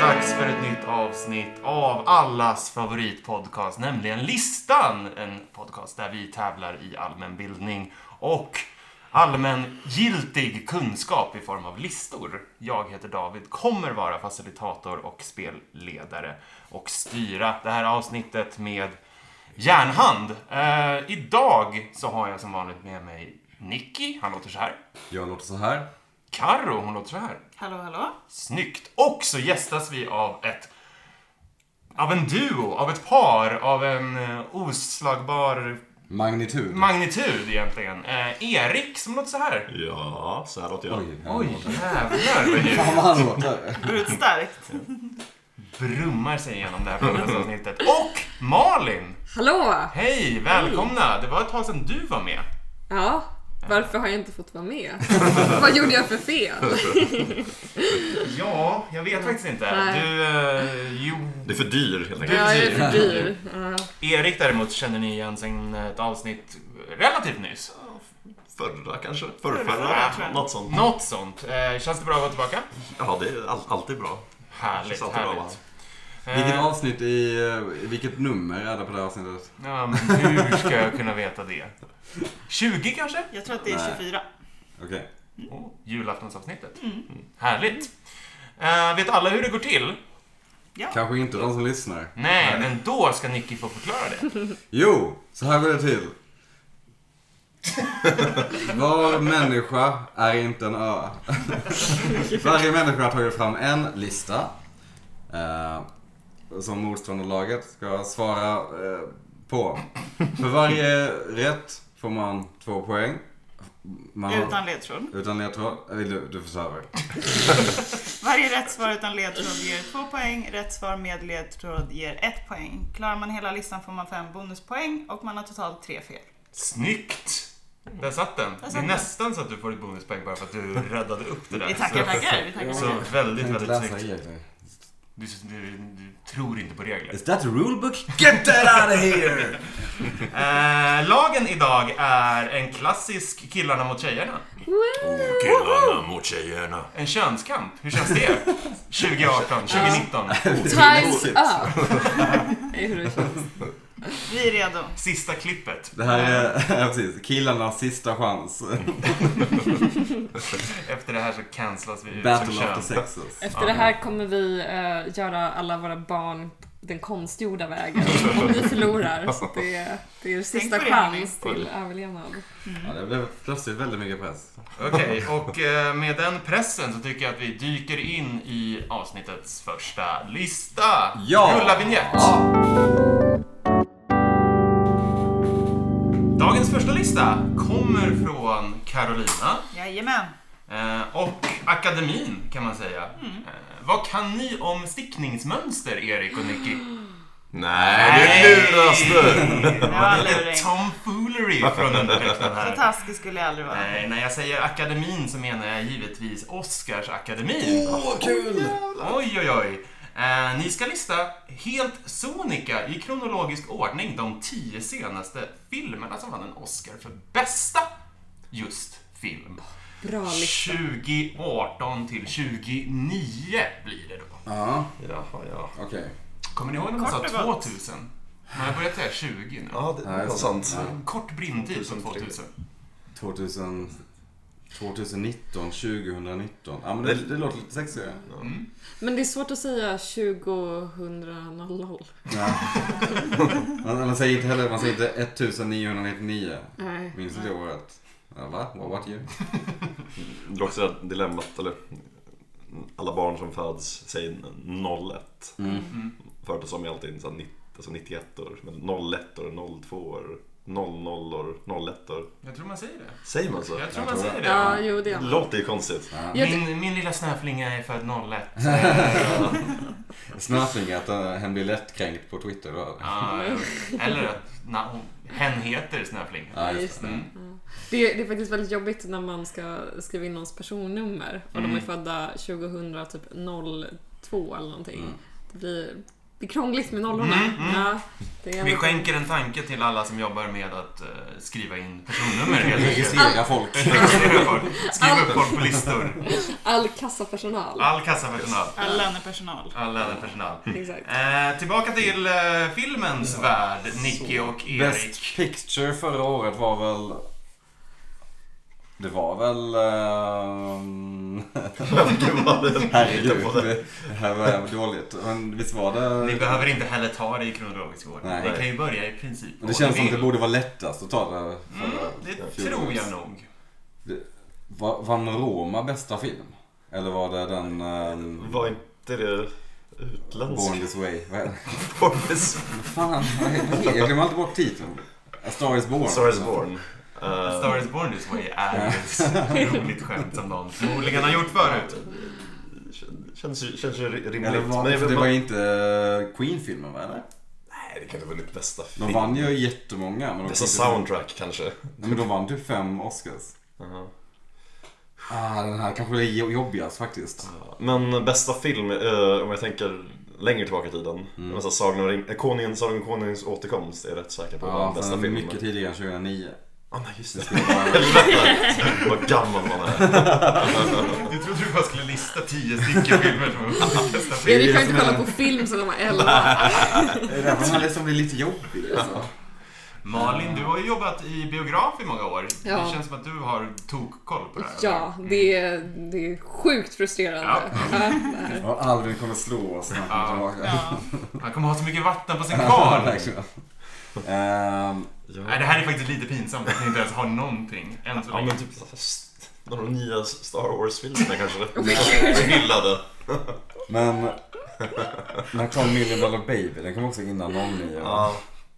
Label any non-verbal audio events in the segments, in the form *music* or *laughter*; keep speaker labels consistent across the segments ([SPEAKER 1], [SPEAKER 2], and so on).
[SPEAKER 1] dags för ett nytt avsnitt av allas favoritpodcast, nämligen Listan. En podcast där vi tävlar i allmänbildning och allmängiltig kunskap i form av listor. Jag heter David, kommer vara facilitator och spelledare och styra det här avsnittet med järnhand. Eh, idag så har jag som vanligt med mig Nicky, han låter så här.
[SPEAKER 2] Jag låter så här.
[SPEAKER 1] Karo, hon låter så här.
[SPEAKER 3] Hallå, hallå.
[SPEAKER 1] Snyggt! Och så gästas vi av ett av en duo, av ett par, av en eh, oslagbar
[SPEAKER 2] Magnitud.
[SPEAKER 1] magnitud egentligen. Eh, Erik som låter så här.
[SPEAKER 4] Ja, så här låter jag.
[SPEAKER 2] Oj, här
[SPEAKER 1] Oj,
[SPEAKER 2] låter det.
[SPEAKER 1] jävlar vad ljud.
[SPEAKER 2] Fan vad han låter.
[SPEAKER 3] Går ut starkt.
[SPEAKER 1] brummar sig igenom det här podcastavsnittet. Och Malin!
[SPEAKER 5] Hallå!
[SPEAKER 1] Hej, välkomna! Det var ett tag sedan du var med.
[SPEAKER 5] Ja, varför har jag inte fått vara med? Vad gjorde jag för fel?
[SPEAKER 1] Ja, jag vet faktiskt inte.
[SPEAKER 5] Nej.
[SPEAKER 1] Du, eh, jo.
[SPEAKER 4] Det är för dyr helt enkelt.
[SPEAKER 5] Ja, jag är för dyr. Ja.
[SPEAKER 1] Erik däremot känner ni igen sen ett avsnitt relativt nyss.
[SPEAKER 4] Förra kanske? Förrförra?
[SPEAKER 1] Förrförra, tror jag.
[SPEAKER 4] Något sånt.
[SPEAKER 1] Något sånt. Eh, känns det bra att vara tillbaka?
[SPEAKER 4] Ja, det är all, alltid bra.
[SPEAKER 1] Härligt,
[SPEAKER 4] Känns alltid bra,
[SPEAKER 1] härligt.
[SPEAKER 2] Vilket
[SPEAKER 1] Eh,
[SPEAKER 2] avsnitt i... eh, Vilket nummer är det på det här avsnittet?
[SPEAKER 1] ja, men hur ska jag kunna veta det? 20 kanske?
[SPEAKER 3] Jag tror att det
[SPEAKER 2] Nej.
[SPEAKER 3] är 24.
[SPEAKER 2] Okej.
[SPEAKER 1] Oh, julaftonsavsnittet. Mm. Härligt. Eh, vet alla hur det går
[SPEAKER 2] Mm.
[SPEAKER 1] till?
[SPEAKER 2] Kanske inte de som lyssnar.
[SPEAKER 1] Nej, men då ska Nicky få förklara det.
[SPEAKER 2] Jo, så här går det till. *laughs* Var människa är inte en ö. *laughs* Varje människa har tagit fram en lista. Eh, som motståndarlaget ska svara eh, på. För varje rätt får man två poäng. Man har-
[SPEAKER 3] Utan ledtråd.
[SPEAKER 2] Utan ledtråd? Eh, Du, du får säga över.
[SPEAKER 3] Varje rätt svar utan ledtråd ger två poäng. Rätt svar med ledtråd ger ett poäng. Klarar man hela listan får man fem bonuspoäng och man har totalt tre fel.
[SPEAKER 1] Snyggt! Där satt den.
[SPEAKER 3] satt
[SPEAKER 1] Det är
[SPEAKER 3] den.
[SPEAKER 1] nästan så att du får ett bonuspoäng bara för att
[SPEAKER 4] *laughs*
[SPEAKER 1] du räddade upp det där.
[SPEAKER 3] Vi tackar,
[SPEAKER 1] Så-
[SPEAKER 3] tackar. Vi tackar,
[SPEAKER 1] Så
[SPEAKER 3] tackar.
[SPEAKER 1] väldigt,
[SPEAKER 2] Jag kan inte
[SPEAKER 1] väldigt
[SPEAKER 2] läsa
[SPEAKER 1] snyggt.
[SPEAKER 2] regler.
[SPEAKER 1] Du, du, du tror inte på regler.
[SPEAKER 2] Is that a rulebook? Get that out of *laughs* here!
[SPEAKER 1] Eh, lagen idag är en klassisk killarna mot tjejerna.
[SPEAKER 4] Killarna mot tjejerna.
[SPEAKER 1] En könskamp. Hur känns det? 2018,
[SPEAKER 2] *laughs*
[SPEAKER 1] 2019.
[SPEAKER 5] Times up! Det är hur det känns.
[SPEAKER 3] Vi är redo.
[SPEAKER 1] Sista klippet.
[SPEAKER 2] Det här är, *laughs* ja, precis, killarnas sista chans.
[SPEAKER 1] Efter det här så cancelas vi ut som
[SPEAKER 2] Battle of the
[SPEAKER 1] kön.
[SPEAKER 2] sexes.
[SPEAKER 5] Efter det här kommer vi eh, göra alla våra barn den konstgjorda vägen. Om ni förlorar. Så det, är- det är sista
[SPEAKER 3] på det,
[SPEAKER 5] chans till överlevnad.
[SPEAKER 2] Ja, det blev plötsligt väldigt mycket press.
[SPEAKER 1] Okej, och eh, med den pressen så tycker jag att vi dyker in i avsnittets första lista.
[SPEAKER 2] Ja!
[SPEAKER 1] Rulla vignett.
[SPEAKER 2] Ja.
[SPEAKER 1] Dagens första lista kommer från Carolina
[SPEAKER 3] Jajamän.
[SPEAKER 1] eh, och akademin kan man säga. Eh, vad kan ni om stickningsmönster, Erik och Nicky?
[SPEAKER 4] Nej, det luras du!
[SPEAKER 3] Det var en
[SPEAKER 1] Lite
[SPEAKER 3] luring.
[SPEAKER 1] tomfoolery från undertecknad
[SPEAKER 3] *laughs* Så
[SPEAKER 1] här.
[SPEAKER 3] taskig skulle jag aldrig vara.
[SPEAKER 1] Nej, när jag säger akademin så menar jag givetvis Oscarsakademin.
[SPEAKER 2] Åh, vad kul!
[SPEAKER 1] Oj, oj, oj. Eh, ni ska lista helt sonika i kronologisk ordning de tio senaste filmerna som vann en Oscar för bästa just film.
[SPEAKER 5] Bra liksom.
[SPEAKER 1] 2018 till 2009 blir det då.
[SPEAKER 2] Ja,
[SPEAKER 4] Jaha, ja.
[SPEAKER 2] okej.
[SPEAKER 1] Kommer ni ihåg när man sa
[SPEAKER 3] Kort och gott.
[SPEAKER 1] 2000? Man har börjat säga 20 nu.
[SPEAKER 4] Ja, det
[SPEAKER 2] Nej,
[SPEAKER 4] är
[SPEAKER 2] så-
[SPEAKER 4] sant.
[SPEAKER 2] nej.
[SPEAKER 1] Kort brintid som 2000.
[SPEAKER 2] 2000... 2019, 2019. Ja, men det, det låter lite sexigare.
[SPEAKER 5] Men det är svårt att säga 2000.
[SPEAKER 2] Ja. *laughs* Man, man säger inte heller, man säger inte 1999.
[SPEAKER 5] Nej.
[SPEAKER 2] Minns du det året? Ja, va? What, what year?
[SPEAKER 4] Det är också det här dilemmat, eller? Alla barn som föds säger 01.
[SPEAKER 2] Mm.
[SPEAKER 4] Förut sa man alltid så här, nitt- alltså 91 år, men 01 år, 02 år, 00 år, 01 år.
[SPEAKER 1] Jag tror man säger det.
[SPEAKER 4] Säger man så?
[SPEAKER 1] Jag tror
[SPEAKER 2] Jag
[SPEAKER 1] man
[SPEAKER 2] tror
[SPEAKER 1] säger
[SPEAKER 5] Ja,
[SPEAKER 1] det.
[SPEAKER 5] jo det är man.
[SPEAKER 4] Låter ju konstigt. *laughs*
[SPEAKER 5] Jag-
[SPEAKER 1] Min, min lilla snöflinga är född 01.
[SPEAKER 2] Snöfling att eh, hen blir lättkränkt på Twitter då.
[SPEAKER 1] Ja, eller att na, hon, hen heter Snöfling.
[SPEAKER 2] Ja, just
[SPEAKER 5] just det. Mm. Ja. Det, det är faktiskt väldigt jobbigt när man ska skriva in någons personnummer och de är födda 2000, typ 02 eller någonting. Det blir Det är krångligt med nollorna.
[SPEAKER 1] Mm, mm.
[SPEAKER 5] Ja, det är
[SPEAKER 1] Vi skänker en tanke till alla som jobbar med att eh, skriva in personnummer helt enkelt.
[SPEAKER 2] Registrera folk.
[SPEAKER 1] *laughs* Registrera folk. Skriv upp folk på listor.
[SPEAKER 5] All kassapersonal.
[SPEAKER 1] All kassapersonal.
[SPEAKER 3] All lönepersonal.
[SPEAKER 1] All lönepersonal.
[SPEAKER 5] Mm. Exakt.
[SPEAKER 1] Eh, tillbaka till eh, filmens värld, Nicky och Erik.
[SPEAKER 2] Best picture förra året var väl... Det var väl... ehm, Herregud, det det här var dåligt. Men visst var
[SPEAKER 1] Ni
[SPEAKER 2] det...
[SPEAKER 1] behöver inte heller ta det i kronologisk ordning.
[SPEAKER 2] Nej.
[SPEAKER 1] Ni kan ju börja i princip
[SPEAKER 2] Det
[SPEAKER 1] var
[SPEAKER 2] känns
[SPEAKER 1] ni
[SPEAKER 2] som det
[SPEAKER 1] vill.
[SPEAKER 2] borde vara lättast att ta det
[SPEAKER 4] Mm.
[SPEAKER 2] förra
[SPEAKER 1] Det
[SPEAKER 2] fjolåret.
[SPEAKER 1] tror jag nog.
[SPEAKER 2] Va- Vann Roma bästa film? Eller var det den... ehm,
[SPEAKER 4] Var inte det
[SPEAKER 2] Born
[SPEAKER 4] utländsk?
[SPEAKER 2] this way? Vad
[SPEAKER 4] Born.
[SPEAKER 2] fan, vad heter det? Jag glömmer alltid bort titeln. A Star is *laughs* Born.
[SPEAKER 4] Star is born.
[SPEAKER 1] A
[SPEAKER 4] Eh,
[SPEAKER 1] Star is born this way är ett *laughs* roligt skämt som någon förmodligen har gjort förut.
[SPEAKER 4] kän- Känns, ju- känns ju rimligt.
[SPEAKER 2] Eller var,
[SPEAKER 4] Men jag
[SPEAKER 2] för
[SPEAKER 4] vet-
[SPEAKER 2] det var ju inte eh, Queen-filmen va? Eller?
[SPEAKER 4] Nej, det kan inte ha vunnit bästa film.
[SPEAKER 2] De vann ju jättemånga. Men de
[SPEAKER 4] Bästa
[SPEAKER 2] fick inte-
[SPEAKER 4] soundtrack
[SPEAKER 2] *laughs*
[SPEAKER 4] kanske.
[SPEAKER 2] Nej, men de vann typ fem Oscars.
[SPEAKER 4] Jaha.
[SPEAKER 2] Ah, den här kanske är jo- jobbigast faktiskt.
[SPEAKER 4] Men bästa film, eh, om jag tänker längre tillbaka i tiden. Mm. Så Sagan om ring- eh, Konungen, Sagan om Konungens återkomst är jag rätt säker på
[SPEAKER 2] Ja,
[SPEAKER 4] var
[SPEAKER 2] den
[SPEAKER 4] bästa
[SPEAKER 2] är
[SPEAKER 4] film.
[SPEAKER 2] mycket tidigare än 2009.
[SPEAKER 4] Ah, nej, just
[SPEAKER 2] Det
[SPEAKER 4] det.
[SPEAKER 2] skulle
[SPEAKER 4] *laughs*
[SPEAKER 2] vara...
[SPEAKER 4] Vad gammal man är.
[SPEAKER 1] Du trodde du bara skulle lista tio stycken filmer som var bästa film.
[SPEAKER 5] Erik har
[SPEAKER 2] det som
[SPEAKER 5] inte
[SPEAKER 2] är-
[SPEAKER 5] kollat på film sedan han var 11.
[SPEAKER 2] Det är därför den här liksom blir lite jobbig. Alltså.
[SPEAKER 1] Malin, du har ju jobbat i biograf i många år. Det
[SPEAKER 5] Ja.
[SPEAKER 1] känns som att du har tokkoll på det här.
[SPEAKER 5] Ja, det är, det är sjukt frustrerande. Ja. det här.
[SPEAKER 2] Och Alvin kommer slå oss när han kommer tillbaka.
[SPEAKER 3] Ja.
[SPEAKER 1] Han kommer ha så mycket vatten på sin
[SPEAKER 2] *laughs* Ja,
[SPEAKER 1] kvarn.
[SPEAKER 2] verkligen. Ehm,
[SPEAKER 1] Nej,
[SPEAKER 4] Ja.
[SPEAKER 1] det här är faktiskt lite pinsamt att ni inte ens har någonting än så
[SPEAKER 4] ja,
[SPEAKER 1] länge.
[SPEAKER 4] men typ st- någon av de nya Star Wars-filmerna kanske. Blir hyllade.
[SPEAKER 2] Men när kom Million Dollar Baby? Den kom också innan 09.
[SPEAKER 4] Ja.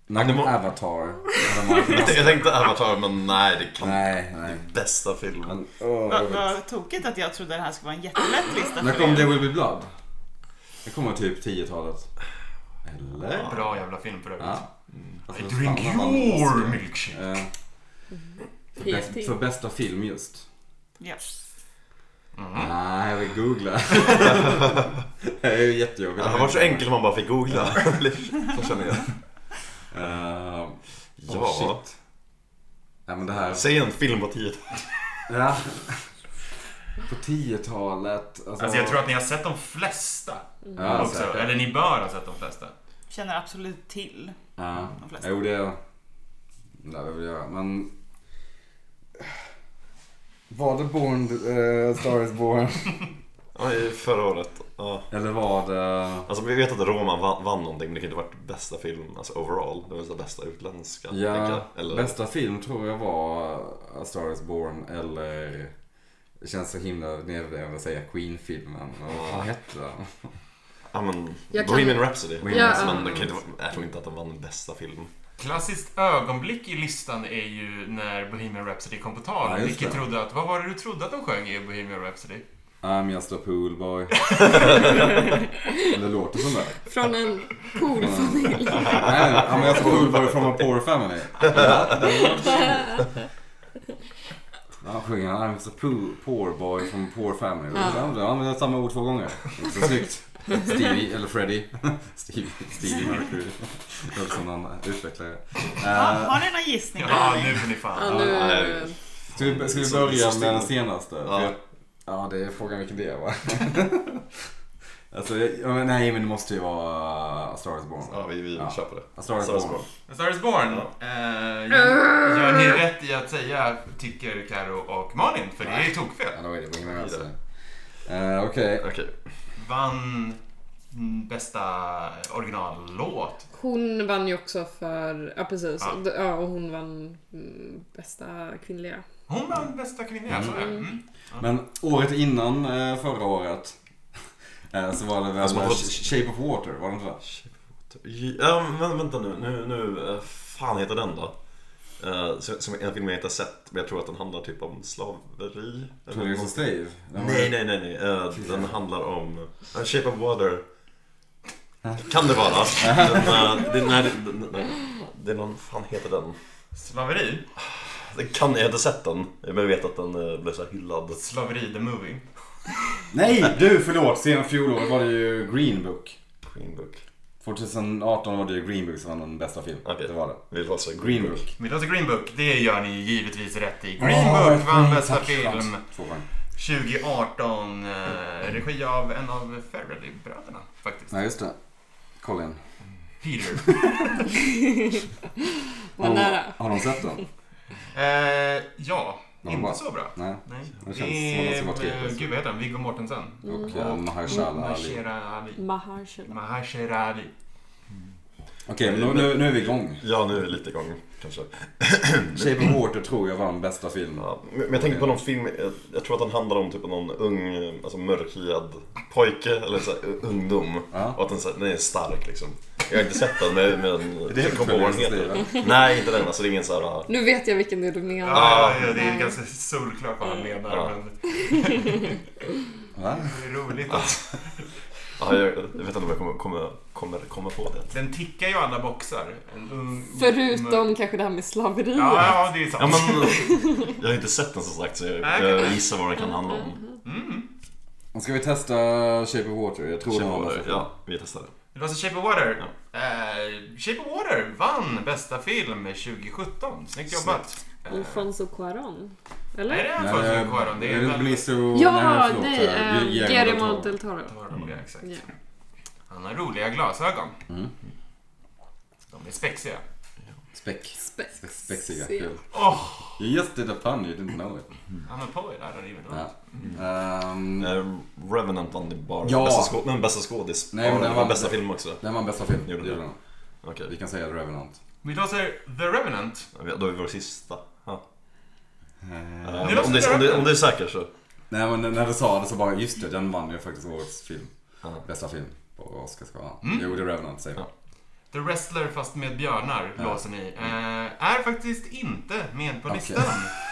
[SPEAKER 2] När
[SPEAKER 4] det
[SPEAKER 2] kom
[SPEAKER 4] må-
[SPEAKER 2] Avatar? När de var-
[SPEAKER 4] *laughs* Jag tänkte Avatar, men nej, det kan
[SPEAKER 2] nej, nej.
[SPEAKER 4] Bästa filmen.
[SPEAKER 2] Men, åh,
[SPEAKER 3] Vad
[SPEAKER 2] jag vet.
[SPEAKER 3] vad tokigt att jag trodde det här skulle vara en jättelätt lista
[SPEAKER 2] när
[SPEAKER 3] för
[SPEAKER 2] kom
[SPEAKER 3] er.
[SPEAKER 2] There Will Be Blood? Det kommer typ 10-talet. Eller?
[SPEAKER 1] Bra jävla film för övrigt.
[SPEAKER 2] Ja.
[SPEAKER 1] I
[SPEAKER 2] Alltså,
[SPEAKER 1] drink
[SPEAKER 2] fan, han vann
[SPEAKER 1] your
[SPEAKER 2] Oscar.
[SPEAKER 1] milkshake.
[SPEAKER 2] Eh,
[SPEAKER 5] PST.
[SPEAKER 2] För bästa film just.
[SPEAKER 3] Yes.
[SPEAKER 2] Nej, jag vill googla. det är ju jättejobbigt.
[SPEAKER 4] Han var så enkel man bara fick googla. *laughs* så känner jag.
[SPEAKER 2] Eh,
[SPEAKER 4] Ja.
[SPEAKER 2] oh, shit. Ja, men det här.
[SPEAKER 4] Säg en film på tio
[SPEAKER 2] Ja. På 10-talet.
[SPEAKER 1] Alltså jag tror att ni har sett de flesta.
[SPEAKER 2] Ja,
[SPEAKER 1] också.
[SPEAKER 2] säkert.
[SPEAKER 1] Eller ni bör ha sett de flesta.
[SPEAKER 3] Känner absolut till.
[SPEAKER 2] Ja.
[SPEAKER 3] De flesta.
[SPEAKER 2] Jo, det lär vi väl göra. Men... Var det Born, eh, Star is Born?
[SPEAKER 4] Ja, i förra året. Ja.
[SPEAKER 2] *laughs* Eller var det...
[SPEAKER 4] Alltså vi vet att Roma vann, vann någonting men det kan inte ha varit bästa film alltså overall. Det var så bästa utländska. tänker
[SPEAKER 2] Ja,
[SPEAKER 4] jag. Eller,
[SPEAKER 2] bästa film tror jag var A Star is Born eller... Det känns så himla nedvärderande att säga Queen-filmen. Och Vad hette den?
[SPEAKER 4] Ja men
[SPEAKER 5] Jag kan-
[SPEAKER 4] Bohemian Rhapsody.
[SPEAKER 2] Bohemian
[SPEAKER 5] Ja,
[SPEAKER 2] Rhapsody.
[SPEAKER 4] Men det kan inte, vara- jag tror inte att den vann bästa film.
[SPEAKER 1] Klassiskt ögonblick i listan är ju när Bohemian Rhapsody kom på tal.
[SPEAKER 2] Ja, just
[SPEAKER 1] Vilket
[SPEAKER 2] det.
[SPEAKER 1] trodde att, vad var det du trodde att de sjöng i Bohemian Rhapsody?
[SPEAKER 2] I'm just a poolboy.
[SPEAKER 4] *laughs*
[SPEAKER 2] eller låter som det.
[SPEAKER 5] Från en poolfamilj.
[SPEAKER 2] Nej, nej, I'm just a poolboy from a poor family. Ja, Ja, sjunger han I'm just a poor, poor boy from a poor family.
[SPEAKER 5] Ja.
[SPEAKER 2] Ja. Han använder samma ord två gånger. Så snyggt. Stevie, eller Freddie. *laughs* Stevie, Stevie Mercury. Det låter som någon utvecklare.
[SPEAKER 3] Ja,
[SPEAKER 2] Uh,
[SPEAKER 3] har ni någon gissning?
[SPEAKER 1] Ja, nu får ni fan.
[SPEAKER 5] Ja, nu är det...
[SPEAKER 2] ska, vi, ska vi
[SPEAKER 4] Så-
[SPEAKER 2] börja
[SPEAKER 4] så
[SPEAKER 2] med den
[SPEAKER 4] still.
[SPEAKER 2] senaste? För
[SPEAKER 4] Ja.
[SPEAKER 2] jag- ja, det är frågan vilken det är va? *laughs* alltså, jag, ja, men nej men det måste ju vara A Star is Born.
[SPEAKER 4] Ja vi, vi
[SPEAKER 2] Ja.
[SPEAKER 4] kör på det.
[SPEAKER 2] A Star is
[SPEAKER 4] Star is
[SPEAKER 2] Born.
[SPEAKER 4] Born.
[SPEAKER 1] A Star is Born. Eh, gör, gör ni rätt i att säga, tycker Karo och Malin, för det är
[SPEAKER 2] Ja,
[SPEAKER 1] tokfel.
[SPEAKER 2] då är det Bohemian Rhapsody. Eh, Okej.
[SPEAKER 4] Okej.
[SPEAKER 1] Vann mm, bästa originallåt.
[SPEAKER 5] Hon vann ju också för... Ja, precis.
[SPEAKER 1] Ja.
[SPEAKER 5] Och d- Ja, och hon vann mm, bästa kvinnliga.
[SPEAKER 1] Hon vann bästa kvinnliga, mm. så mm.
[SPEAKER 2] Men året innan eh, förra året *laughs* eh, så var det väl
[SPEAKER 4] Alltså, man får-
[SPEAKER 2] Sh- Shape of Water, var det inte det?
[SPEAKER 4] Ja, men vänta nu, nu, nu, eh, fan heter den då? Eh, som- Som en film jag inte har sett, men jag tror att den handlar typ om slaveri. eller
[SPEAKER 2] Torres och
[SPEAKER 4] något.
[SPEAKER 2] Stave? Den var-
[SPEAKER 4] Nej, nej, nej, nej. Eh, Den handlar om eh, A Shape of Water. Kan
[SPEAKER 2] *laughs*
[SPEAKER 4] det vara? Den, eh, det, nej, det, det- nej, det är någon, fan heter den?
[SPEAKER 1] Slaveri.
[SPEAKER 4] Det kan, jag har inte sett den, men jag vet att den eh, blev så här hyllad.
[SPEAKER 1] Slaveri the movie.
[SPEAKER 2] Nej, du förlåt! Sen fjolåret var det ju Green Book.
[SPEAKER 4] Green Book.
[SPEAKER 2] Fan, 2018 var det ju Green Book som vann den bästa film.
[SPEAKER 4] Okej.
[SPEAKER 2] Det var det.
[SPEAKER 4] Vi låser
[SPEAKER 2] Green Book.
[SPEAKER 1] Vi tar till alltså Green Book. Det gör ni ju givetvis rätt i. Green Book vann bästa film
[SPEAKER 2] Två poäng.
[SPEAKER 1] 2018. Eh, regi av en av Farrelly-bröderna faktiskt.
[SPEAKER 2] Ja, just det. Colin.
[SPEAKER 1] Peter.
[SPEAKER 2] *laughs*
[SPEAKER 5] Var
[SPEAKER 1] Mm.
[SPEAKER 2] Har-
[SPEAKER 5] nära.
[SPEAKER 2] Har de sett den?
[SPEAKER 1] Eh, ja,
[SPEAKER 2] Ja,
[SPEAKER 1] inte
[SPEAKER 2] bra.
[SPEAKER 1] så bra.
[SPEAKER 2] Nej.
[SPEAKER 1] Nej.
[SPEAKER 2] Det känns som att det ska vara
[SPEAKER 1] Det är,
[SPEAKER 2] trevligt.
[SPEAKER 1] eh, gud vad heter han? Viggo Mortensen.
[SPEAKER 2] Och eh,
[SPEAKER 1] Mm.
[SPEAKER 2] Mahershala Ali.
[SPEAKER 1] Mahshera Ali.
[SPEAKER 5] Mahershala.
[SPEAKER 1] Mahshera Ali.
[SPEAKER 2] Okej, men nu, nu, nu är vi
[SPEAKER 4] *clears throat*
[SPEAKER 2] igång.
[SPEAKER 4] Ja, nu är vi lite igång kanske.
[SPEAKER 2] Mm. Shape of Water tror jag vann bästa film.
[SPEAKER 4] Ja, men men jag tänkte på någon film, jag, jag tror att den handlar om typ någon ung, alltså mörkhyad pojke eller så här, u- ungdom.
[SPEAKER 2] Ja.
[SPEAKER 4] Och att den, så här, den är stark liksom. Jag har inte sett den men, men
[SPEAKER 2] Det är
[SPEAKER 4] jag kommer ihåg vad den
[SPEAKER 2] uppföljningsstil,
[SPEAKER 4] heter. Nej, inte den. Alltså det är ingen så här...
[SPEAKER 5] Nu vet jag vilken det är du menar.
[SPEAKER 1] Ja, Ah, ja, det är ganska solklart vad han
[SPEAKER 5] Mm.
[SPEAKER 1] menar.
[SPEAKER 4] Ja.
[SPEAKER 1] Men
[SPEAKER 2] Va?
[SPEAKER 1] det är roligt.
[SPEAKER 3] Ah.
[SPEAKER 1] att-
[SPEAKER 4] *laughs* Ja, jag, jag vet inte om jag kommer, kommer, kommer, kommer på det.
[SPEAKER 1] Den tickar ju alla boxar. En ung,
[SPEAKER 5] Förutom kanske det här med slaveriet.
[SPEAKER 1] Ja, ja, det är
[SPEAKER 4] Ja,
[SPEAKER 1] sant.
[SPEAKER 4] men, jag har inte sett den som sagt så
[SPEAKER 3] Ah,
[SPEAKER 4] jag,
[SPEAKER 1] Nej,
[SPEAKER 4] jag gissar vad den kan handla
[SPEAKER 3] Mm.
[SPEAKER 4] om.
[SPEAKER 1] Mm.
[SPEAKER 2] Ska vi testa Shape of Water? Jag tror den var bästa
[SPEAKER 4] Shape of-
[SPEAKER 2] film.
[SPEAKER 4] Ja, vi testar det.
[SPEAKER 1] Det var så Shape of Water. Eh, Shape of Water vann bästa film 2017. Snyggt jobbat. Eh,
[SPEAKER 5] Alfonso Cuarón. Eller?
[SPEAKER 1] Nej, det är
[SPEAKER 2] Nej,
[SPEAKER 1] Alfonso Cuarón. Det är väl...
[SPEAKER 2] Benicio...
[SPEAKER 5] Ja,
[SPEAKER 2] förlåt,
[SPEAKER 5] nej.
[SPEAKER 2] eh,
[SPEAKER 5] ehm,
[SPEAKER 2] Guillermo del
[SPEAKER 5] Guillermo
[SPEAKER 2] Toro.
[SPEAKER 5] del Toro.
[SPEAKER 1] Cuarón, ja, exakt.
[SPEAKER 5] Ja.
[SPEAKER 1] Han har roliga glasögon.
[SPEAKER 2] Mm.
[SPEAKER 1] De är spexiga.
[SPEAKER 2] Speck.
[SPEAKER 5] Spe-
[SPEAKER 2] Spe- Spexiga.
[SPEAKER 5] se.
[SPEAKER 2] Kul.
[SPEAKER 1] Åh!
[SPEAKER 2] You just did a pun, you didn't know it.
[SPEAKER 1] Han är på i det här. Rivet.
[SPEAKER 2] Ja. Ehm,
[SPEAKER 4] Eh, Revenant vann ju bara
[SPEAKER 2] Ja.
[SPEAKER 4] bästa, skå- men bästa skådis.
[SPEAKER 2] Nej, men den vann-
[SPEAKER 4] bästa film också.
[SPEAKER 2] den var bästa film.
[SPEAKER 4] Gjorde
[SPEAKER 2] Gjorde
[SPEAKER 4] den.
[SPEAKER 2] den.
[SPEAKER 4] Okej,
[SPEAKER 2] Vi kan säga The Revenant.
[SPEAKER 1] Vi låter The Revenant.
[SPEAKER 4] då är vi vår sista. Ja. Eh,
[SPEAKER 1] Det låter
[SPEAKER 4] om, det, om, det, om det är säkert så.
[SPEAKER 2] Nej men när du sa det så bara, just det, den vann ju faktiskt årets film.
[SPEAKER 4] Ja. Mm.
[SPEAKER 2] Bästa film på Oscarsgalan. Jo, The Revenant säger vi.
[SPEAKER 4] Ja.
[SPEAKER 1] The Wrestler fast med björnar
[SPEAKER 2] Ja.
[SPEAKER 1] blåser ni. Eh, är faktiskt inte med på
[SPEAKER 2] Okej.
[SPEAKER 1] listan.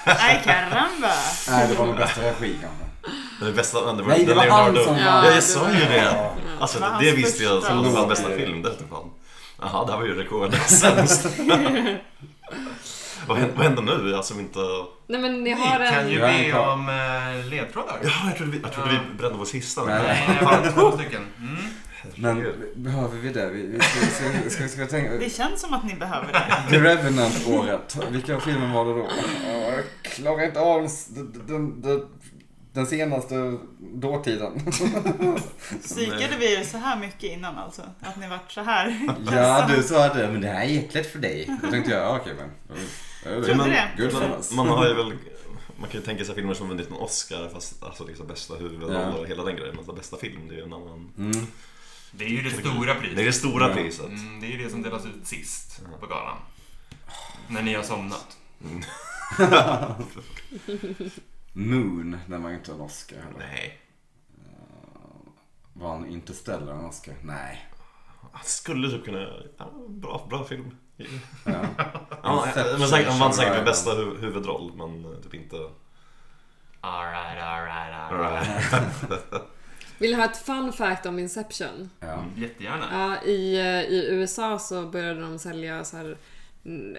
[SPEAKER 3] Ay caramba!
[SPEAKER 2] Nej, det var nog bästa regi kanske.
[SPEAKER 4] Den bästa, den,
[SPEAKER 2] Nej, det var han som vann.
[SPEAKER 5] Ja,
[SPEAKER 4] Ja,
[SPEAKER 5] det
[SPEAKER 4] jag sa ju
[SPEAKER 5] var-
[SPEAKER 4] det. Alltså
[SPEAKER 3] Det var
[SPEAKER 4] det,
[SPEAKER 3] hans
[SPEAKER 4] visste jag
[SPEAKER 3] första
[SPEAKER 4] som den
[SPEAKER 2] Oscar.
[SPEAKER 4] var bästa film. Det vete fan. Jaha, det här var ju
[SPEAKER 3] *laughs*
[SPEAKER 4] rekord. *laughs* Sämst. vad, händer, vad händer nu? Jag som inte...
[SPEAKER 5] Nej men ni
[SPEAKER 1] Ni
[SPEAKER 5] har
[SPEAKER 1] kan ju
[SPEAKER 5] en...
[SPEAKER 2] Jag är
[SPEAKER 1] be
[SPEAKER 2] klar.
[SPEAKER 1] om eh, ledtrådar.
[SPEAKER 4] Ja, jag trodde vi, jag trodde vi brände vår sista.
[SPEAKER 2] Nej.
[SPEAKER 1] Nej, jag har två stycken. Mm.
[SPEAKER 2] Men behöver vi det? Vi, vi ska, ska, ska, ska, ska vi
[SPEAKER 3] Det
[SPEAKER 2] tänka...
[SPEAKER 3] känns som att ni behöver det.
[SPEAKER 2] The Revenant-året. Vilka filmer var det då? Ja, Jag klarar inte av s- den, den, den, den senaste dåtiden.
[SPEAKER 3] Psykade vi er så här mycket innan alltså? Att ni vart så här?
[SPEAKER 2] Ja, du sa det, men det här är äckligt för dig. Då tänkte jag, ja, okej men. Jag
[SPEAKER 3] Trodde det.
[SPEAKER 2] Good for
[SPEAKER 4] Man,
[SPEAKER 2] us.
[SPEAKER 4] man har ju väl... Man kan ju tänka sig filmer som vunnit en Oscar fast alltså liksom bästa huvudroll
[SPEAKER 2] Ja.
[SPEAKER 4] och hela den grejen. Men så bästa film, det är ju en annan...
[SPEAKER 2] Mm.
[SPEAKER 1] Det är ju det stora priset.
[SPEAKER 4] Det är det stora
[SPEAKER 2] Ja.
[SPEAKER 4] priset.
[SPEAKER 1] Mm, det är ju det som delas ut sist på galan. När ni har somnat.
[SPEAKER 2] Moon, den var inte en Oscar heller.
[SPEAKER 4] Nej.
[SPEAKER 2] Vann Interstellar en Oscar? Nej.
[SPEAKER 4] Han skulle typ kunna... Ja, bra, bra film.
[SPEAKER 2] Ja.
[SPEAKER 4] Ja,
[SPEAKER 2] Inception,
[SPEAKER 4] men säkert, han vann
[SPEAKER 2] Shaun
[SPEAKER 4] säkert
[SPEAKER 2] Ryan.
[SPEAKER 4] med bästa hu- huvudroll, men eh, typ inte...
[SPEAKER 1] Alright, alright, alright.
[SPEAKER 4] Alright.
[SPEAKER 5] Vill ni ha ett fun fact om Inception?
[SPEAKER 2] Ja.
[SPEAKER 1] Jättegärna.
[SPEAKER 5] Ja, i, eh, I USA så började de sälja så här mm,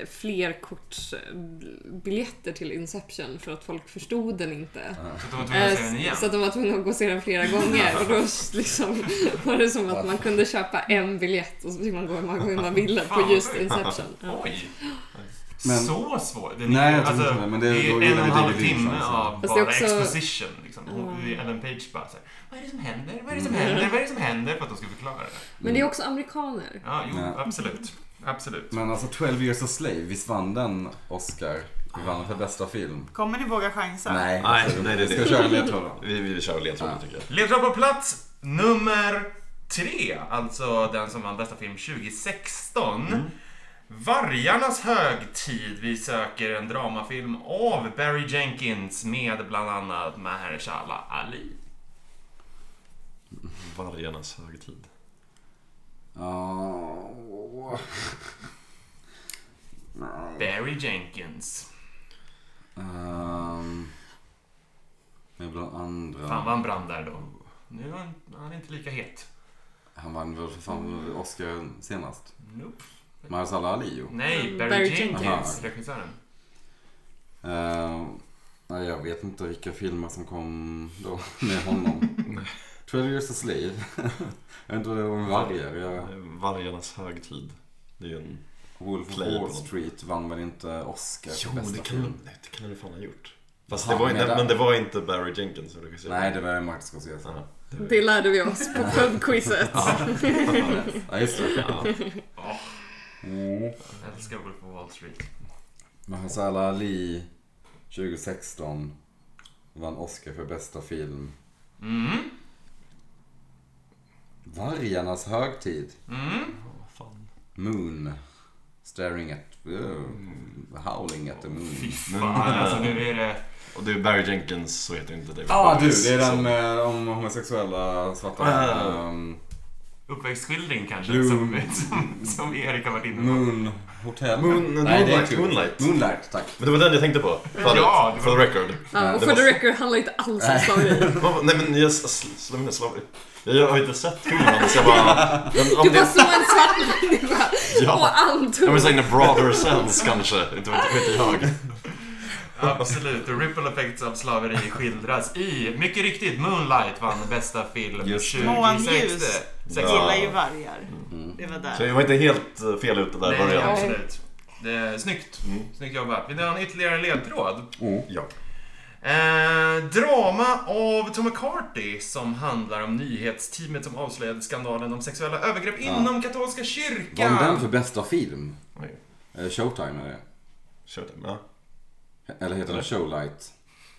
[SPEAKER 5] flerkortsbiljetter till Inception för att folk förstod den inte.
[SPEAKER 1] *laughs* Så då var jag tvungen att säga den
[SPEAKER 5] Eh,
[SPEAKER 1] igen.
[SPEAKER 5] Så att de var tvungna att gå och se den flera gånger. Och då liksom, var det som att man kunde köpa en biljett och så fick man gå hur många gånger man ville på just Inception. Ja.
[SPEAKER 1] Oj.
[SPEAKER 2] Men-
[SPEAKER 1] så svårt. Den
[SPEAKER 2] Nej,
[SPEAKER 1] är, alltså,
[SPEAKER 2] jag tror inte det, men det-
[SPEAKER 1] det
[SPEAKER 2] då
[SPEAKER 1] är
[SPEAKER 2] gillar
[SPEAKER 1] en
[SPEAKER 2] vi
[SPEAKER 1] och en
[SPEAKER 2] David
[SPEAKER 1] halv
[SPEAKER 2] Lynch
[SPEAKER 1] timme
[SPEAKER 2] alltså.
[SPEAKER 1] av
[SPEAKER 5] Fast
[SPEAKER 1] bara
[SPEAKER 5] också-
[SPEAKER 1] exposition. Liksom. Hon, Ellen Page bara så här, Vad är det som händer? Vad är det som händer? Vad är det som händer? För att de ska förklara det.
[SPEAKER 5] Men det är också amerikaner.
[SPEAKER 1] Ja, jo,
[SPEAKER 2] Ja.
[SPEAKER 1] absolut. Absolut.
[SPEAKER 2] Men alltså 12 years a slave, visst vann den Oscar? Vi vann för bästa film.
[SPEAKER 3] Kommer ni våga chansa?
[SPEAKER 2] Nej,
[SPEAKER 4] Nej,
[SPEAKER 2] alltså,
[SPEAKER 4] nej, det är
[SPEAKER 2] vi
[SPEAKER 4] det.
[SPEAKER 2] Ska köra ledtrådar?
[SPEAKER 4] Vi, vi, vi kör ledtråden
[SPEAKER 2] Ja.
[SPEAKER 4] tycker jag.
[SPEAKER 1] Ledtråd på plats nummer tre, alltså den som vann bästa film 2016.
[SPEAKER 2] Mm.
[SPEAKER 1] Vargarnas högtid. Vi söker en dramafilm av Barry Jenkins med bland annat Mahershala Ali.
[SPEAKER 4] Vargarnas högtid.
[SPEAKER 2] Ja. Nej.
[SPEAKER 1] Barry Jenkins.
[SPEAKER 2] Ehm, Men bland
[SPEAKER 1] Fan
[SPEAKER 2] andra.
[SPEAKER 1] vad han brann där då. Nu är han, han är inte lika het.
[SPEAKER 2] Han vann väl för fan Oscar senast?
[SPEAKER 1] Nope.
[SPEAKER 2] Mahershala Ali jo.
[SPEAKER 1] Nej,
[SPEAKER 5] Mm,
[SPEAKER 1] Barry,
[SPEAKER 5] Barry
[SPEAKER 1] Jenkins,
[SPEAKER 2] Jenkins.
[SPEAKER 1] regissören.
[SPEAKER 2] *laughs*
[SPEAKER 4] *laughs*
[SPEAKER 2] Ehm, Nej, jag vet inte vilka filmer som kom då med honom. 12 years a slave. *laughs* Jag vet inte vad det har med vargar att göra.
[SPEAKER 4] Vargarnas högtid. Det är ju en...
[SPEAKER 2] Wolf of
[SPEAKER 4] Play på
[SPEAKER 2] Wall
[SPEAKER 4] något.
[SPEAKER 2] Street vann väl inte Oscar för
[SPEAKER 4] Jo,
[SPEAKER 2] bästa
[SPEAKER 4] det kan,
[SPEAKER 2] film?
[SPEAKER 4] den- det kan den fan ha gjort. Fast
[SPEAKER 2] Aha,
[SPEAKER 4] det var,
[SPEAKER 2] medan-
[SPEAKER 4] nej, men det var inte Barry Jenkins som regisserade.
[SPEAKER 2] Nej, det var ju Martin Scorsese.
[SPEAKER 4] Aha.
[SPEAKER 5] Det lärde vi oss på pubquizet.
[SPEAKER 2] Ja, just det.
[SPEAKER 4] Ja.
[SPEAKER 2] *laughs* Mm.
[SPEAKER 1] Jag älskar Wolf på Wall Street.
[SPEAKER 2] Men Hazala Ali 2016 vann Oscar för bästa film.
[SPEAKER 1] Mm.
[SPEAKER 2] Vargarnas högtid.
[SPEAKER 1] Mm.
[SPEAKER 4] Ja, vad fan.
[SPEAKER 2] Moon. Staring at... uh, howling at the moon.
[SPEAKER 1] Fy fan, alltså nu är det...
[SPEAKER 4] Och det är Barry Jenkins, så heter inte det. eh,
[SPEAKER 2] Ja ah, du, det är den
[SPEAKER 4] Som-
[SPEAKER 2] med om homosexuella svarta
[SPEAKER 4] Ah.
[SPEAKER 2] um,
[SPEAKER 1] Uppväxtskildring kanske,
[SPEAKER 2] Jo.
[SPEAKER 1] som, som, som Erik har varit inne på.
[SPEAKER 2] Moon Hotel.
[SPEAKER 4] Moon- Moonlight,
[SPEAKER 2] kul.
[SPEAKER 4] Moonlight.
[SPEAKER 2] Moonlight, tack.
[SPEAKER 4] Men det var den jag tänkte på. Förut,
[SPEAKER 1] Ja, det var-
[SPEAKER 4] For the record.
[SPEAKER 5] Ja, och
[SPEAKER 4] Det
[SPEAKER 5] for the
[SPEAKER 4] var-
[SPEAKER 5] record handlar inte alls om slaveri.
[SPEAKER 4] Vad- Nej men jag slår mina slavar. Jag, jag har inte sett filmen så jag bara... Men,
[SPEAKER 5] Du
[SPEAKER 4] om
[SPEAKER 5] bara
[SPEAKER 4] det,
[SPEAKER 5] såg en svart människa
[SPEAKER 4] ja.
[SPEAKER 5] och antog
[SPEAKER 4] Jag menar in a broader sense kanske. Inte vet vet jag.
[SPEAKER 1] Absolut, the ripple effects av slaveri skildras i, mycket riktigt, Moonlight vann bästa film
[SPEAKER 2] Just det.
[SPEAKER 1] 2016.
[SPEAKER 3] Månljus. Jag
[SPEAKER 1] Sexton.
[SPEAKER 3] gillar ju vargar.
[SPEAKER 2] Mm.
[SPEAKER 3] Det var
[SPEAKER 4] Så
[SPEAKER 3] där.
[SPEAKER 4] jag var inte helt eh, fel ute där i
[SPEAKER 1] Nej,
[SPEAKER 4] början.
[SPEAKER 1] absolut. Det är snyggt.
[SPEAKER 4] Mm.
[SPEAKER 1] Snyggt jobbat. Vill ni ha en ytterligare ledtråd?
[SPEAKER 2] Mm.
[SPEAKER 4] Ja.
[SPEAKER 1] Eh, drama av Tom McCarthy som handlar om nyhetsteamet som avslöjade skandalen om sexuella övergrepp
[SPEAKER 2] Ja.
[SPEAKER 1] inom katolska
[SPEAKER 2] Vann den för
[SPEAKER 1] kyrkan.
[SPEAKER 2] bästa film?
[SPEAKER 4] Oj.
[SPEAKER 2] Eh, Showtime är det.
[SPEAKER 4] Kör den. Ja.
[SPEAKER 2] Eller heter den Showlight?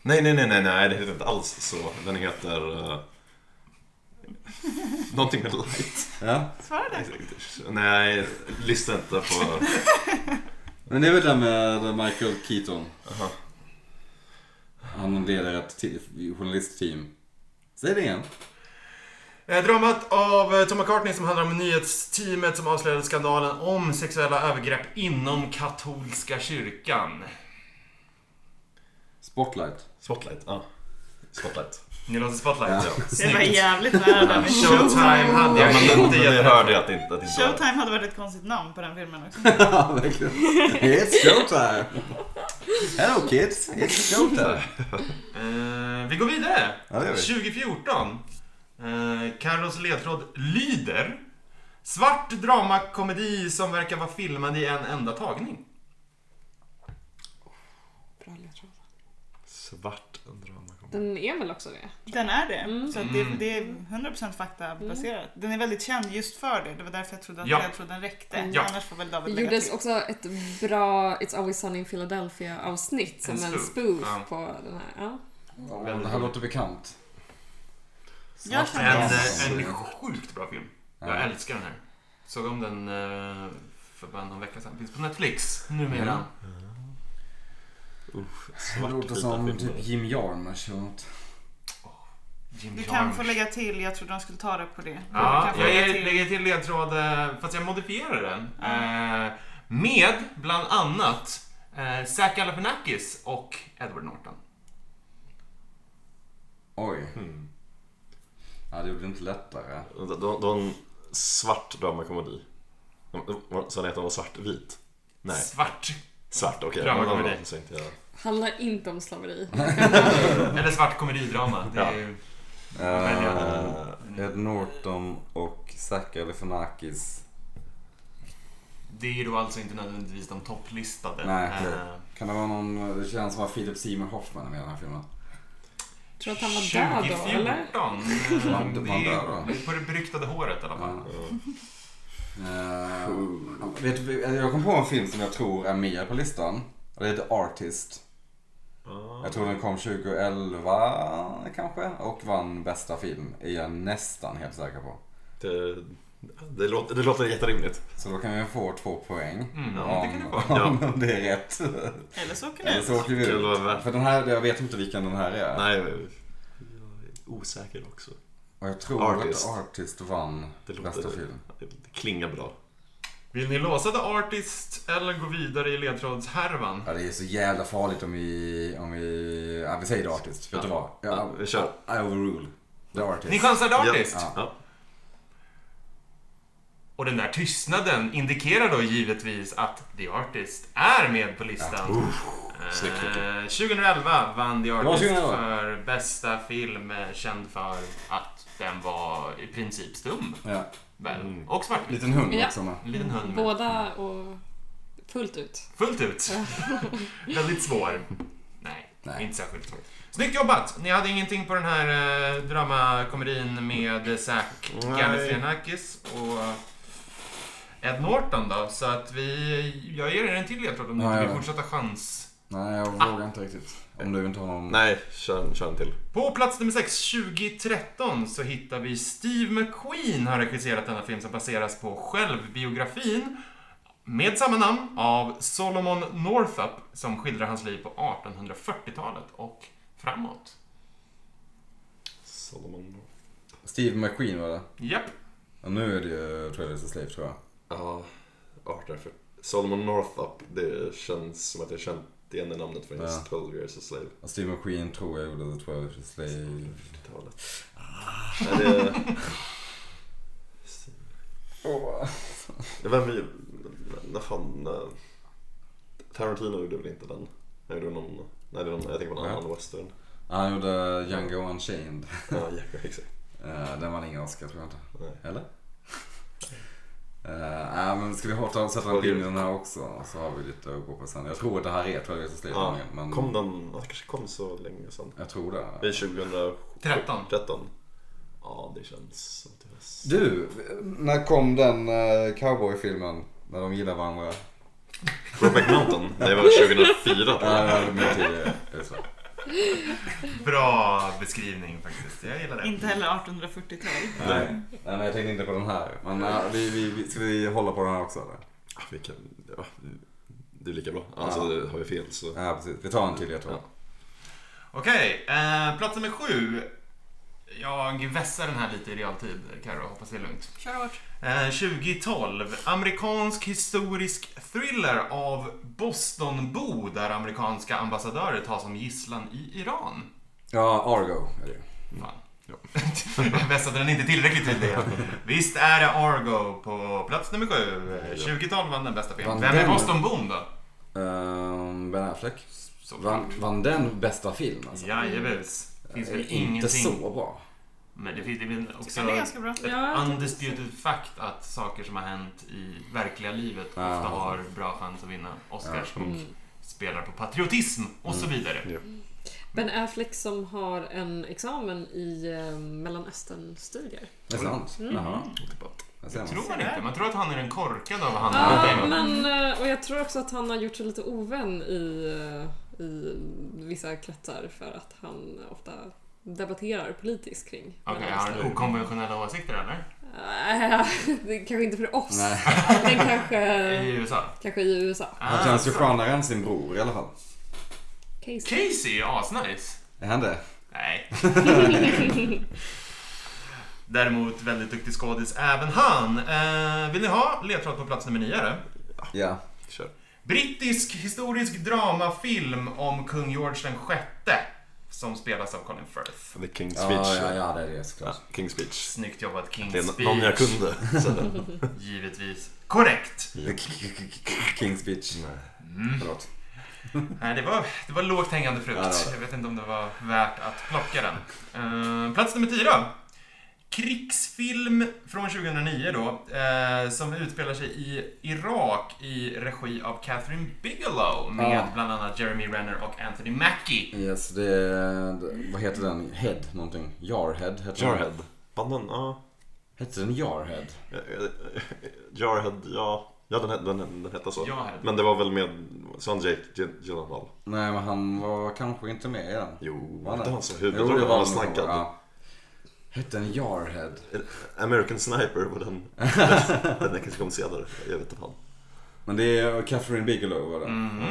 [SPEAKER 4] Nej, nej, nej, nej, nej, det heter inte alls så. Den heter... Uh... Någonting med light.
[SPEAKER 2] Ja.
[SPEAKER 3] Svarade.
[SPEAKER 4] Nej, lyssna inte på...
[SPEAKER 2] Men det är väl den med Michael Keaton.
[SPEAKER 4] Aha.
[SPEAKER 2] Han leder ett ti- journalistteam. Säg det igen.
[SPEAKER 1] Eh, dramat av eh, Tom McCartney som handlar om nyhetsteamet som avslöjade skandalen om sexuella övergrepp inom katolska kyrkan.
[SPEAKER 2] *laughs* Spotlight.
[SPEAKER 4] Spotlight. Ja. Spotlight.
[SPEAKER 1] Ni låter spotlight?
[SPEAKER 4] Ja.
[SPEAKER 3] Det var
[SPEAKER 1] Snyggt.
[SPEAKER 3] jävligt nära där med
[SPEAKER 1] Showtime
[SPEAKER 3] Showtime.
[SPEAKER 1] hade
[SPEAKER 4] Ja,
[SPEAKER 1] jag
[SPEAKER 4] men
[SPEAKER 1] inte
[SPEAKER 4] det, det
[SPEAKER 1] gett
[SPEAKER 4] hörde jag att det inte, att det inte var.
[SPEAKER 3] Showtime hade varit ett konstigt namn på den filmen också.
[SPEAKER 2] Ja, verkligen. It's showtime! Hello kids, it's showtime.
[SPEAKER 1] Eh, vi går vidare.
[SPEAKER 2] Ja, det gör vi.
[SPEAKER 1] 2014. Eh, Carlos ledtråd lyder. Svart dramakomedi som verkar vara filmad i en enda tagning.
[SPEAKER 5] Bra ledtråd.
[SPEAKER 4] Svart dramakomedi.
[SPEAKER 5] Den är väl också det?
[SPEAKER 3] Den är det.
[SPEAKER 5] Mm.
[SPEAKER 3] Så att det, det är 100% faktabaserat. Den är väldigt känd just för det. Det var därför jag trodde att
[SPEAKER 1] Ja.
[SPEAKER 3] jag trodde den räckte.
[SPEAKER 1] Ja.
[SPEAKER 3] Annars får väl
[SPEAKER 5] Det
[SPEAKER 3] David lägga
[SPEAKER 5] gjordes
[SPEAKER 3] till.
[SPEAKER 5] också ett bra It's Always Sunny in Philadelphia avsnitt som
[SPEAKER 1] En
[SPEAKER 5] en
[SPEAKER 1] spoof.
[SPEAKER 5] spoof
[SPEAKER 1] Ja.
[SPEAKER 5] på den här. Ja.
[SPEAKER 2] det här låter bekant.
[SPEAKER 3] Jag
[SPEAKER 1] En,
[SPEAKER 3] känner
[SPEAKER 2] Ja.
[SPEAKER 1] eh, en
[SPEAKER 2] alltså-
[SPEAKER 1] sjukt bra film. Jag
[SPEAKER 2] Ja.
[SPEAKER 1] älskar den här. Såg om den eh, för bara någon vecka sedan. Finns på Netflix numera.
[SPEAKER 2] Mm. Det
[SPEAKER 4] Svart
[SPEAKER 2] låter som typ Jim Jarmusch eller något.
[SPEAKER 1] Jim
[SPEAKER 3] Du kan få
[SPEAKER 1] Jarmusch.
[SPEAKER 3] lägga till, jag trodde de skulle ta det på det.
[SPEAKER 1] Ja,
[SPEAKER 3] du kan få
[SPEAKER 1] jag
[SPEAKER 3] lägga
[SPEAKER 1] ger-
[SPEAKER 3] till.
[SPEAKER 1] lägger till ledtråd, eh, fast jag modifierar den. Eh, med bland annat eh, Zac Galifianakis och Edward Norton.
[SPEAKER 2] Oj. Ja, det gjorde det inte lättare.
[SPEAKER 4] Hmm. Det det var en svart dramakomedi. Sa ni att den var svartvit?
[SPEAKER 2] *laughs*
[SPEAKER 4] Nej,
[SPEAKER 1] Svart.
[SPEAKER 4] svart. Okej.
[SPEAKER 1] Dramakomedi.
[SPEAKER 4] Så inte jag...
[SPEAKER 5] Handlar inte om slaveri.
[SPEAKER 1] Eller svart komedidrama. Det är ju...
[SPEAKER 2] Eh, Ed Norton och Zac Galifianakis.
[SPEAKER 1] Det är ju då alltså inte nödvändigtvis de topplistade.
[SPEAKER 2] Nej.
[SPEAKER 1] Eh,
[SPEAKER 2] Kan det vara någon, det känns som att Philip Seymour Hoffman är med i den här filmen.
[SPEAKER 5] Tror att han var död då, eller?
[SPEAKER 1] 2014.
[SPEAKER 2] Man-
[SPEAKER 1] eh,
[SPEAKER 2] man
[SPEAKER 1] det är
[SPEAKER 2] dör, va?
[SPEAKER 1] på det beryktade håret i alla fall.
[SPEAKER 2] Ja. Eh, vet du, jag kom på en film som jag tror är med på listan. Och det heter Artist. Jag tror den kom 2011 kanske och vann bästa film. Är jag nästan helt säker på.
[SPEAKER 4] Det, det, låter, det låter jätterimligt.
[SPEAKER 2] Så då kan jag få två poäng.
[SPEAKER 1] Mm,
[SPEAKER 2] om,
[SPEAKER 1] det kan du få.
[SPEAKER 2] om det är rätt.
[SPEAKER 3] Eller så åker ni
[SPEAKER 2] Eller
[SPEAKER 3] ut.
[SPEAKER 2] så åker vi
[SPEAKER 4] Kul att vara
[SPEAKER 2] ut.
[SPEAKER 4] med.
[SPEAKER 2] För den här, jag vet inte vilken den här är.
[SPEAKER 4] Nej, jag är osäker också.
[SPEAKER 2] Och jag tror
[SPEAKER 4] Artist.
[SPEAKER 2] att Artist vann
[SPEAKER 4] Det låter-
[SPEAKER 2] bästa film.
[SPEAKER 4] Det, det klingar bra.
[SPEAKER 1] Vill ni låsa The Artist eller gå vidare i ledtrådshärvan?
[SPEAKER 2] Ja, det är så jävla farligt om vi... Om vi, ja, vi säger The Artist. Vet du vad?
[SPEAKER 4] Ja, vi kör.
[SPEAKER 2] I overrule. The Artist.
[SPEAKER 1] Ni chansar The Artist?
[SPEAKER 2] Ja.
[SPEAKER 4] Ja.
[SPEAKER 1] Och den där tystnaden indikerar då givetvis att The Artist är med på listan.
[SPEAKER 4] Snyggt,
[SPEAKER 1] Eh, 2011 vann The Artist
[SPEAKER 2] 2011.
[SPEAKER 1] för bästa film eh, känd för att den var i princip stum.
[SPEAKER 2] Ja.
[SPEAKER 1] Väl?
[SPEAKER 4] Mm.
[SPEAKER 1] Och svart.
[SPEAKER 2] Liten hund liksom.
[SPEAKER 5] Ja.
[SPEAKER 2] också med.
[SPEAKER 1] En liten hund med.
[SPEAKER 5] Båda och fullt ut.
[SPEAKER 1] Fullt ut. *laughs* Väldigt svår. Nej,
[SPEAKER 2] Nej.
[SPEAKER 1] inte särskilt. Snyggt jobbat! Ni hade ingenting på den här eh, dramakomedin med Zack
[SPEAKER 4] Nej.
[SPEAKER 1] Galifianakis och Ed Norton då, så att vi... Jag ger er en till ledtråd om ni
[SPEAKER 2] Ja,
[SPEAKER 1] inte
[SPEAKER 2] ja,
[SPEAKER 1] vill
[SPEAKER 2] ja.
[SPEAKER 1] fortsätta chans.
[SPEAKER 2] Nej, jag vågar inte riktigt. Om du inte har någon...
[SPEAKER 4] Nej, kör, en- kör en till.
[SPEAKER 1] På plats nummer 6, 2013, så hittar vi Steve McQueen har regisserat denna film som baseras på självbiografin med samma namn av Solomon Northup som skildrar hans liv på 1840-talet och framåt.
[SPEAKER 4] Solomon.
[SPEAKER 2] Steve McQueen var det.
[SPEAKER 1] Japp.
[SPEAKER 2] Och nu är det ju Trailers to Slave tror jag.
[SPEAKER 4] Ja, arter för... Solomon Northup, det känns som att jag känt igen det namnet från
[SPEAKER 2] Ja.
[SPEAKER 4] just 12 years a slave.
[SPEAKER 2] Och Steve McQueen tror jag gjorde The Trailers to Slave.
[SPEAKER 4] 50-talet. Nej, det... *laughs* Det var vi... Vad fan... eh, Tarantino gjorde väl inte den? Nej, det var någon... Nej, det var någon... Jag tänker på en
[SPEAKER 2] Nej.
[SPEAKER 4] annan western.
[SPEAKER 2] Han gjorde Django Unchained.
[SPEAKER 4] Ja, jäklar, exakt.
[SPEAKER 2] Uh, den vann ingen Oscar tror jag inte.
[SPEAKER 4] Nej.
[SPEAKER 2] Eller? Eh, nej, men ska vi hårt sätta en film i den här också? Så har vi lite att gå på sen. Jag tror att det här är Trailers to Slave.
[SPEAKER 4] Ja,
[SPEAKER 2] men
[SPEAKER 4] kom den... ja, Det kanske kom så länge sedan.
[SPEAKER 2] Jag tror
[SPEAKER 4] Det
[SPEAKER 2] det.
[SPEAKER 4] är 2013.
[SPEAKER 1] 13.
[SPEAKER 4] Ja, det känns som att det var... s-
[SPEAKER 2] Du, när kom den eh, cowboyfilmen? När de gillar varandra?
[SPEAKER 4] Brokeback Mountain? Nej, det var 2004 tror
[SPEAKER 2] Ja,
[SPEAKER 4] jag.
[SPEAKER 2] det hade min tid. eh, just det.
[SPEAKER 1] Bra beskrivning faktiskt. Jag gillar det.
[SPEAKER 3] Inte heller 1840-tal.
[SPEAKER 2] Nej. Nej, men jag tänkte inte på den här. Men ja, vi, vi, vi, ska vi hålla på den här också eller?
[SPEAKER 4] Ah, Vi kan... Ja, det är lika bra. Alltså,
[SPEAKER 2] Ja.
[SPEAKER 4] har vi fel så...
[SPEAKER 2] Ja, precis. Vi tar en till jag tror.
[SPEAKER 4] Ja.
[SPEAKER 1] Okej, eh, plats nummer 7. Jag vässar den här lite i realtid, Karo. Hoppas det är lugnt.
[SPEAKER 3] Kör hårt.
[SPEAKER 1] Eh, 2012. Amerikansk historisk thriller av Bostonbo där amerikanska ambassadörer tas som gisslan i Iran.
[SPEAKER 2] Ja, Argo är det ju.
[SPEAKER 1] Fan. Jag *laughs* vässade den inte tillräckligt tydligt. Visst är det Argo på plats nummer 7. 2012 vann den bästa filmen.
[SPEAKER 2] Vann
[SPEAKER 1] Vem är
[SPEAKER 2] den?
[SPEAKER 1] Bostonbon då?
[SPEAKER 2] Ehm, ben Affleck.
[SPEAKER 1] Såklart.
[SPEAKER 2] Vann, vann den bästa film alltså?
[SPEAKER 1] Jajebus. Finns väl
[SPEAKER 2] Inte
[SPEAKER 1] ingenting.
[SPEAKER 2] så bra.
[SPEAKER 1] Men det finns det är väl också
[SPEAKER 3] Ja, det är ganska bra.
[SPEAKER 5] Ja,
[SPEAKER 1] undisputed fact att saker som har hänt i verkliga livet
[SPEAKER 2] Ja.
[SPEAKER 1] ofta har bra chans att vinna Oscars
[SPEAKER 2] Ja. Mm.
[SPEAKER 1] och
[SPEAKER 5] Mm.
[SPEAKER 1] spelar på patriotism och så
[SPEAKER 4] Mm.
[SPEAKER 1] vidare.
[SPEAKER 5] Ben Affleck som har en examen i eh, Mellanösternstudier.
[SPEAKER 2] Det är sant? Jaha. Jag ser
[SPEAKER 1] Jag
[SPEAKER 2] man.
[SPEAKER 1] tror man inte. Man tror att han är den korkade av han
[SPEAKER 5] Ja,
[SPEAKER 1] ah,
[SPEAKER 5] men, eh, och jag tror också att han har gjort sig lite ovän i, eh, i vissa kretsar för att han ofta debatterar politiskt kring
[SPEAKER 1] Okej, har
[SPEAKER 5] Mellanöstern.
[SPEAKER 1] han okonventionella åsikter eller?
[SPEAKER 5] Eh, *laughs* det är kanske inte för oss.
[SPEAKER 2] Nej.
[SPEAKER 5] Men kanske,
[SPEAKER 1] I USA? Ah,
[SPEAKER 5] kanske i USA.
[SPEAKER 2] Han känns ju
[SPEAKER 1] så-
[SPEAKER 2] skönare än sin bror i alla fall.
[SPEAKER 5] Casey.
[SPEAKER 1] Casey är ju asnice.
[SPEAKER 2] Är han det?
[SPEAKER 4] *laughs*
[SPEAKER 1] Nej. Däremot väldigt duktig skådis även han. Eh, vill ni ha ledtråd på plats nummer nio? eller?
[SPEAKER 2] Ja.
[SPEAKER 4] Kör.
[SPEAKER 1] Brittisk historisk dramafilm om kung George den sjätte som spelas av Colin Firth.
[SPEAKER 4] The King's
[SPEAKER 2] Ja,
[SPEAKER 4] Speech.
[SPEAKER 2] ja, ja, det är det såklart.
[SPEAKER 4] Ja, King's Speech.
[SPEAKER 1] Snyggt jobbat King
[SPEAKER 4] Det är
[SPEAKER 1] Speech.
[SPEAKER 4] någon jag kunde. Så.
[SPEAKER 1] Givetvis. Korrekt! Mm.
[SPEAKER 2] King's Speech. Förlåt.
[SPEAKER 1] Nej, det var, det var lågt hängande frukt.
[SPEAKER 2] Ja, det var det.
[SPEAKER 1] Jag vet inte om det var värt att plocka den. Eh, plats nummer 10 då. Krigsfilm från 2009 då, eh, som utspelar sig i Irak i regi av Catherine Bigelow med
[SPEAKER 2] Ja.
[SPEAKER 1] bland annat Jeremy Renner och Anthony Mackie.
[SPEAKER 2] Yes, det är... Vad heter den? Head någonting? Jarhead heter den.
[SPEAKER 4] Jarhead. Banden, ja. Eh,
[SPEAKER 2] Hette den Jarhead?
[SPEAKER 4] Jarhead, ja. Ja, den, den, den, den hette så.
[SPEAKER 1] Jarhead.
[SPEAKER 4] Men det var väl med Son Jake Gy- Gyllenhaal?
[SPEAKER 2] Nej, men han var kanske inte med i den.
[SPEAKER 4] Jo,
[SPEAKER 2] Var
[SPEAKER 4] var inte han som
[SPEAKER 2] Jo, det
[SPEAKER 4] huvudrollen? Han var
[SPEAKER 2] nog,
[SPEAKER 4] snackad.
[SPEAKER 2] ja. Hette den Jarhead?
[SPEAKER 4] American Sniper var den. den den kanske kom senare. Jag vet inte fan.
[SPEAKER 2] Men det är Catherine Bigelow var det.
[SPEAKER 4] Mm.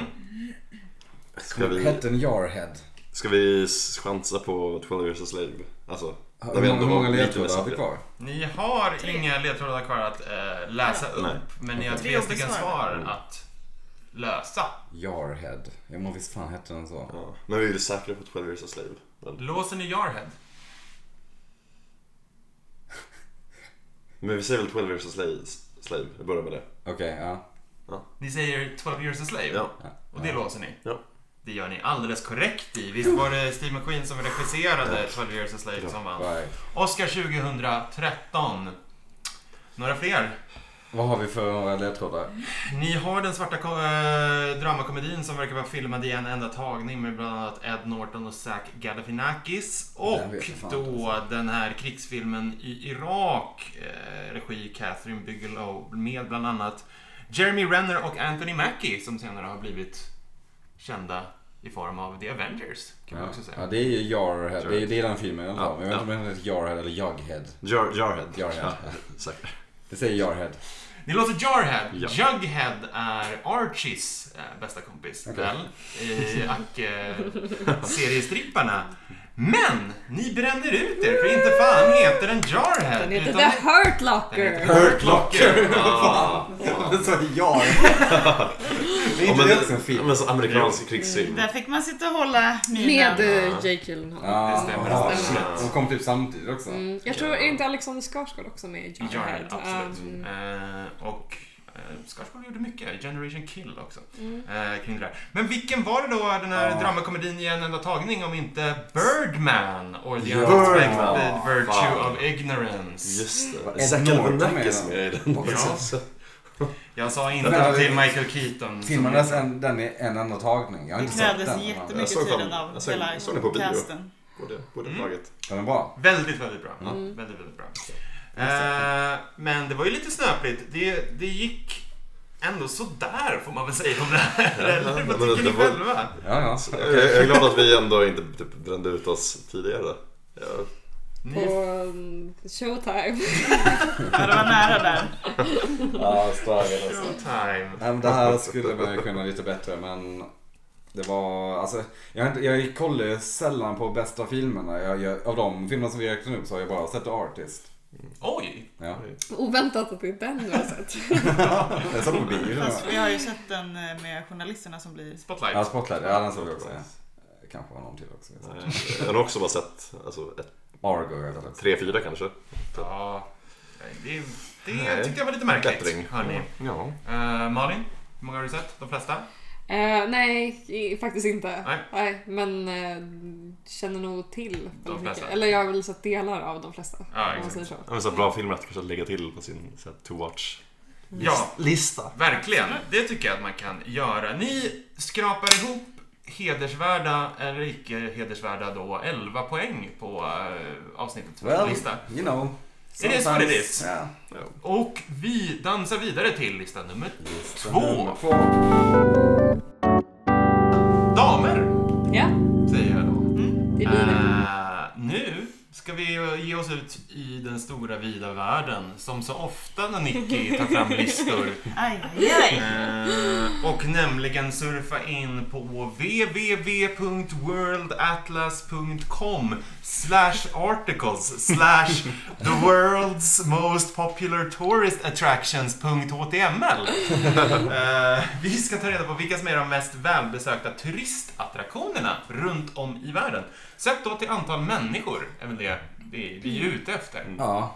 [SPEAKER 4] Ska vi,
[SPEAKER 2] Hette den Jarhead?
[SPEAKER 4] ska vi s- chansa på 12 years a slave? Alltså,
[SPEAKER 2] Hur
[SPEAKER 4] där vi
[SPEAKER 2] många-
[SPEAKER 4] ändå
[SPEAKER 2] hur
[SPEAKER 4] var
[SPEAKER 2] många
[SPEAKER 4] lite
[SPEAKER 2] ledtrådar har vi
[SPEAKER 4] nästan-
[SPEAKER 2] kvar?
[SPEAKER 1] Ni har inga ledtrådar kvar att eh, läsa upp,
[SPEAKER 4] Nej.
[SPEAKER 1] men ni har
[SPEAKER 3] Tre
[SPEAKER 1] tre stycken
[SPEAKER 3] besvar.
[SPEAKER 1] svar att lösa.
[SPEAKER 2] Jarhead. Ja men visst fan hette den så?
[SPEAKER 4] Ja. Men vi är ju säkra på 12 years a slave. Men,
[SPEAKER 1] Låser ni Jarhead?
[SPEAKER 4] men vi säger väl 12 years a slave, slave. Vi börjar med det.
[SPEAKER 2] Okej, ja.
[SPEAKER 1] Ni säger 12 years a slave
[SPEAKER 4] Ja.
[SPEAKER 1] och det låser ni?
[SPEAKER 4] Ja.
[SPEAKER 1] Det gör ni alldeles korrekt i. Visst var det Steve McQueen som regisserade 12 years a slave som vann?
[SPEAKER 2] Right.
[SPEAKER 1] Oscar 2013. Några fler?
[SPEAKER 2] Vad har vi för några ledtrådar?
[SPEAKER 1] Ni har den svarta ko- eh, dramakomedin som verkar vara filmad i en enda tagning med bland annat Ed Norton och Zach Galifianakis. Och
[SPEAKER 2] Den vet jag fan alltså.
[SPEAKER 1] då den här krigsfilmen i Irak, eh, regi Catherine Bigelow med bland annat Jeremy Renner och Anthony Mackie som senare har blivit kända i form av The Avengers. Kan man
[SPEAKER 2] Ja.
[SPEAKER 1] också säga.
[SPEAKER 2] ja, det är ju Jarhead. Det är, det är den filmen jag
[SPEAKER 4] Ja,
[SPEAKER 2] ja, Men jag vet
[SPEAKER 4] ja.
[SPEAKER 2] inte om den heter Jarhead eller Jughead.
[SPEAKER 4] Jar, Jarhead.
[SPEAKER 2] Jarhead.
[SPEAKER 4] Ja, säkert.
[SPEAKER 2] Det säger Jarhead.
[SPEAKER 1] Ni låter Jarhead.
[SPEAKER 4] Ja.
[SPEAKER 1] Jughead är Archies eh, bästa kompis,
[SPEAKER 2] Okej.
[SPEAKER 1] väl? I Ack-seriestripparna. Men ni bränner ut er, för inte fan heter den Jarhead.
[SPEAKER 5] Den heter
[SPEAKER 1] utan
[SPEAKER 5] The Hurt
[SPEAKER 1] den heter
[SPEAKER 5] Locker.
[SPEAKER 2] Hurt *laughs* Locker.
[SPEAKER 1] Ja.
[SPEAKER 2] Det sa Jarhead. Det är
[SPEAKER 4] Ja,
[SPEAKER 2] inte det
[SPEAKER 4] men,
[SPEAKER 2] också en
[SPEAKER 4] det- ja,
[SPEAKER 2] film?
[SPEAKER 4] men så amerikansk
[SPEAKER 1] Mm,
[SPEAKER 4] krigsfilm.
[SPEAKER 3] Där fick man sitta och hålla minen.
[SPEAKER 5] Med eh, Jake Gyllenhaal.
[SPEAKER 2] Ja,
[SPEAKER 1] Det stämmer,
[SPEAKER 2] ja,
[SPEAKER 1] det stämmer.
[SPEAKER 2] shit. De kom typ samtidigt också.
[SPEAKER 5] Mm. Jag tror, är inte Alexander Skarsgård också med i
[SPEAKER 1] I Jarhead,
[SPEAKER 5] Jarhead?
[SPEAKER 1] absolut.
[SPEAKER 5] Um,
[SPEAKER 1] Eh, och eh, Skarsgård gjorde mycket, Generation Kill också,
[SPEAKER 5] Mm.
[SPEAKER 1] eh, kring det där. Men vilken var det då, den här
[SPEAKER 2] Ja.
[SPEAKER 1] dramakomedin i en enda tagning, om inte Birdman? Or the
[SPEAKER 2] Ja.
[SPEAKER 1] unexpected
[SPEAKER 2] Birdman.
[SPEAKER 1] virtue
[SPEAKER 4] Fan.
[SPEAKER 1] of ignorance.
[SPEAKER 4] Just
[SPEAKER 2] Vad
[SPEAKER 4] det.
[SPEAKER 2] är
[SPEAKER 4] Zac
[SPEAKER 2] Norton
[SPEAKER 4] Galifianakis
[SPEAKER 2] med
[SPEAKER 4] med i den.
[SPEAKER 1] Ja. Jag sa inte
[SPEAKER 2] Den här-
[SPEAKER 1] till Michael Keaton. som-
[SPEAKER 2] Filmades en, den i en enda tagning. Jag har
[SPEAKER 3] Det
[SPEAKER 2] inte sett den.
[SPEAKER 3] krävdes
[SPEAKER 2] men
[SPEAKER 4] Jag
[SPEAKER 3] jättemycket
[SPEAKER 4] såg
[SPEAKER 3] tid
[SPEAKER 4] fan-
[SPEAKER 3] av
[SPEAKER 4] jag såg-
[SPEAKER 3] hela
[SPEAKER 4] jag såg den på bio.
[SPEAKER 3] casten.
[SPEAKER 4] Både, både
[SPEAKER 1] Mm.
[SPEAKER 4] laget.
[SPEAKER 2] Den är bra.
[SPEAKER 1] Väldigt, väldigt bra. Väldigt, väldigt bra. Eh, men det var ju lite snöpligt. Det, det gick ändå sådär får man väl säga om det här. Eller vad
[SPEAKER 4] men
[SPEAKER 1] tycker
[SPEAKER 4] det
[SPEAKER 1] ni
[SPEAKER 4] var-
[SPEAKER 1] själva?
[SPEAKER 2] Ja, ja.
[SPEAKER 4] Jag, jag är glad att vi ändå inte typ, brände ut oss tidigare. Ja.
[SPEAKER 1] Ni,
[SPEAKER 5] på
[SPEAKER 1] Mm.
[SPEAKER 5] um, Showtime. *laughs*
[SPEAKER 3] Ja, det var nära där.
[SPEAKER 2] Ja, stagen alltså.
[SPEAKER 1] showtime.
[SPEAKER 2] Nej, men det här skulle man kunna lite bättre men det var, alltså, jag, har inte- jag kollar ju sällan på bästa filmerna. Jag, jag, av de filmerna som vi räknade upp så har jag bara sett The Artist.
[SPEAKER 1] Oj!
[SPEAKER 2] *laughs* Ja.
[SPEAKER 5] Oväntat att det är den du har sett.
[SPEAKER 2] Den såg på bio.
[SPEAKER 3] Fast vi har ju sett den eh, med journalisterna som blir...
[SPEAKER 1] Spotlight.
[SPEAKER 2] Ja, Spotlight. Ja, den såg vi också. Ja. Kanske var någon till också.
[SPEAKER 4] Jag har också bara sett alltså, ett,
[SPEAKER 2] Argo har jag sett också.
[SPEAKER 4] tre, fyra kanske.
[SPEAKER 1] Ja, det, det
[SPEAKER 4] Nej.
[SPEAKER 1] tyckte jag var lite märkligt.
[SPEAKER 4] Bättring.
[SPEAKER 1] Hörni.
[SPEAKER 4] Ja.
[SPEAKER 1] Eh, Malin, hur många har du sett? De flesta?
[SPEAKER 5] Eh, nej, i- faktiskt inte.
[SPEAKER 1] Nej.
[SPEAKER 5] men eh, känner nog till väldigt mycket.
[SPEAKER 1] flesta.
[SPEAKER 5] Eller jag har väl sett delar av de flesta.
[SPEAKER 1] Ja,
[SPEAKER 5] om man
[SPEAKER 1] exakt.
[SPEAKER 5] säger så.
[SPEAKER 4] Ja, men så här bra filmer att kanske lägga till på sin så här, to watch
[SPEAKER 1] Ja,
[SPEAKER 4] lista.
[SPEAKER 1] Verkligen, det tycker jag att man kan göra. Ni skrapar ihop hedersvärda eller icke hedersvärda då 11 poäng på eh, avsnittets
[SPEAKER 2] Well,
[SPEAKER 1] lista.
[SPEAKER 2] you know.
[SPEAKER 1] It is what it is.
[SPEAKER 2] Ja.
[SPEAKER 1] Och vi dansar vidare till lista nummer
[SPEAKER 2] Nummer
[SPEAKER 1] två.
[SPEAKER 2] Två.
[SPEAKER 1] Damer,
[SPEAKER 5] Ja,
[SPEAKER 1] säger jag då.
[SPEAKER 5] det blir det.
[SPEAKER 1] Eh, nu ska vi ge oss ut i den stora vida världen som så ofta när Nicky tar fram listor
[SPEAKER 3] Aj, aj, aj.
[SPEAKER 1] Eh, och nämligen surfa in på www.worldatlas.com slash articles slash the world's most popular tourist attractions.html Eh, Vi ska ta reda på vilka som är de mest välbesökta turistattraktionerna runt om i världen. Sök då till antal människor, är väl det det vi är ute efter.
[SPEAKER 2] Ja.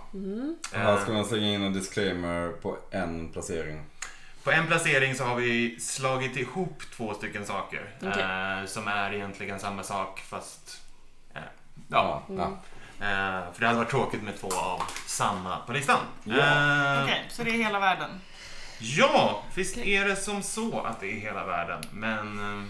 [SPEAKER 2] Här
[SPEAKER 1] Eh,
[SPEAKER 2] ska man slänga in en disclaimer på en placering.
[SPEAKER 1] På en placering så har vi slagit ihop två stycken saker
[SPEAKER 5] Okej.
[SPEAKER 1] eh, som är egentligen samma sak fast... Eh, ja.
[SPEAKER 2] Ja. ja.
[SPEAKER 1] Eh, för det hade varit tråkigt med två av samma på listan.
[SPEAKER 2] Ja.
[SPEAKER 1] Eh,
[SPEAKER 3] Okej, så det är hela världen.
[SPEAKER 1] ja, visst är det som så att det är hela världen men... eh,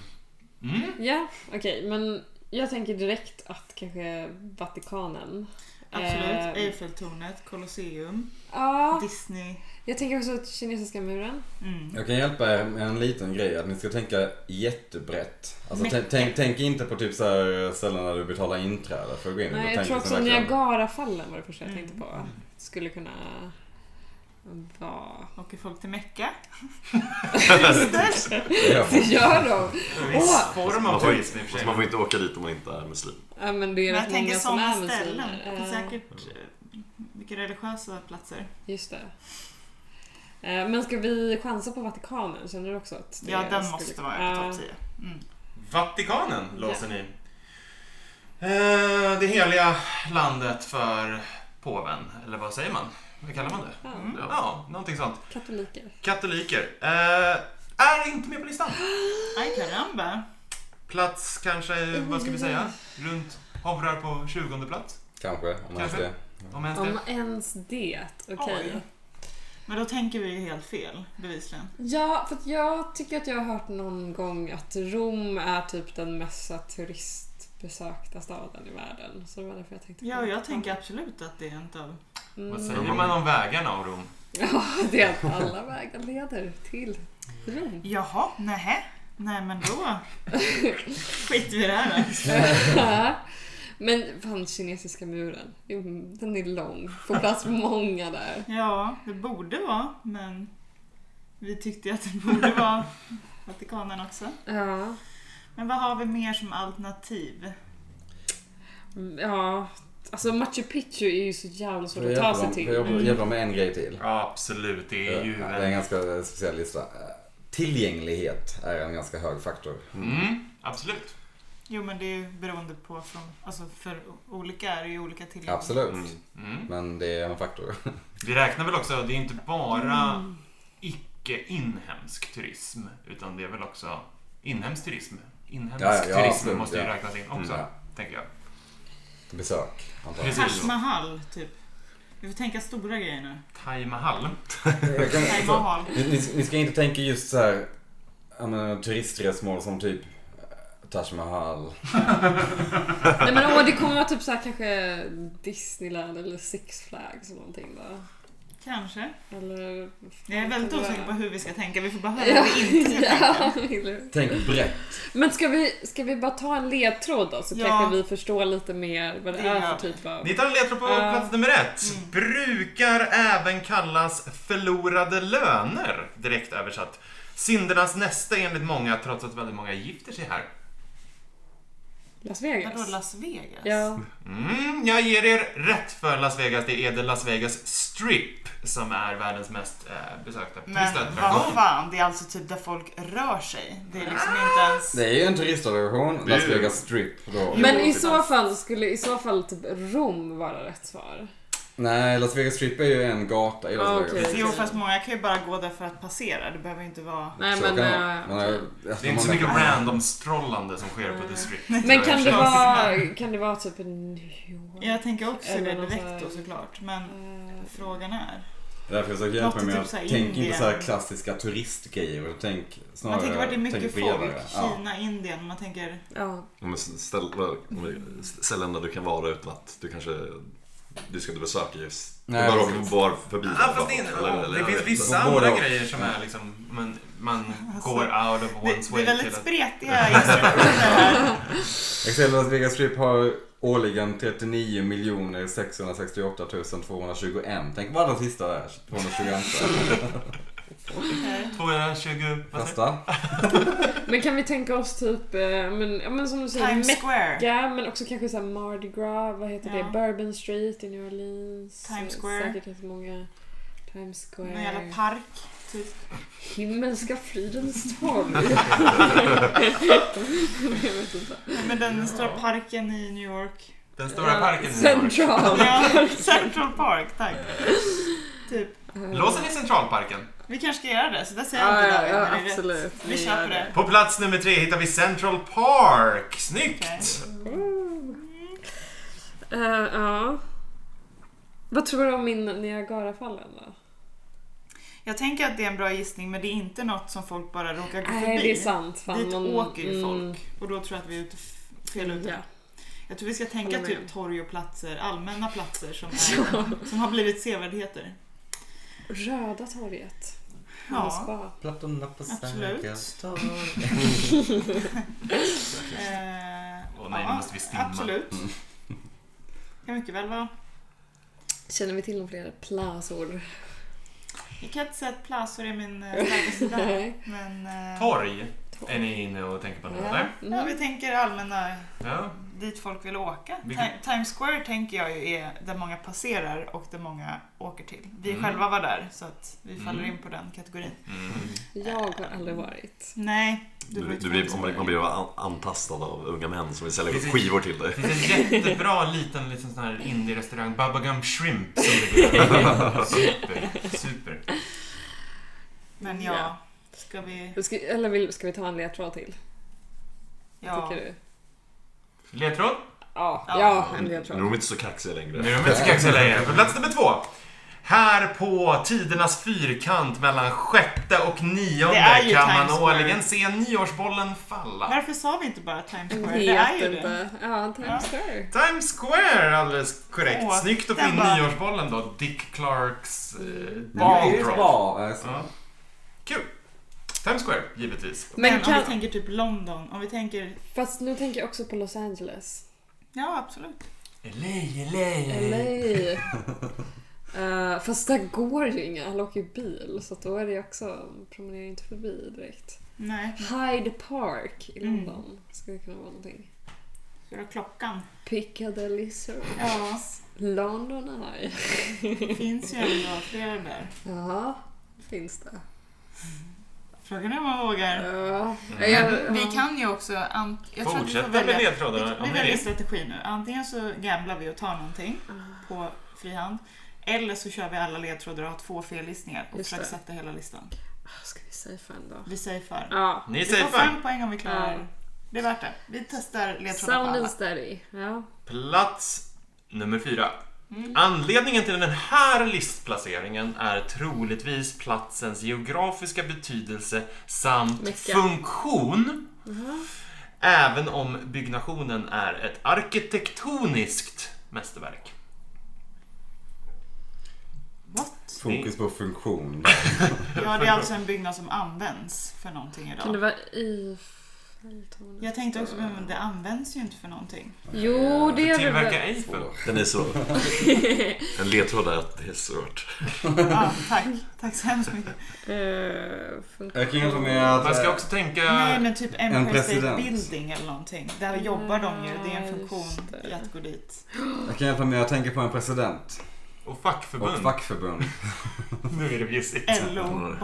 [SPEAKER 1] Mm,
[SPEAKER 5] Ja, okej. men jag tänker direkt att kanske Vatikanen.
[SPEAKER 3] Absolut.
[SPEAKER 5] Eh,
[SPEAKER 3] Eiffeltornet, Colosseum,
[SPEAKER 5] ja,
[SPEAKER 3] Disney.
[SPEAKER 5] jag tänker också kinesiska muren.
[SPEAKER 3] Mm.
[SPEAKER 2] Jag kan hjälpa er med en liten grej, att ni ska tänka jättebrett. Alltså,
[SPEAKER 3] Mycket.
[SPEAKER 2] tänk, tänk, tänk inte på typ så här ställen där du betalar inträde för att gå in.
[SPEAKER 5] Nej,
[SPEAKER 2] Utan
[SPEAKER 5] jag
[SPEAKER 2] tänk
[SPEAKER 5] tror
[SPEAKER 2] liksom
[SPEAKER 5] också
[SPEAKER 2] verkligen-
[SPEAKER 5] Niagarafallen var det första jag
[SPEAKER 3] Mm.
[SPEAKER 5] tänkte på. Skulle kunna
[SPEAKER 3] *laughs*
[SPEAKER 5] vara...
[SPEAKER 3] Åker folk till
[SPEAKER 5] *laughs*
[SPEAKER 3] Mecka?
[SPEAKER 2] Ja.
[SPEAKER 5] Det gör de!
[SPEAKER 1] en viss
[SPEAKER 5] Åh!
[SPEAKER 1] form av
[SPEAKER 4] Man får,
[SPEAKER 1] turism i och för
[SPEAKER 4] alltså,
[SPEAKER 1] sig.
[SPEAKER 4] man får inte åka dit om man inte är muslim.
[SPEAKER 5] Ja men det är
[SPEAKER 3] Men jag
[SPEAKER 5] rätt många
[SPEAKER 3] tänker
[SPEAKER 5] som
[SPEAKER 3] sådana
[SPEAKER 5] är
[SPEAKER 3] ställen.
[SPEAKER 5] muslimer.
[SPEAKER 3] Det finns
[SPEAKER 5] Eh,
[SPEAKER 3] säkert eh, mycket religiösa platser.
[SPEAKER 5] Just det. Eh, Men ska vi chansa på Vatikanen? Känner du också att det
[SPEAKER 3] Ja, den
[SPEAKER 5] skulle-
[SPEAKER 3] måste vara
[SPEAKER 5] Ja.
[SPEAKER 3] på topp 10. Mm.
[SPEAKER 1] Vatikanen låser ni. Eh, det heliga landet för påven, eller vad säger man? Vad kallar man det?
[SPEAKER 5] Ja,
[SPEAKER 3] Mm.
[SPEAKER 1] Ja, någonting sånt.
[SPEAKER 5] Katoliker.
[SPEAKER 1] Katoliker. Eh, är inte med på listan.
[SPEAKER 3] Aj, karamba.
[SPEAKER 1] Plats kanske, vad ska vi säga? Runt, hovrar på 20 plats.
[SPEAKER 2] Kanske, om ens
[SPEAKER 1] Kanske.
[SPEAKER 2] det.
[SPEAKER 1] Om ens det.
[SPEAKER 5] Om ens det, okej.
[SPEAKER 3] Oj. Men då tänker vi ju helt fel, bevisligen.
[SPEAKER 5] Ja, för att jag tycker att jag har hört någon gång att Rom är typ den mesta turistbesökta staden i världen. Så det var därför jag tänkte på
[SPEAKER 3] Ja,
[SPEAKER 5] det.
[SPEAKER 3] jag tänker absolut att det är en av...
[SPEAKER 5] Mm.
[SPEAKER 1] Vad säger man om vägarna och Rom?
[SPEAKER 5] Ja, det är att alla vägar leder till *laughs* Rom.
[SPEAKER 3] Jaha, nähä. Nej men då skiter vi i det här då.
[SPEAKER 5] Men fan, kinesiska muren. Mm, Den är lång. Får plats många där.
[SPEAKER 3] Ja, det borde vara, men vi tyckte ju att det borde vara Vatikanen också.
[SPEAKER 5] Ja.
[SPEAKER 3] Men vad har vi mer som alternativ?
[SPEAKER 5] Ja. Alltså Machu Picchu är ju så jävla svårt att ta
[SPEAKER 2] Hjälper
[SPEAKER 5] sig
[SPEAKER 2] dem-
[SPEAKER 5] till. Mm.
[SPEAKER 2] hjälper- Hjälper dem med en grej till.
[SPEAKER 1] Ja, absolut. Det är ju
[SPEAKER 2] Ja, Det är en
[SPEAKER 1] en...
[SPEAKER 2] ganska eh, speciell lista. Eh, Tillgänglighet är en ganska hög faktor.
[SPEAKER 1] Mm, absolut.
[SPEAKER 3] Jo men det är ju beroende på från, alltså för olika är det ju olika tillgänglighet.
[SPEAKER 2] Absolut.
[SPEAKER 1] Mm.
[SPEAKER 2] Men det är en faktor.
[SPEAKER 1] Vi räknar väl också, det är inte bara icke-inhemsk turism, utan det är väl också inhemsk turism. Inhemsk
[SPEAKER 2] Ja, ja, ja,
[SPEAKER 1] turism
[SPEAKER 2] absolut,
[SPEAKER 1] måste ju
[SPEAKER 2] ja. Mm,
[SPEAKER 1] räknas in också,
[SPEAKER 2] Ja.
[SPEAKER 1] tänker jag.
[SPEAKER 2] Besök, antar jag.
[SPEAKER 1] Precis.
[SPEAKER 3] Taj Mahal, typ. Vi får tänka stora grejer nu.
[SPEAKER 1] Taj Mahal.
[SPEAKER 2] Jag kan-
[SPEAKER 3] Taj
[SPEAKER 2] så-
[SPEAKER 3] Mahal.
[SPEAKER 2] Ni, ni- ni ska inte tänka just så här, ja, men, turistresmål som typ eh, Taj Mahal.
[SPEAKER 5] Nej men åh, det kommer vara typ så här kanske Disneyland eller Six Flags eller någonting då.
[SPEAKER 3] Kanske.
[SPEAKER 5] Eller...
[SPEAKER 3] Jag är väldigt osäker på hur vi ska tänka. Vi får bara höra
[SPEAKER 5] Ja,
[SPEAKER 3] vad vi inte ska tänka.
[SPEAKER 5] *laughs* ja, eller-
[SPEAKER 2] Tänk brett.
[SPEAKER 5] Men ska vi, ska vi bara ta en ledtråd då så
[SPEAKER 3] Ja.
[SPEAKER 5] kanske vi förstår lite mer vad det
[SPEAKER 3] Det
[SPEAKER 5] är
[SPEAKER 3] gör
[SPEAKER 5] för typ av...
[SPEAKER 1] Ni tar en ledtråd på
[SPEAKER 3] Eh,
[SPEAKER 5] Ja.
[SPEAKER 1] plats nummer ett.
[SPEAKER 3] mm.
[SPEAKER 1] Brukar även kallas förlorade löner, direkt översatt. Syndernas näste enligt många, trots att väldigt många gifter sig här.
[SPEAKER 5] Las
[SPEAKER 3] Vadå
[SPEAKER 5] Vegas?
[SPEAKER 3] Las Vegas?
[SPEAKER 5] Ja.
[SPEAKER 1] Mm, jag ger er rätt för Las Vegas. Det är The Las Vegas Strip som är världens mest eh, besökta
[SPEAKER 3] Men
[SPEAKER 1] turistattraktion.
[SPEAKER 3] vad fan, det är alltså typ där folk rör sig. Det är liksom inte ens...
[SPEAKER 2] Det är ju en turistattraktion, Las
[SPEAKER 1] Det är-
[SPEAKER 2] Vegas Strip. Då.
[SPEAKER 5] Men i så fall skulle i så fall typ Rom vara rätt svar.
[SPEAKER 2] Nej, Las Vegas Strip är ju en gata i Las
[SPEAKER 5] Ah,
[SPEAKER 2] Vegas.
[SPEAKER 5] okej.
[SPEAKER 3] Jo fast många kan ju bara gå där för att passera. Det behöver ju inte vara...
[SPEAKER 5] Nej
[SPEAKER 2] Så kan
[SPEAKER 5] men...
[SPEAKER 2] det
[SPEAKER 5] eh,
[SPEAKER 2] vara. Men, eh,
[SPEAKER 1] Det är inte så mycket random-strollande som sker på The Strip.
[SPEAKER 3] Mm.
[SPEAKER 5] Men kan det
[SPEAKER 1] Ja,
[SPEAKER 5] vara, kan det vara typ en New York?
[SPEAKER 3] Jag tänker också
[SPEAKER 5] Eller
[SPEAKER 3] det
[SPEAKER 5] något
[SPEAKER 3] direkt
[SPEAKER 5] här-
[SPEAKER 3] då såklart. Men
[SPEAKER 5] Eh,
[SPEAKER 3] frågan är.
[SPEAKER 2] Därför jag försöker hjälpa mig
[SPEAKER 3] Något
[SPEAKER 2] med
[SPEAKER 3] typ
[SPEAKER 2] att
[SPEAKER 3] så här
[SPEAKER 2] tänk inte
[SPEAKER 3] Indien.
[SPEAKER 2] så här klassiska turistgrejer. utan Tänk snarare...
[SPEAKER 3] Man tänker vart det är mycket
[SPEAKER 2] tänk
[SPEAKER 3] folk.
[SPEAKER 2] bredare. Ja.
[SPEAKER 3] Kina, Indien. Man tänker...
[SPEAKER 5] Ja.
[SPEAKER 4] Om ställ, om ställen där du kan vara utan att du kanske du ska inte besöka just. Du
[SPEAKER 2] Nej,
[SPEAKER 4] bara
[SPEAKER 2] precis.
[SPEAKER 4] råkar vara förbi
[SPEAKER 1] Ja, fast det,
[SPEAKER 4] där
[SPEAKER 1] är-
[SPEAKER 4] bara, eller- eller-
[SPEAKER 1] det
[SPEAKER 4] jag
[SPEAKER 1] finns
[SPEAKER 4] vet
[SPEAKER 1] vissa
[SPEAKER 2] Både
[SPEAKER 1] andra
[SPEAKER 2] och.
[SPEAKER 1] grejer som är liksom, man, man går out of
[SPEAKER 3] Alltså, Det,
[SPEAKER 1] one's
[SPEAKER 3] det är
[SPEAKER 1] way
[SPEAKER 3] väldigt
[SPEAKER 1] till att...
[SPEAKER 3] spretiga instruktioner här.
[SPEAKER 2] *laughs* Excel Las Vegas Strip har årligen 39 miljoner 668 221. Tänk bara den sista där,
[SPEAKER 1] *laughs*
[SPEAKER 2] 221.
[SPEAKER 1] 220... Vad säger
[SPEAKER 2] Nästa.
[SPEAKER 5] Men kan vi tänka oss typ, eh, men, ja, men som du säger,
[SPEAKER 3] Times
[SPEAKER 5] Mecka,
[SPEAKER 3] Square.
[SPEAKER 5] men också kanske så här Mardi Gras, vad heter
[SPEAKER 3] Ja.
[SPEAKER 5] det, Bourbon Street i New Orleans.
[SPEAKER 3] Times
[SPEAKER 5] eh,
[SPEAKER 3] Square.
[SPEAKER 5] Säkert inte många. Times
[SPEAKER 3] Någon
[SPEAKER 5] Square.
[SPEAKER 3] jävla park. Typ.
[SPEAKER 5] Himmelska fridens
[SPEAKER 3] *laughs*
[SPEAKER 5] torg. Jag vet inte.
[SPEAKER 3] Nej, Men den stora parken i New York.
[SPEAKER 1] Den stora parken i New York.
[SPEAKER 5] Central.
[SPEAKER 3] Ja, Central Park. Tack. Typ.
[SPEAKER 1] Låser ni Centralparken?
[SPEAKER 3] Vi kanske ska göra det. Så där säger jag
[SPEAKER 5] Ja,
[SPEAKER 3] inte
[SPEAKER 5] ja,
[SPEAKER 3] David.
[SPEAKER 5] ja,
[SPEAKER 3] men det är rätt.
[SPEAKER 5] absolut.
[SPEAKER 3] Vi kör på det.
[SPEAKER 1] På plats nummer tre hittar vi Central Park. Snyggt!
[SPEAKER 3] Mm.
[SPEAKER 5] Eh, ja. Vad tror du om min Niagarafallen då?
[SPEAKER 3] Jag tänker att det är en bra gissning men det är inte något som folk bara råkar gå förbi.
[SPEAKER 5] Nej, det är sant. Fan,
[SPEAKER 3] Dit
[SPEAKER 5] man-
[SPEAKER 3] åker ju folk
[SPEAKER 5] mm,
[SPEAKER 3] och då tror jag att vi är ute f- fel ute.
[SPEAKER 5] Ja.
[SPEAKER 3] Jag tror vi ska tänka
[SPEAKER 5] Håller med.
[SPEAKER 3] typ torg och platser, allmänna platser som, är, som har blivit sevärdheter.
[SPEAKER 5] Röda torget. Hennes
[SPEAKER 3] Ja,
[SPEAKER 5] spa.
[SPEAKER 2] Plattorna på
[SPEAKER 3] Absolut.
[SPEAKER 2] torg.
[SPEAKER 3] eh,
[SPEAKER 1] Åh nej, nu
[SPEAKER 3] ja,
[SPEAKER 1] måste vi Mm. stimma.
[SPEAKER 3] Absolut. Kan mycket väl vara.
[SPEAKER 5] Känner vi till några fler plazor?
[SPEAKER 3] Jag kan inte säga att plasor är min eh,
[SPEAKER 5] *laughs*
[SPEAKER 3] starka sida.
[SPEAKER 5] Nej.
[SPEAKER 3] Men eh,
[SPEAKER 1] Torg är ni inne och tänker på nu eller?
[SPEAKER 3] ja, vi tänker allmänna
[SPEAKER 1] Ja.
[SPEAKER 3] dit folk vill åka.
[SPEAKER 1] Vilket-
[SPEAKER 3] Ti- Times Square tänker jag ju är där många passerar och där många åker till. Vi
[SPEAKER 1] Mm.
[SPEAKER 3] själva var där så att vi faller in på den kategorin.
[SPEAKER 5] Jag har aldrig varit.
[SPEAKER 3] Nej,
[SPEAKER 4] Du,
[SPEAKER 3] var ju
[SPEAKER 4] du
[SPEAKER 3] tvungen
[SPEAKER 4] blir,
[SPEAKER 3] att
[SPEAKER 4] man, blir-
[SPEAKER 3] säga
[SPEAKER 4] man blir an- antastad av unga män som vill sälja
[SPEAKER 1] Precis.
[SPEAKER 4] skivor till dig.
[SPEAKER 1] Det finns en jättebra liten, liten sån här indie-restaurang, Babagum Shrimp, som ligger Super, super.
[SPEAKER 3] Men ja,
[SPEAKER 5] Ja.
[SPEAKER 3] ska vi...
[SPEAKER 5] Ska, eller vill, ska vi ta en ledtråd till?
[SPEAKER 3] Ja.
[SPEAKER 5] Tycker du?
[SPEAKER 1] Ledtråd?
[SPEAKER 5] Ja,
[SPEAKER 3] Ja. Mm.
[SPEAKER 5] ja en del tror
[SPEAKER 4] Nu är
[SPEAKER 5] jag.
[SPEAKER 4] de inte så kaxiga längre.
[SPEAKER 1] Nu är de inte så kaxiga längre. På plats nummer två. Här på tidernas fyrkant mellan sjätte och
[SPEAKER 3] Det är
[SPEAKER 1] nionde
[SPEAKER 3] ju
[SPEAKER 1] kan
[SPEAKER 3] Times
[SPEAKER 1] man
[SPEAKER 3] Square.
[SPEAKER 1] årligen se nyårsbollen falla.
[SPEAKER 3] Varför sa vi inte bara Times Square? Det är ju
[SPEAKER 5] Heter
[SPEAKER 3] det.
[SPEAKER 5] inte... Ja, Times Square.
[SPEAKER 1] Times Square, alldeles korrekt.
[SPEAKER 3] Åh,
[SPEAKER 1] Snyggt att få
[SPEAKER 3] den
[SPEAKER 1] in
[SPEAKER 3] var-
[SPEAKER 1] nyårsbollen då. Dick Clarks eh,
[SPEAKER 2] Det är
[SPEAKER 1] ball
[SPEAKER 2] ju
[SPEAKER 1] drop.
[SPEAKER 2] bra. alltså.
[SPEAKER 1] Ja. Kul. Times Square, givetvis.
[SPEAKER 3] Men,
[SPEAKER 5] Men
[SPEAKER 3] om vi
[SPEAKER 5] kan...
[SPEAKER 3] tänker typ London, om vi tänker...
[SPEAKER 5] Fast nu tänker jag också på Los Angeles.
[SPEAKER 3] Ja, absolut.
[SPEAKER 1] LA, LA.
[SPEAKER 3] *laughs*
[SPEAKER 5] LA. Eh, fast där går ju inga, alla åker ju bil så att då är det ju också, promenerar inte förbi direkt.
[SPEAKER 3] Nej,
[SPEAKER 5] Hyde Park i
[SPEAKER 3] Mm.
[SPEAKER 5] London skulle kunna vara någonting.
[SPEAKER 3] så då klockan.
[SPEAKER 5] Piccadilly Circus.
[SPEAKER 3] Ja,
[SPEAKER 5] London Eye.
[SPEAKER 3] det finns ju ändå flera där.
[SPEAKER 5] Ja, finns det.
[SPEAKER 3] Frågan är om man vågar.
[SPEAKER 5] Ja,
[SPEAKER 1] Mm.
[SPEAKER 5] jag,
[SPEAKER 3] Vi kan ju också... an- Jag tror att vi får
[SPEAKER 1] Fortsätta med
[SPEAKER 3] välja-
[SPEAKER 1] ledtrådarna
[SPEAKER 3] Vi
[SPEAKER 1] om ni
[SPEAKER 3] väljer
[SPEAKER 1] vill.
[SPEAKER 3] strategi nu. Antingen så gamblar vi och tar någonting
[SPEAKER 5] Ah.
[SPEAKER 3] på frihand. Eller så kör vi alla ledtrådar och har två fellistningar och
[SPEAKER 5] Just
[SPEAKER 3] försöker
[SPEAKER 5] det.
[SPEAKER 3] sätta hela listan.
[SPEAKER 5] Ska vi safea ändå?
[SPEAKER 3] Vi safear.
[SPEAKER 5] Ja.
[SPEAKER 1] Ni
[SPEAKER 3] Vi får
[SPEAKER 1] safear.
[SPEAKER 3] fem poäng om vi klarar
[SPEAKER 5] Ja.
[SPEAKER 3] det. Det är värt det. Vi testar ledtrådar på
[SPEAKER 5] Sound
[SPEAKER 3] alla.
[SPEAKER 5] and steady. Ja.
[SPEAKER 1] Plats nummer fyra. Anledningen till den här listplaceringen är troligtvis platsens geografiska betydelse samt
[SPEAKER 5] Mecka.
[SPEAKER 1] funktion.
[SPEAKER 5] Mhm.
[SPEAKER 1] Även om byggnationen är ett arkitektoniskt mästerverk.
[SPEAKER 3] What?
[SPEAKER 2] Fokus på funktion.
[SPEAKER 3] Ja, det är alltså en byggnad som används för någonting
[SPEAKER 5] Kan det
[SPEAKER 3] idag.
[SPEAKER 5] vara Eiffeltornet?
[SPEAKER 3] Jag tänkte också, men det används ju inte för
[SPEAKER 5] *laughs*
[SPEAKER 3] någonting.
[SPEAKER 5] Jo, det är det
[SPEAKER 1] Tillverka
[SPEAKER 5] väl.
[SPEAKER 1] Eiffel.
[SPEAKER 4] Den är
[SPEAKER 5] *laughs*
[SPEAKER 4] svår. En ledtråd är att det är svårt.
[SPEAKER 3] Ja, tack. Tack så hemskt mycket.
[SPEAKER 5] Eh,
[SPEAKER 2] Jag kan hjälpa med att...
[SPEAKER 1] Man ska också tänka...
[SPEAKER 3] Nej, men typ Empire State
[SPEAKER 2] president.
[SPEAKER 3] Building eller någonting. Där jobbar de ju. Det är en
[SPEAKER 5] just
[SPEAKER 3] funktion
[SPEAKER 5] det.
[SPEAKER 3] i att gå dit.
[SPEAKER 2] Jag kan hjälpa med att tänka på en president.
[SPEAKER 1] Och
[SPEAKER 2] Och
[SPEAKER 1] fackförbund.
[SPEAKER 2] fackförbund.
[SPEAKER 1] *laughs* Nu är det bjussigt.
[SPEAKER 3] LO-borgen.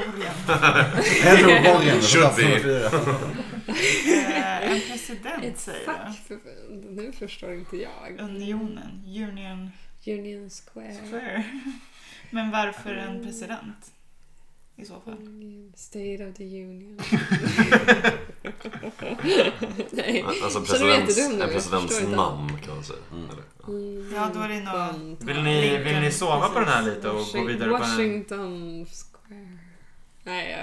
[SPEAKER 2] LO-borgen.
[SPEAKER 4] Should be.
[SPEAKER 3] Eh, En president
[SPEAKER 5] Ett
[SPEAKER 3] säger jag.
[SPEAKER 5] fackförbund. Nu förstår inte jag.
[SPEAKER 3] Unionen. Union
[SPEAKER 5] Union Square.
[SPEAKER 3] Square. Men varför
[SPEAKER 5] Mm.
[SPEAKER 3] en president? I så
[SPEAKER 2] Mm.
[SPEAKER 3] fall.
[SPEAKER 5] Union, State of the
[SPEAKER 3] *laughs*
[SPEAKER 5] Union. Nej,
[SPEAKER 4] Alltså
[SPEAKER 5] Så du är
[SPEAKER 4] presidents,
[SPEAKER 5] jättedum nu,
[SPEAKER 4] en
[SPEAKER 5] jag
[SPEAKER 4] presidents
[SPEAKER 5] förstår inte.
[SPEAKER 4] namn kan man säga.
[SPEAKER 2] Mm.
[SPEAKER 4] Eller?
[SPEAKER 3] Ja, då är det nog-
[SPEAKER 5] Lincoln.
[SPEAKER 1] Vill ni, vill ni sova på den här lite och gå
[SPEAKER 5] Washing-
[SPEAKER 1] vidare på en...
[SPEAKER 5] Washington Square. Nej,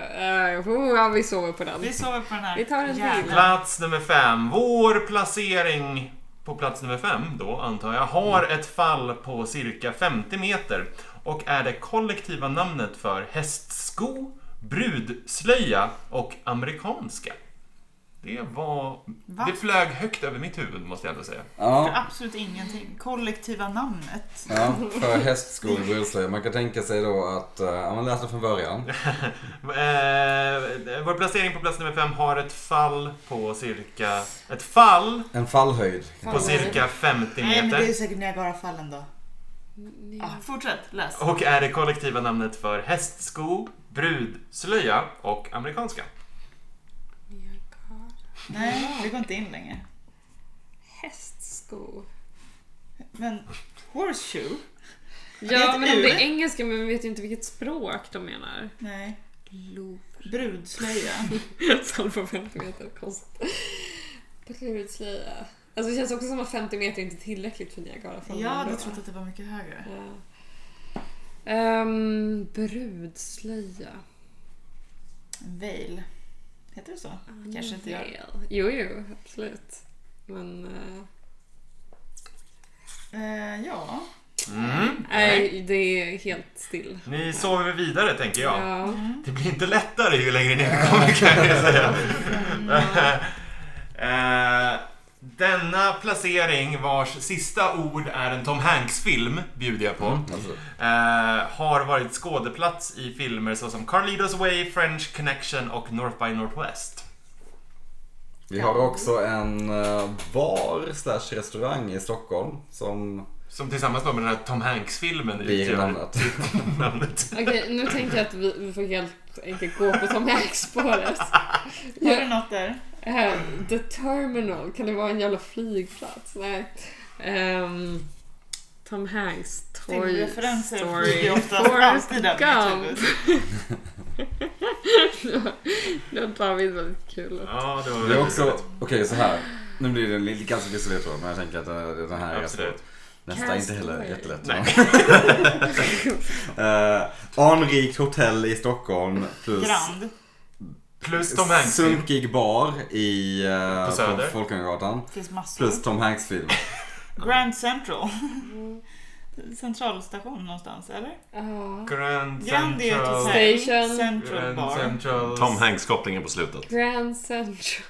[SPEAKER 5] uh, uh, ja, vi sover på den.
[SPEAKER 3] Vi sover på den här
[SPEAKER 5] Vi tar en till.
[SPEAKER 3] jävla-
[SPEAKER 1] Plats nummer fem. Vår placering på plats nummer fem då, antar jag, har ett fall på cirka 50 meter och är det kollektiva namnet för hästsko, brudslöja och amerikanska. Det var...
[SPEAKER 3] Va?
[SPEAKER 1] Det flög högt över mitt huvud, måste jag ändå säga. *laughs*
[SPEAKER 2] Ja,
[SPEAKER 3] Absolut ingenting. Kollektiva namnet.
[SPEAKER 2] ja, för hästskor och brudslöja. Man kan tänka sig då att... eh, Ja, man läser från början.
[SPEAKER 1] Eh, vår placering på plats nummer fem har ett fall på cirka... Ett fall
[SPEAKER 2] En fallhöjd.
[SPEAKER 1] på cirka 50
[SPEAKER 3] Nej, men det är
[SPEAKER 1] meter.
[SPEAKER 3] säkert Niagarafallen då. Ja, fortsätt, läs.
[SPEAKER 2] Oh.
[SPEAKER 1] Och är det kollektiva namnet för hästsko, brudslöja och amerikanska.
[SPEAKER 3] Nej, det går inte in längre.
[SPEAKER 5] Hästsko.
[SPEAKER 3] Men horseshoe?
[SPEAKER 5] Ja,
[SPEAKER 3] ett
[SPEAKER 5] men om det
[SPEAKER 3] ur.
[SPEAKER 5] är engelska, men vi vet ju inte vilket språk de menar.
[SPEAKER 3] Nej.
[SPEAKER 5] Loop.
[SPEAKER 3] Brudslöja?
[SPEAKER 5] *laughs* Fall på 50 meter, konstigt. Brudslöja. Alltså det känns också som att 50 meter inte är tillräckligt för Niagarafallen.
[SPEAKER 3] Jag hade
[SPEAKER 5] ändå.
[SPEAKER 3] trott att det var mycket högre.
[SPEAKER 5] Ja. Ehm, brudslöja.
[SPEAKER 3] Veil. Heter det så? Kanske inte jag.
[SPEAKER 5] Unveil. Jo, jo, absolut. Men... eh,
[SPEAKER 3] Eh, ja.
[SPEAKER 1] Mm.
[SPEAKER 5] nej, det är helt still.
[SPEAKER 1] Ni sover vidare tänker jag.
[SPEAKER 5] Ja.
[SPEAKER 1] Det blir inte lättare ju längre ner vi kommer kan jag
[SPEAKER 5] *laughs*
[SPEAKER 1] säga. Eh, Denna placering vars sista ord är en Tom Hanks-film, bjuder jag på.
[SPEAKER 2] Alltså,
[SPEAKER 1] Eh, har varit skådeplats i filmer såsom Carlitos Way, French Connection och North by Northwest.
[SPEAKER 2] vi har också en eh, bar slash restaurang i Stockholm som
[SPEAKER 1] Som tillsammans då med den här Tom Hanks-filmen
[SPEAKER 2] blir namnet.
[SPEAKER 1] *laughs* namnet.
[SPEAKER 5] Okej, nu tänker jag att vi, vi får helt enkelt gå på Tom *laughs* Hanks-spåret.
[SPEAKER 3] Har du något där?
[SPEAKER 5] Eh, The Terminal, kan det vara en jävla flygplats? Nej. Ehm, Tom Hanks, Toy
[SPEAKER 3] Filmreferenser
[SPEAKER 5] Story,
[SPEAKER 3] flyger oftast
[SPEAKER 5] Forrest
[SPEAKER 3] alltid över mitt
[SPEAKER 5] Gump. *laughs*
[SPEAKER 3] huvud.
[SPEAKER 5] det tyckte att David var lite kul.
[SPEAKER 1] Ja, det var
[SPEAKER 2] Det är
[SPEAKER 1] väldigt
[SPEAKER 2] också,
[SPEAKER 1] roligt.
[SPEAKER 2] okej så här. Nu blir det en lite ganska kissig ledtråd men jag tänker att eh, den, den här är ganska
[SPEAKER 1] Absolut.
[SPEAKER 2] Nästa inte heller
[SPEAKER 5] Castaway.
[SPEAKER 2] jättelätt. *laughs* uh, anrikt hotell i Stockholm plus
[SPEAKER 3] Grand.
[SPEAKER 1] Plus Tom Hanks.
[SPEAKER 2] sunkig bar i eh,
[SPEAKER 1] På Söder.
[SPEAKER 2] på Folkungagatan.
[SPEAKER 3] Det finns massor.
[SPEAKER 2] Plus Tom Hanks film.
[SPEAKER 3] Grand Central. *laughs* Centralstation någonstans, eller?
[SPEAKER 5] Ja.
[SPEAKER 1] Grand
[SPEAKER 3] Grand är ju ett
[SPEAKER 1] Central.
[SPEAKER 3] hotell.
[SPEAKER 5] Station.
[SPEAKER 3] Central
[SPEAKER 1] Grand
[SPEAKER 3] Bar.
[SPEAKER 1] Central.
[SPEAKER 4] Tom Hanks-kopplingen på slutet.
[SPEAKER 5] Grand Central.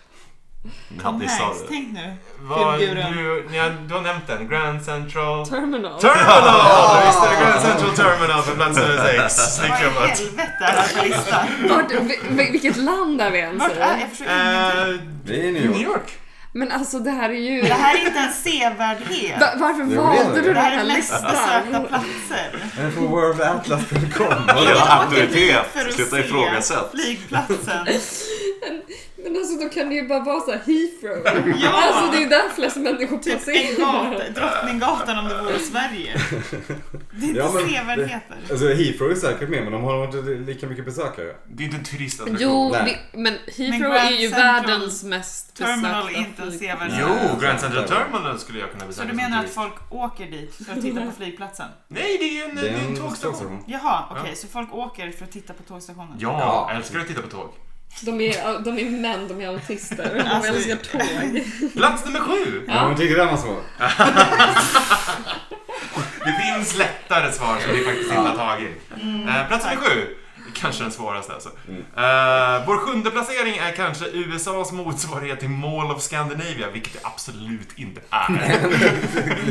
[SPEAKER 3] Tom
[SPEAKER 4] Ni sa
[SPEAKER 3] Hanks,
[SPEAKER 4] det.
[SPEAKER 3] tänk nu.
[SPEAKER 1] Vad-
[SPEAKER 3] figuren.
[SPEAKER 1] du, ni har, du har nämnt den. Grand Central.
[SPEAKER 5] Terminal.
[SPEAKER 1] Terminal! Visst är det Grand Central Terminal på plats nummer sex. Snyggt
[SPEAKER 3] Vad i
[SPEAKER 1] jobbat.
[SPEAKER 3] helvete är det här för
[SPEAKER 5] *laughs*
[SPEAKER 3] lista?
[SPEAKER 5] Vart, vi- vi- vilket land är vi ens
[SPEAKER 3] Vart är,
[SPEAKER 5] i?
[SPEAKER 3] jag förstår ingenting.
[SPEAKER 1] Eh,
[SPEAKER 2] Det är New
[SPEAKER 1] New
[SPEAKER 2] York.
[SPEAKER 1] York.
[SPEAKER 5] Men alltså det här är ju...
[SPEAKER 3] Det här är inte en sevärdhet.
[SPEAKER 5] Va- varför
[SPEAKER 2] Jo, det
[SPEAKER 5] valde
[SPEAKER 2] är det.
[SPEAKER 5] du
[SPEAKER 3] Det
[SPEAKER 5] den
[SPEAKER 3] här är
[SPEAKER 5] här
[SPEAKER 3] mest besökta
[SPEAKER 5] listan?
[SPEAKER 3] platser.
[SPEAKER 2] Men på worldatlas.com.
[SPEAKER 1] *laughs*
[SPEAKER 4] Vadå
[SPEAKER 3] För att
[SPEAKER 4] auktoritet? Sluta
[SPEAKER 3] se
[SPEAKER 4] ifrågasätt.
[SPEAKER 5] *laughs*
[SPEAKER 3] Flygplatsen.
[SPEAKER 5] Men alltså då kan det ju bara vara så här Heathrow.
[SPEAKER 3] Ja!
[SPEAKER 5] Alltså det är ju där flest människor
[SPEAKER 3] Typ en
[SPEAKER 5] placerar.
[SPEAKER 3] gata, Drottninggatan om det vore Sverige. Det är inte
[SPEAKER 2] Ja, men-
[SPEAKER 3] sevärdheter.
[SPEAKER 2] Alltså Heathrow är säkert med men de har nog inte lika mycket besökare.
[SPEAKER 1] Det är inte en turistattraktion.
[SPEAKER 5] Jo,
[SPEAKER 2] Nej.
[SPEAKER 5] det, men
[SPEAKER 3] Men
[SPEAKER 5] Heathrow
[SPEAKER 3] Grand
[SPEAKER 5] är ju
[SPEAKER 3] Central
[SPEAKER 5] världens mest
[SPEAKER 3] Terminal
[SPEAKER 5] besökta
[SPEAKER 3] är inte en
[SPEAKER 5] flygplats.
[SPEAKER 3] sevärdhet.
[SPEAKER 1] Jo, Grand Central Terminal skulle jag kunna
[SPEAKER 3] Så
[SPEAKER 1] besöka
[SPEAKER 3] du
[SPEAKER 1] som
[SPEAKER 3] menar att
[SPEAKER 1] turist.
[SPEAKER 3] folk åker dit för att titta på flygplatsen?
[SPEAKER 1] Nej, det är ju en, det är en tågstation.
[SPEAKER 3] Jaha, okej, så folk åker för att titta på tågstationen?
[SPEAKER 1] Ja,
[SPEAKER 2] Ja.
[SPEAKER 1] jag älskar att titta på tåg.
[SPEAKER 5] De är, de är män, de är autister. De
[SPEAKER 3] *laughs* Alltså,
[SPEAKER 5] älskar tåg.
[SPEAKER 1] Plats nummer sju!
[SPEAKER 2] Ja men tyckte den var svår.
[SPEAKER 1] Det finns lättare svar som vi faktiskt inte har tagit. Eh, plats nummer sju. Kanske den svåraste alltså. Eh, vår sjunde placering är kanske USAs motsvarighet till Mall of Scandinavia, vilket det absolut inte är.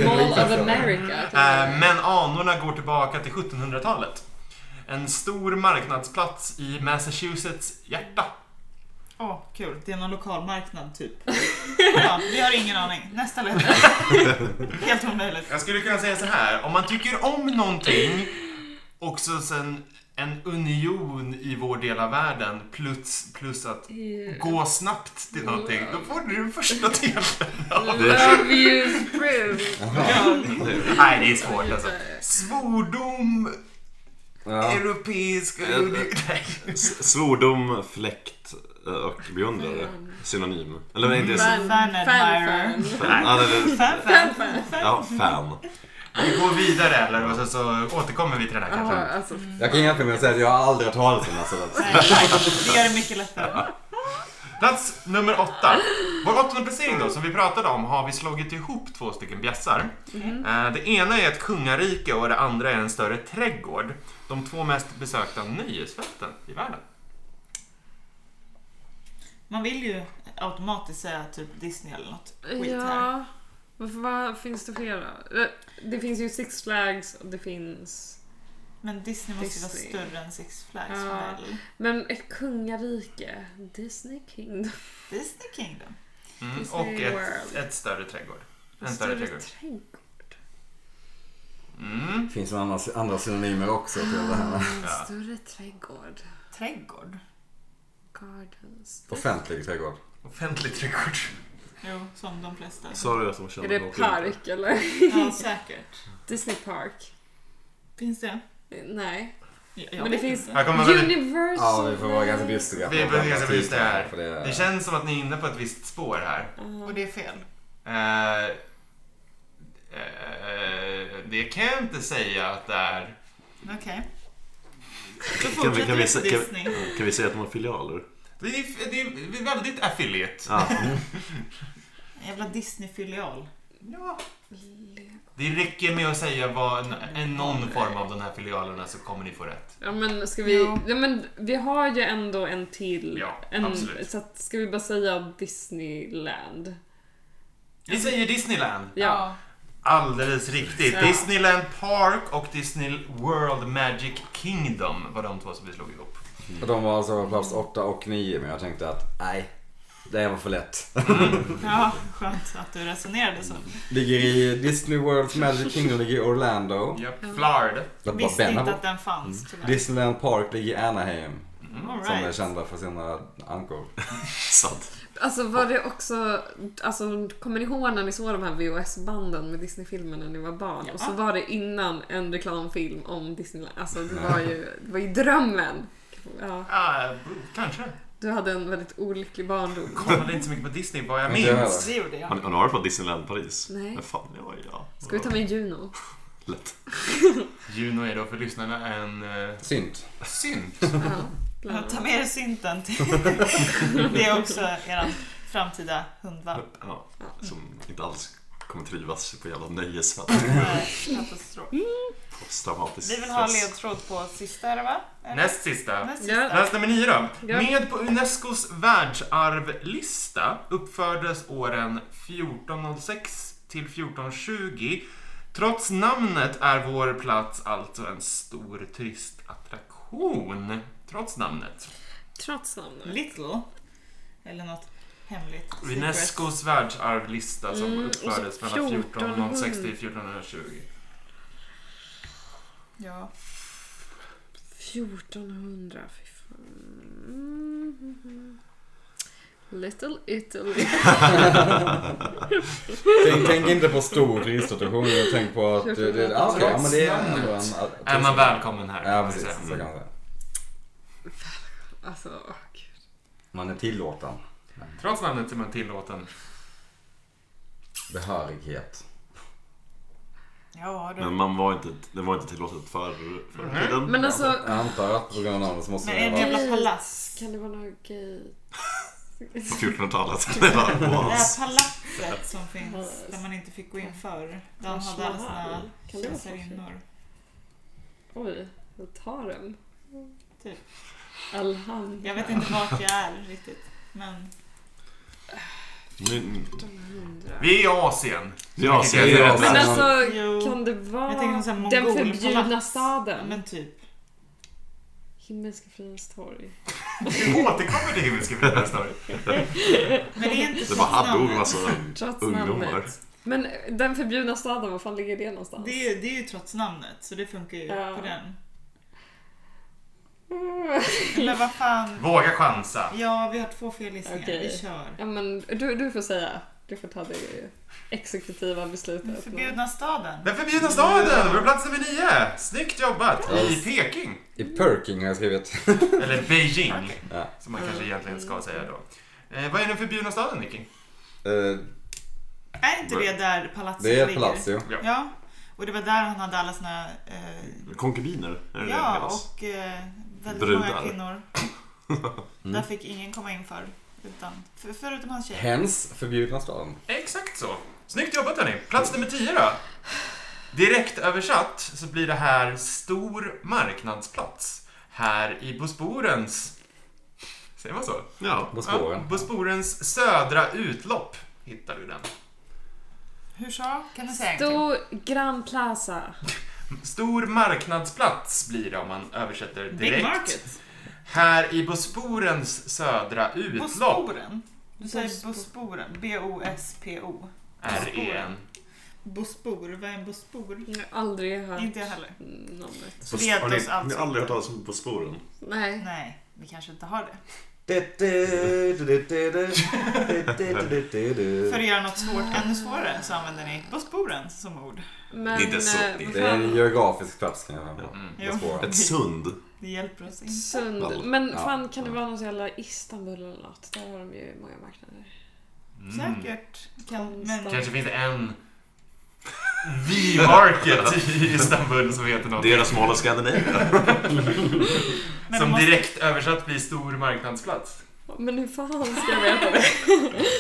[SPEAKER 5] Mall of America.
[SPEAKER 1] Eh, Men anorna går tillbaka till 1700-talet. En stor marknadsplats i Massachusetts hjärta.
[SPEAKER 3] Åh, kul. Det är någon lokalmarknad typ. Ja, vi har ingen aning. Nästa lätt. Helt omöjligt.
[SPEAKER 1] Jag skulle kunna säga så här, om man tycker om någonting och så sen en union i vår del av världen plus, plus att gå snabbt till någonting, då får du första delen.
[SPEAKER 5] Love you, Brew.
[SPEAKER 1] *laughs* Nej, det är svårt alltså. Svordom,
[SPEAKER 2] Ja.
[SPEAKER 1] Mm. europeisk... Nej.
[SPEAKER 4] S- Svordom, fläkt eh, och beundrare. Synonym. Eller nej, inte...
[SPEAKER 3] Fan
[SPEAKER 5] Fan, fan,
[SPEAKER 3] admirer.
[SPEAKER 5] fan.
[SPEAKER 4] Fan. Ja, det-
[SPEAKER 3] Fan, fan, fan.
[SPEAKER 4] Ja, fan.
[SPEAKER 1] Vi går vidare eller och sen så återkommer vi till den här
[SPEAKER 5] Jaha,
[SPEAKER 1] kanske.
[SPEAKER 5] alltså.
[SPEAKER 2] Jag kan jämföra med att säga att jag har aldrig hört talas om alltså.
[SPEAKER 3] Nej, tack. Det gör det mycket lättare.
[SPEAKER 1] Plats nummer åtta. Vår åttonde placering då, som vi pratade om, har vi slagit ihop två stycken bjässar.
[SPEAKER 5] Mhm.
[SPEAKER 1] Eh, Det ena är ett kungarike och det andra är en större trädgård. De två mest besökta nöjesfälten i världen.
[SPEAKER 3] Man vill ju automatiskt säga typ Disney eller något skit här.
[SPEAKER 5] Ja. Varför, vad finns det fler då? Eh, Det finns ju Six Flags och det finns...
[SPEAKER 3] Men Disney måste ju vara
[SPEAKER 5] Disney.
[SPEAKER 3] större än Six Flags
[SPEAKER 5] Ja.
[SPEAKER 3] väl?
[SPEAKER 5] Men ett kungarike. Disney Kingdom.
[SPEAKER 3] Disney Kingdom?
[SPEAKER 1] Mm.
[SPEAKER 5] Disney
[SPEAKER 1] Och ett,
[SPEAKER 5] World.
[SPEAKER 1] ett större trädgård. En större trädgård.
[SPEAKER 5] trädgård.
[SPEAKER 1] Mm.
[SPEAKER 2] Finns det andra, andra synonymer också till det här?
[SPEAKER 5] En
[SPEAKER 1] Ja.
[SPEAKER 5] större trädgård.
[SPEAKER 3] Trädgård?
[SPEAKER 5] Gardens.
[SPEAKER 2] Offentlig trädgård.
[SPEAKER 1] Offentlig trädgård.
[SPEAKER 3] Jo, som de flesta.
[SPEAKER 4] Sa du att de kände
[SPEAKER 5] Är det
[SPEAKER 4] något?
[SPEAKER 5] park eller?
[SPEAKER 3] Ja, säkert.
[SPEAKER 5] *laughs* Disney Park?
[SPEAKER 3] Finns det?
[SPEAKER 5] Eh, Nej.
[SPEAKER 3] Jag, jag
[SPEAKER 5] Men det
[SPEAKER 3] vet
[SPEAKER 5] finns
[SPEAKER 3] inte.
[SPEAKER 1] Här kommer väl-
[SPEAKER 5] Universal...
[SPEAKER 2] Ja vi får vara ganska dystriga.
[SPEAKER 1] Vi behöver ganska belysa det här.
[SPEAKER 2] För det-
[SPEAKER 1] Det känns som att ni är inne på ett visst spår här.
[SPEAKER 3] Och det är fel.
[SPEAKER 1] Eh, eh, det kan jag inte säga att det är.
[SPEAKER 3] Okej. Då
[SPEAKER 4] Kan vi,
[SPEAKER 3] fortsätter
[SPEAKER 4] kan, vi,
[SPEAKER 3] vi till
[SPEAKER 4] sä- kan,
[SPEAKER 3] Disney.
[SPEAKER 4] kan vi säga att de har filialer?
[SPEAKER 1] Det är, det är väldigt affiliate.
[SPEAKER 4] Ja.
[SPEAKER 3] Jävla Disney-filial.
[SPEAKER 1] Ja. Det räcker med att säga vad en, en någon form av de här filialerna så kommer ni få rätt.
[SPEAKER 5] Ja men ska vi...
[SPEAKER 3] Ja.
[SPEAKER 5] Ja. men vi har ju ändå en till.
[SPEAKER 1] Ja,
[SPEAKER 5] en,
[SPEAKER 1] absolut.
[SPEAKER 5] Så att, ska vi bara säga Disneyland?
[SPEAKER 1] Vi säger Disneyland.
[SPEAKER 5] Ja.
[SPEAKER 1] Alldeles riktigt.
[SPEAKER 5] Ja.
[SPEAKER 1] Disneyland Park och Disney World Magic Kingdom var de två som vi slog ihop.
[SPEAKER 2] Och de var alltså på plats 8 och 9 men jag tänkte att nej, det var för lätt.
[SPEAKER 3] Ja, skönt att du resonerade så.
[SPEAKER 2] Ligger i Disney World Magic Kingdom ligger i Orlando.
[SPEAKER 1] Yep. Flard.
[SPEAKER 2] Det var
[SPEAKER 3] Visste
[SPEAKER 2] Benna
[SPEAKER 3] inte
[SPEAKER 2] på.
[SPEAKER 3] att den fanns tyvärr.
[SPEAKER 2] Disneyland Park ligger i Anaheim.
[SPEAKER 3] All
[SPEAKER 2] Som är
[SPEAKER 3] right.
[SPEAKER 2] kända för sina ankor.
[SPEAKER 4] Sant.
[SPEAKER 5] Alltså var det också, alltså kommer ni ihåg när ni såg de här VHS-banden med Disney-filmer när ni var barn? Och så var det innan en reklamfilm om Disneyland. Alltså det var ju, det var ju drömmen. Ja.
[SPEAKER 1] Ah, kanske.
[SPEAKER 5] Du hade en väldigt olycklig barndom.
[SPEAKER 1] Kollade inte så mycket på Disney vad jag
[SPEAKER 2] Inte jag
[SPEAKER 1] minns.
[SPEAKER 3] Det gjorde jag.
[SPEAKER 4] Har ni, har ni varit på Disneyland Paris?
[SPEAKER 5] Nej.
[SPEAKER 4] Men fan, det var ju jag.
[SPEAKER 5] Ska vi ta med Juno?
[SPEAKER 4] Lätt.
[SPEAKER 1] Juno är då för lyssnarna en eh,
[SPEAKER 2] Synt.
[SPEAKER 5] *laughs*
[SPEAKER 1] synt.
[SPEAKER 5] Ja, bland
[SPEAKER 3] Ja, Ta
[SPEAKER 5] annat.
[SPEAKER 3] med er synten till. Det är också er framtida hundvalp.
[SPEAKER 4] Ja, som inte alls kommer trivas på jävla nöjesfält.
[SPEAKER 3] Nej, Katastrof.
[SPEAKER 4] Posttraumatisk
[SPEAKER 3] Vi vill ha
[SPEAKER 4] stress.
[SPEAKER 3] ledtråd på sista är det va? Eller?
[SPEAKER 1] Näst sista.
[SPEAKER 3] Näst
[SPEAKER 5] Ja.
[SPEAKER 3] sista.
[SPEAKER 1] Plats nummer nio då.
[SPEAKER 5] Ja.
[SPEAKER 1] Med på Unescos världsarvlista uppfördes åren 1406 till 1420. Trots namnet är vår plats alltså en stor turistattraktion. Trots namnet.
[SPEAKER 5] Trots namnet.
[SPEAKER 3] Little. Eller något hemligt. Secret.
[SPEAKER 1] Unescos världsarvlista som
[SPEAKER 5] Mm, och så
[SPEAKER 1] uppfördes mellan 1406 till
[SPEAKER 5] 1400.
[SPEAKER 1] 1420.
[SPEAKER 3] Ja.
[SPEAKER 5] 1400, fy fan. Mm, mm, mm. Little Italy.
[SPEAKER 2] *laughs* Tänk, tänk inte på stor turiststation, utan tänk på att... Det, det, ja, okej, ja, men det är ändå en...
[SPEAKER 1] Är man välkommen här? kan
[SPEAKER 2] Ja,
[SPEAKER 1] man
[SPEAKER 2] precis.
[SPEAKER 1] säga.
[SPEAKER 2] Så kan man säga.
[SPEAKER 5] Alltså, åh, gud.
[SPEAKER 2] Man är tillåten.
[SPEAKER 1] Trots namnet är man tillåten.
[SPEAKER 2] Behörighet.
[SPEAKER 3] Ja, du.
[SPEAKER 4] Men man var inte, det var inte tillåtet för, för tiden.
[SPEAKER 5] Men alltså,
[SPEAKER 2] Jag antar att på grund av det så måste
[SPEAKER 3] Men
[SPEAKER 2] det
[SPEAKER 3] är det
[SPEAKER 2] vara...
[SPEAKER 3] en jävla palats?
[SPEAKER 5] kan det vara några gay...
[SPEAKER 4] På 1400-talet. *laughs* Det var-
[SPEAKER 3] Det
[SPEAKER 4] wow.
[SPEAKER 3] här palatset som finns där man inte fick gå in förr. Där han hade alla sina
[SPEAKER 5] Kan det vara så?
[SPEAKER 3] kejsarinnor.
[SPEAKER 5] Oj, jag tar den.
[SPEAKER 3] Typ.
[SPEAKER 5] Alhambra.
[SPEAKER 3] Jag vet inte vart jag är riktigt. Men
[SPEAKER 4] Nu-
[SPEAKER 5] 1400.
[SPEAKER 1] Vi är i Asien.
[SPEAKER 4] Ja, så jag
[SPEAKER 2] Ja,
[SPEAKER 4] är rätt
[SPEAKER 5] Men
[SPEAKER 4] lätt.
[SPEAKER 5] alltså,
[SPEAKER 3] Jo.
[SPEAKER 5] kan det
[SPEAKER 3] jag tänker
[SPEAKER 5] vara
[SPEAKER 3] som såhär
[SPEAKER 5] den förbjudna
[SPEAKER 3] mongolpalats. Ja,
[SPEAKER 5] staden?
[SPEAKER 3] men typ.
[SPEAKER 5] Himmelska fridens torg.
[SPEAKER 1] Vi återkommer till Himmelska fridens torg.
[SPEAKER 3] Men det är inte
[SPEAKER 4] Det var Haddog,
[SPEAKER 3] stadsnamnet.
[SPEAKER 4] alltså.
[SPEAKER 5] Trots
[SPEAKER 4] Ungdomar.
[SPEAKER 5] namnet. Men den förbjudna staden, var fan ligger det någonstans?
[SPEAKER 3] Det är, ju, det är ju trots namnet, så det funkar ju
[SPEAKER 5] Ja.
[SPEAKER 3] på den.
[SPEAKER 5] Mm.
[SPEAKER 3] Eller vad fan.
[SPEAKER 1] Våga chansa.
[SPEAKER 3] Ja, vi har två fel gissningar.
[SPEAKER 5] Okej.
[SPEAKER 3] Vi kör.
[SPEAKER 5] Ja men du, du får säga. Du får ta det exekutiva
[SPEAKER 3] Den
[SPEAKER 5] beslutet.
[SPEAKER 3] förbjudna staden.
[SPEAKER 1] Den förbjudna staden, på plats nummer nio. Snyggt jobbat! I Peking.
[SPEAKER 2] I Perking har jag skrivit.
[SPEAKER 1] Eller Beijing,
[SPEAKER 2] Ja.
[SPEAKER 1] som man kanske egentligen ska säga då. Eh, vad är den förbjudna staden, Nicky?
[SPEAKER 2] Eh,
[SPEAKER 3] Är inte Alltså, det där palatset
[SPEAKER 2] Det är ett
[SPEAKER 3] ligger?
[SPEAKER 2] palazzo.
[SPEAKER 3] Ja. Och det var där han hade alla sina... Eh,
[SPEAKER 4] Konkubiner, är det det
[SPEAKER 3] ja,
[SPEAKER 4] kallas?
[SPEAKER 3] och eh, väldigt många
[SPEAKER 4] Brudar.
[SPEAKER 3] kvinnor.
[SPEAKER 4] *laughs*
[SPEAKER 3] Där fick ingen komma in för. Utan, för förutom hans tjej.
[SPEAKER 2] Hens förbjudna staden.
[SPEAKER 1] Exakt så. Snyggt jobbat hörni. Plats nummer 10 då. Direkt översatt så blir det här stor marknadsplats. Här i Bosporens... Säger man så?
[SPEAKER 4] Ja.
[SPEAKER 2] På
[SPEAKER 1] Ja,
[SPEAKER 2] spåren.
[SPEAKER 1] Bosporens södra utlopp hittar du den.
[SPEAKER 3] Hur sa? Kan du säga en gång?
[SPEAKER 5] Stor Grand Plaza.
[SPEAKER 1] Stor marknadsplats blir det om man översätter direkt.
[SPEAKER 3] Big Market.
[SPEAKER 1] Här i Bosporens södra utlopp
[SPEAKER 3] Bosporen. Du säger Bosporen. B-O-S-P-O.
[SPEAKER 1] är en...
[SPEAKER 3] Bospor. Vad är en bospor?
[SPEAKER 5] Jag har aldrig hört
[SPEAKER 3] Inte jag heller.
[SPEAKER 5] namnet.
[SPEAKER 3] Så det
[SPEAKER 4] Har
[SPEAKER 3] oss
[SPEAKER 4] ni,
[SPEAKER 3] alltså.
[SPEAKER 4] ni har aldrig hört talas om På spåren?
[SPEAKER 5] Nej.
[SPEAKER 3] Nej, vi kanske inte har det.
[SPEAKER 4] Eh.
[SPEAKER 3] För att göra något svårt ännu svårare så använder ni Bosporen som ord.
[SPEAKER 5] Men,
[SPEAKER 4] Det är inte så-
[SPEAKER 5] eh,
[SPEAKER 4] det är-
[SPEAKER 5] vad
[SPEAKER 2] Det är en
[SPEAKER 5] fan,
[SPEAKER 2] geografisk plats kan jag säga.
[SPEAKER 1] Mm.
[SPEAKER 3] Jo,
[SPEAKER 2] På spåren.
[SPEAKER 4] Ett sund.
[SPEAKER 3] det hjälper oss inte.
[SPEAKER 5] Sund. Men
[SPEAKER 2] Ja.
[SPEAKER 5] fan kan det vara något jävla Istanbul eller något? Där har de ju många marknader.
[SPEAKER 3] Säkert. Kan, men
[SPEAKER 1] Mm. Kanske finns det en V-market i Istanbul som heter något.
[SPEAKER 4] Det är det smala Skandinavien.
[SPEAKER 3] men
[SPEAKER 1] Som
[SPEAKER 3] måste-
[SPEAKER 1] direkt översatt blir stor marknadsplats.
[SPEAKER 5] Men hur fan ska jag
[SPEAKER 4] *laughs*
[SPEAKER 5] veta det?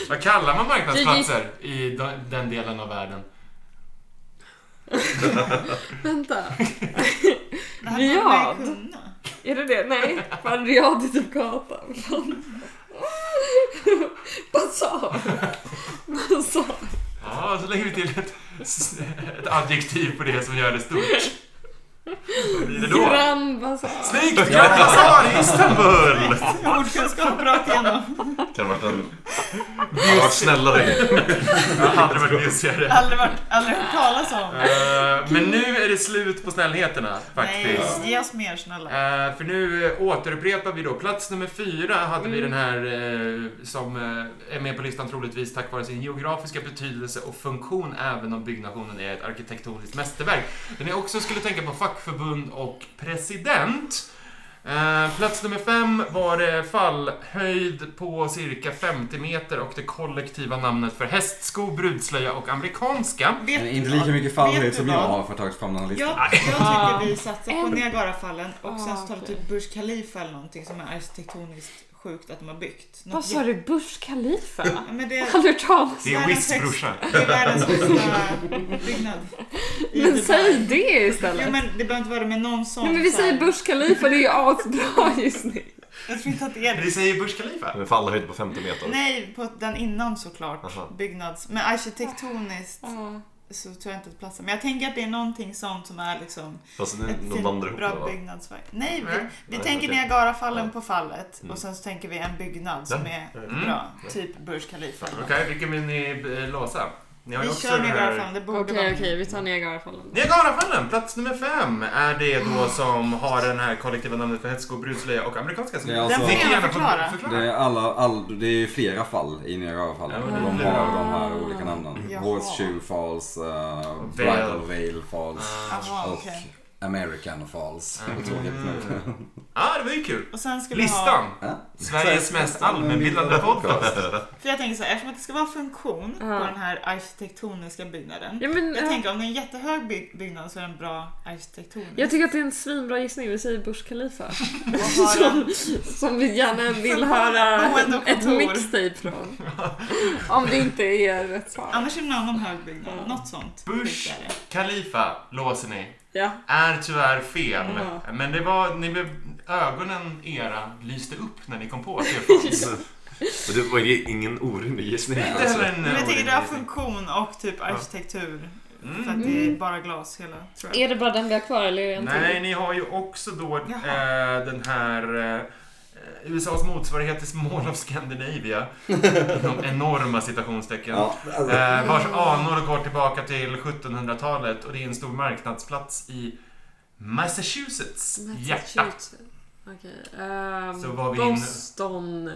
[SPEAKER 1] Vad kallar man marknadsplatser i de- den delen av världen?
[SPEAKER 5] Vänta.
[SPEAKER 3] det här borde man ju
[SPEAKER 5] Riyadh.
[SPEAKER 3] kunna.
[SPEAKER 5] Är det det? Nej. Fan Riyadh är typ gatan.
[SPEAKER 4] *laughs*
[SPEAKER 5] Fan. Basar. Basar.
[SPEAKER 1] Ja, så lägger vi till ett, ett adjektiv på det som gör det stort. Vad blir det då?
[SPEAKER 5] Grand Bazaar.
[SPEAKER 1] Snyggt! Grand Bazaar i Istanbul!
[SPEAKER 3] Ordkunskap rakt igenom.
[SPEAKER 4] Kan ha varit en... Han var snällare.
[SPEAKER 1] Jag hade varit bjusigare.
[SPEAKER 3] Aldrig, varit, aldrig hört talas om.
[SPEAKER 1] Eh, Men nu är det slut på snällheterna faktiskt.
[SPEAKER 3] Nej, ge oss mer snälla.
[SPEAKER 1] Eh, för nu eh, återupprepar vi då. Plats nummer fyra hade vi den här eh, som eh, är med på listan troligtvis tack vare sin geografiska betydelse och funktion även om byggnationen är ett arkitektoniskt mästerverk. Den jag också skulle tänka på fackförbund och president. Eh, plats nummer fem var det fallhöjd på cirka 50 meter och det kollektiva namnet för hästsko, brudslöja och amerikanska.
[SPEAKER 3] Vet
[SPEAKER 2] Men
[SPEAKER 3] du
[SPEAKER 2] inte lika
[SPEAKER 3] vad?
[SPEAKER 2] mycket
[SPEAKER 3] Vet
[SPEAKER 2] fallhöjd
[SPEAKER 3] du
[SPEAKER 2] som jag
[SPEAKER 3] vad?
[SPEAKER 2] har för att ta fram den här listan.
[SPEAKER 3] Jag, jag tycker vi satsar på
[SPEAKER 5] Ah. En- Ah,
[SPEAKER 3] Niagarafallen och sen så tar vi
[SPEAKER 5] okej.
[SPEAKER 3] typ Burj Khalifa eller någonting som är arkitektoniskt sjukt att de har byggt. Något
[SPEAKER 5] Vad sa
[SPEAKER 3] jätte-
[SPEAKER 5] du? Burj Khalifa? *laughs*
[SPEAKER 3] Ja, Men det,
[SPEAKER 5] Aldrig hört talas
[SPEAKER 1] Det är
[SPEAKER 3] Världens
[SPEAKER 1] Whiz
[SPEAKER 3] högst-
[SPEAKER 1] brorsa.
[SPEAKER 3] det är
[SPEAKER 1] *laughs*
[SPEAKER 3] världens högsta byggnad. i
[SPEAKER 5] Men
[SPEAKER 3] Dubai.
[SPEAKER 5] säg det istället.
[SPEAKER 3] Ja, men det behöver inte vara det med någon sån.
[SPEAKER 5] Nej men vi
[SPEAKER 3] så här-
[SPEAKER 5] säger Burj Khalifa, det är ju asbra just nu.
[SPEAKER 3] Jag tror inte att det är det.
[SPEAKER 1] Vi säger Burj Khalifa.
[SPEAKER 4] Med fallhöjd på 50 meter. Alltså,
[SPEAKER 3] Nej, på den innan såklart.
[SPEAKER 4] Aha.
[SPEAKER 3] Byggnads... Men arkitektoniskt
[SPEAKER 5] Ja.
[SPEAKER 3] så tror jag inte att det platsar. Men jag tänker att det är någonting sånt som är liksom
[SPEAKER 4] Fast
[SPEAKER 3] ett
[SPEAKER 4] nu- de
[SPEAKER 3] fint,
[SPEAKER 4] vandrar ihop det,
[SPEAKER 3] bra
[SPEAKER 4] va?
[SPEAKER 3] byggnadsverk. Nej, vi,
[SPEAKER 1] Nej,
[SPEAKER 3] vi
[SPEAKER 4] nej,
[SPEAKER 3] tänker
[SPEAKER 4] okej.
[SPEAKER 3] Niagarafallen
[SPEAKER 4] Ja.
[SPEAKER 3] på fallet
[SPEAKER 4] Mm.
[SPEAKER 3] och sen så tänker vi en byggnad som
[SPEAKER 4] Ja.
[SPEAKER 3] är
[SPEAKER 1] Mm.
[SPEAKER 3] bra. Typ Burj Khalifa.
[SPEAKER 1] Okej, vilken vill ni eh, låsa? Ni har ju
[SPEAKER 3] Vi
[SPEAKER 1] också
[SPEAKER 3] kör
[SPEAKER 1] den här...
[SPEAKER 3] Niagarafallen, det borde
[SPEAKER 5] Okej okej,
[SPEAKER 3] vara
[SPEAKER 5] vi tar Niagarafallen.
[SPEAKER 1] Niagarafallen, plats nummer fem, är det då som har den här kollektiva namnet för hästsko, brudslöja och amerikanska. som-
[SPEAKER 2] Ja, alltså-
[SPEAKER 1] Ni kan gärna få
[SPEAKER 3] Förklara.
[SPEAKER 2] Det är, alla, all, det är ju flera fall i Niagarafallen.
[SPEAKER 1] Ja,
[SPEAKER 2] de
[SPEAKER 1] det är
[SPEAKER 2] har
[SPEAKER 5] det.
[SPEAKER 2] de här olika namnen.
[SPEAKER 3] Jaha.
[SPEAKER 2] Horseshoe Falls, uh,
[SPEAKER 1] Vail.
[SPEAKER 2] Bridal Veil Falls
[SPEAKER 3] Jaha,
[SPEAKER 2] och
[SPEAKER 3] okej.
[SPEAKER 2] American Falls.
[SPEAKER 1] Mm.
[SPEAKER 2] Tråkigt nog.
[SPEAKER 1] Ja, det var ju kul.
[SPEAKER 3] Och sen ska vi ha...
[SPEAKER 1] Listan!
[SPEAKER 2] Ja.
[SPEAKER 1] Sveriges mest allmänbildade podcast.
[SPEAKER 3] För jag tänker så här, eftersom att det ska vara funktion
[SPEAKER 5] Ja.
[SPEAKER 3] på den här arkitektoniska byggnaden.
[SPEAKER 5] Ja, men,
[SPEAKER 3] Jag
[SPEAKER 5] eh,
[SPEAKER 3] tänker om det är en jättehög byg- byggnad så är den bra arkitektonisk.
[SPEAKER 5] jag tycker att det är en svinbra gissning, vi säger Burj Khalifa. *laughs*
[SPEAKER 3] Vad har den-
[SPEAKER 5] Som vi gärna vill
[SPEAKER 3] För
[SPEAKER 5] höra
[SPEAKER 3] boende och
[SPEAKER 5] ett
[SPEAKER 3] kontor.
[SPEAKER 5] mixtape
[SPEAKER 3] *laughs*
[SPEAKER 5] från. Om det inte är rätt svar.
[SPEAKER 3] Annars är det någon annan hög byggnad, något sånt.
[SPEAKER 1] Bush
[SPEAKER 3] tänkte jag det.
[SPEAKER 1] Khalifa låser ni.
[SPEAKER 5] Ja.
[SPEAKER 1] Är tyvärr fel.
[SPEAKER 5] Ja.
[SPEAKER 3] Mm.
[SPEAKER 1] Men det var, ni blev, ögonen era lyste upp när ni kom på att det
[SPEAKER 3] *laughs*
[SPEAKER 1] fanns.
[SPEAKER 4] *laughs* Men det var ju ingen orimlig gissning. alltså.
[SPEAKER 1] Det är inte heller en
[SPEAKER 3] Men jag tänker det
[SPEAKER 1] orimlig
[SPEAKER 3] har
[SPEAKER 1] gissning.
[SPEAKER 3] funktion och typ arkitektur. För
[SPEAKER 1] Mm.
[SPEAKER 3] att det är bara glas hela, tror jag.
[SPEAKER 5] Är det bara den vi har kvar eller är det en
[SPEAKER 1] Nej,
[SPEAKER 5] till?
[SPEAKER 1] ni har ju också då eh,
[SPEAKER 3] Jaha.
[SPEAKER 1] den här eh, USAs motsvarighet till Small of
[SPEAKER 2] *laughs*
[SPEAKER 1] Scandinavia. Inom enorma citationstecken.
[SPEAKER 2] Ja, alltså,
[SPEAKER 1] Eh, vars anor går tillbaka till 1700-talet och det är en stor marknadsplats i Massachusetts hjärta.
[SPEAKER 5] Massachusetts. Okej. ehm,
[SPEAKER 1] Så var vi inne-
[SPEAKER 5] Boston eh,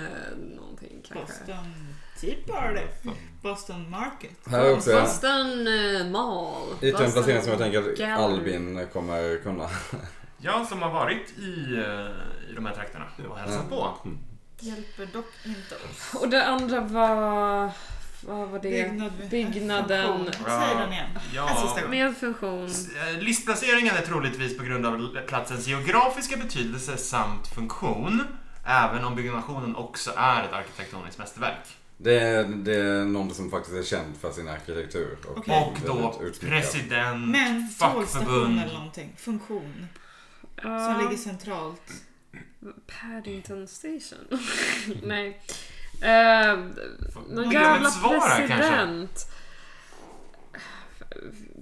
[SPEAKER 5] någonting kanske.
[SPEAKER 3] Boston typ var det. Boston Market.
[SPEAKER 2] här är också
[SPEAKER 5] Boston eh, Mall.
[SPEAKER 2] ytterligare en
[SPEAKER 5] Boston
[SPEAKER 2] placering som jag tänker att
[SPEAKER 5] Gallery.
[SPEAKER 2] Albin kommer kunna.
[SPEAKER 1] Ja, som har varit i, eh, i de här trakterna och hälsat på.
[SPEAKER 3] Hjälper dock inte oss.
[SPEAKER 5] Och det andra var... Vad var det?
[SPEAKER 3] Byggnad med-
[SPEAKER 5] Byggnaden.
[SPEAKER 3] funktion. Säg den igen. En
[SPEAKER 1] Ja. Mm.
[SPEAKER 3] sista gång.
[SPEAKER 5] Med
[SPEAKER 3] Mm.
[SPEAKER 5] funktion.
[SPEAKER 1] Eh, Listplaceringen är troligtvis på grund av platsens geografiska betydelse samt funktion, även om byggnationen också är ett arkitektoniskt mästerverk.
[SPEAKER 2] Det är, det är någon som faktiskt är känd för sin arkitektur. Och,
[SPEAKER 3] Okej.
[SPEAKER 1] Och då
[SPEAKER 2] väldigt utsmyckad.
[SPEAKER 1] president,
[SPEAKER 3] Men tågstation
[SPEAKER 1] fackförbund.
[SPEAKER 3] eller någonting. Funktion. Som
[SPEAKER 5] Ja,
[SPEAKER 3] ligger centralt.
[SPEAKER 5] Paddington Station. *laughs* Nej. Eh, någon
[SPEAKER 1] Vill de
[SPEAKER 5] jävla
[SPEAKER 1] ett svar här, kanske?
[SPEAKER 5] president.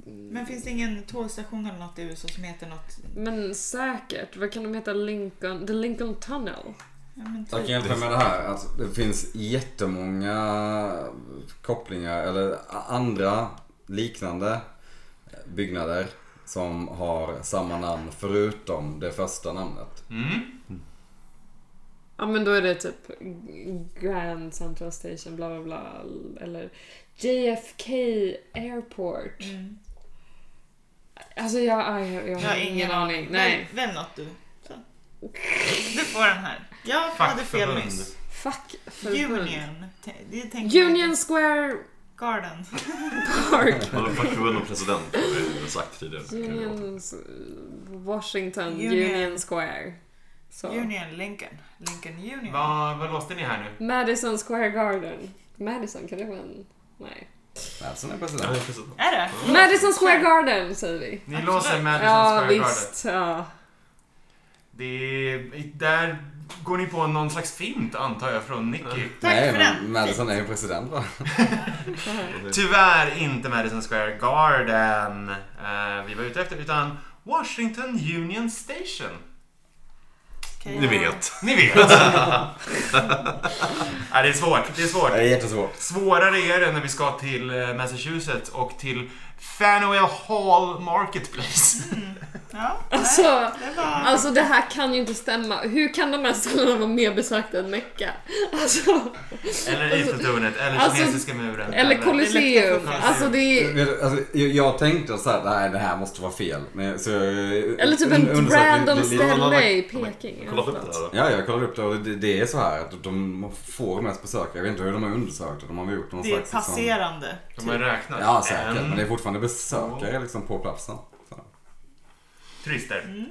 [SPEAKER 3] Men finns det ingen tågstation eller något i USA som heter något?
[SPEAKER 5] Men säkert. Vad kan de heta? Lincoln... The Lincoln Tunnel.
[SPEAKER 3] Ja, men
[SPEAKER 2] Jag kan
[SPEAKER 3] typ.
[SPEAKER 2] hjälpa er med det här. Alltså, det finns jättemånga kopplingar eller andra liknande byggnader som har samma namn förutom det första namnet.
[SPEAKER 1] Mm.
[SPEAKER 5] Ja men då är det typ Grand Central Station bla bla bla eller JFK Airport.
[SPEAKER 3] Mm.
[SPEAKER 5] Alltså jag, jag, jag
[SPEAKER 3] Jag
[SPEAKER 5] har ingen aning. Nej.
[SPEAKER 3] Väl väl något du. Så. Du får den här. Jag hade fel
[SPEAKER 1] Fackförbund.
[SPEAKER 3] nyss.
[SPEAKER 5] Fuck förbund.
[SPEAKER 3] Union. T- Det tänker jag
[SPEAKER 5] Union
[SPEAKER 3] inte.
[SPEAKER 5] Square
[SPEAKER 3] Garden.
[SPEAKER 5] Park.
[SPEAKER 4] Ja, Fackförbund och president har vi sagt tidigare.
[SPEAKER 5] Union... Washington
[SPEAKER 3] Union.
[SPEAKER 5] Union, Square. Så.
[SPEAKER 3] Union Lincoln. Lincoln Union.
[SPEAKER 1] Vad, vad låste ni här nu?
[SPEAKER 5] Madison Square Garden. Madison, kan det vara en... Nej.
[SPEAKER 2] Alltså är
[SPEAKER 4] Ja,
[SPEAKER 2] president.
[SPEAKER 4] precis.
[SPEAKER 3] Är det?
[SPEAKER 5] Madison Square Garden säger vi.
[SPEAKER 1] Ni
[SPEAKER 3] Absolut.
[SPEAKER 1] låser Madison
[SPEAKER 5] Ja
[SPEAKER 1] Square Garden.
[SPEAKER 5] visst. Ja.
[SPEAKER 1] Det är, där går ni på någon slags fint antar jag från Nicky.
[SPEAKER 3] Tack
[SPEAKER 2] Nej,
[SPEAKER 3] för
[SPEAKER 2] men
[SPEAKER 3] den.
[SPEAKER 2] Madison är ju president va?
[SPEAKER 1] Tyvärr inte Madison Square Garden eh, vi var ute efter utan Washington Union Station.
[SPEAKER 3] Okej.
[SPEAKER 4] Ni vet.
[SPEAKER 1] Ni
[SPEAKER 5] *laughs*
[SPEAKER 1] vet. Nej, det är svårt. Det är svårt.
[SPEAKER 2] Det är jättesvårt.
[SPEAKER 1] Svårare är det när vi ska
[SPEAKER 5] *laughs*
[SPEAKER 1] till eh, Massachusetts och till Faneuil Hall Marketplace.
[SPEAKER 3] Ja, *laughs* nej,
[SPEAKER 5] Alltså,
[SPEAKER 3] det var...
[SPEAKER 5] alltså det här kan ju inte stämma. Hur kan de här ställena vara mer besökta än Mecka? Alltså,
[SPEAKER 1] Eller Eiffeltornet, eller
[SPEAKER 5] Alltså,
[SPEAKER 1] kinesiska muren.
[SPEAKER 5] eller Colosseum. Alltså det är,
[SPEAKER 2] Vet du, Alltså, jag, jag tänkte så här, nej det här måste vara fel. Men, så,
[SPEAKER 5] Eller typ en random ställe i Peking.
[SPEAKER 4] Kolla upp det här då.
[SPEAKER 2] Ja, jag kollade upp det och det, det är så här att de får mest besökare. Jag vet inte hur de har undersökt det. De har väl gjort någon
[SPEAKER 3] Det är
[SPEAKER 2] slags... liksom-
[SPEAKER 3] passerande.
[SPEAKER 1] De har räknat.
[SPEAKER 2] Ja, säkert. Men det är
[SPEAKER 1] En
[SPEAKER 2] fortfarande besökare liksom på platsen. Så. Mm.
[SPEAKER 1] turister.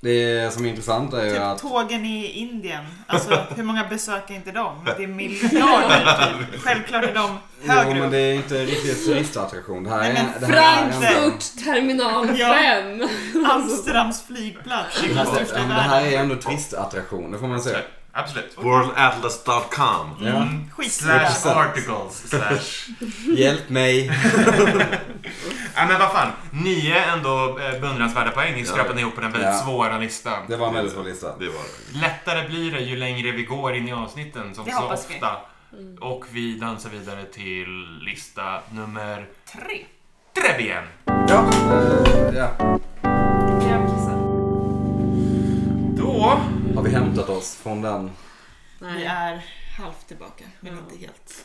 [SPEAKER 2] Det som är intressant är ju
[SPEAKER 3] Typ
[SPEAKER 2] att...
[SPEAKER 3] tågen i Indien.
[SPEAKER 2] *laughs*
[SPEAKER 3] Alltså hur många besöker inte de? *laughs* Det är miljarder. typ. Självklart är de
[SPEAKER 2] Jo, men
[SPEAKER 3] högre
[SPEAKER 2] det
[SPEAKER 3] upp.
[SPEAKER 2] är inte riktigt turistattraktion. Det här
[SPEAKER 3] Nej,
[SPEAKER 2] är...
[SPEAKER 3] men
[SPEAKER 2] det här är en-
[SPEAKER 5] Frankfurt terminal 5.
[SPEAKER 3] Ja. Amsterdams flygplats. Alltså, Det är den
[SPEAKER 2] Ja,
[SPEAKER 3] största i
[SPEAKER 2] men det här
[SPEAKER 3] världen.
[SPEAKER 2] är ändå turistattraktion, det får man säga.
[SPEAKER 1] Absolut. Mm.
[SPEAKER 4] Worldatlas.com
[SPEAKER 3] Mm.
[SPEAKER 2] Ja.
[SPEAKER 3] Skitbra.
[SPEAKER 1] Slash
[SPEAKER 2] *laughs*
[SPEAKER 1] articles, slash...
[SPEAKER 2] Hjälp mig.
[SPEAKER 1] Ja, men vad fan. Nio ändå eh, beundransvärda poäng. Ni skrapade ihop på den väldigt
[SPEAKER 2] Ja.
[SPEAKER 1] svåra listan.
[SPEAKER 2] Det var en väldigt svår lista.
[SPEAKER 4] Det var det.
[SPEAKER 1] Lättare blir det ju längre vi går in i avsnitten som
[SPEAKER 3] Det
[SPEAKER 1] så
[SPEAKER 3] hoppas vi. Mm.
[SPEAKER 1] ofta. Och vi dansar vidare till lista nummer
[SPEAKER 3] Tre.
[SPEAKER 1] tre igen.
[SPEAKER 2] Ja. eh, ja.
[SPEAKER 3] Jag kissar.
[SPEAKER 1] Då
[SPEAKER 2] Har vi hämtat oss från den?
[SPEAKER 3] Vi
[SPEAKER 5] Nej.
[SPEAKER 3] är halvt tillbaka, men inte helt.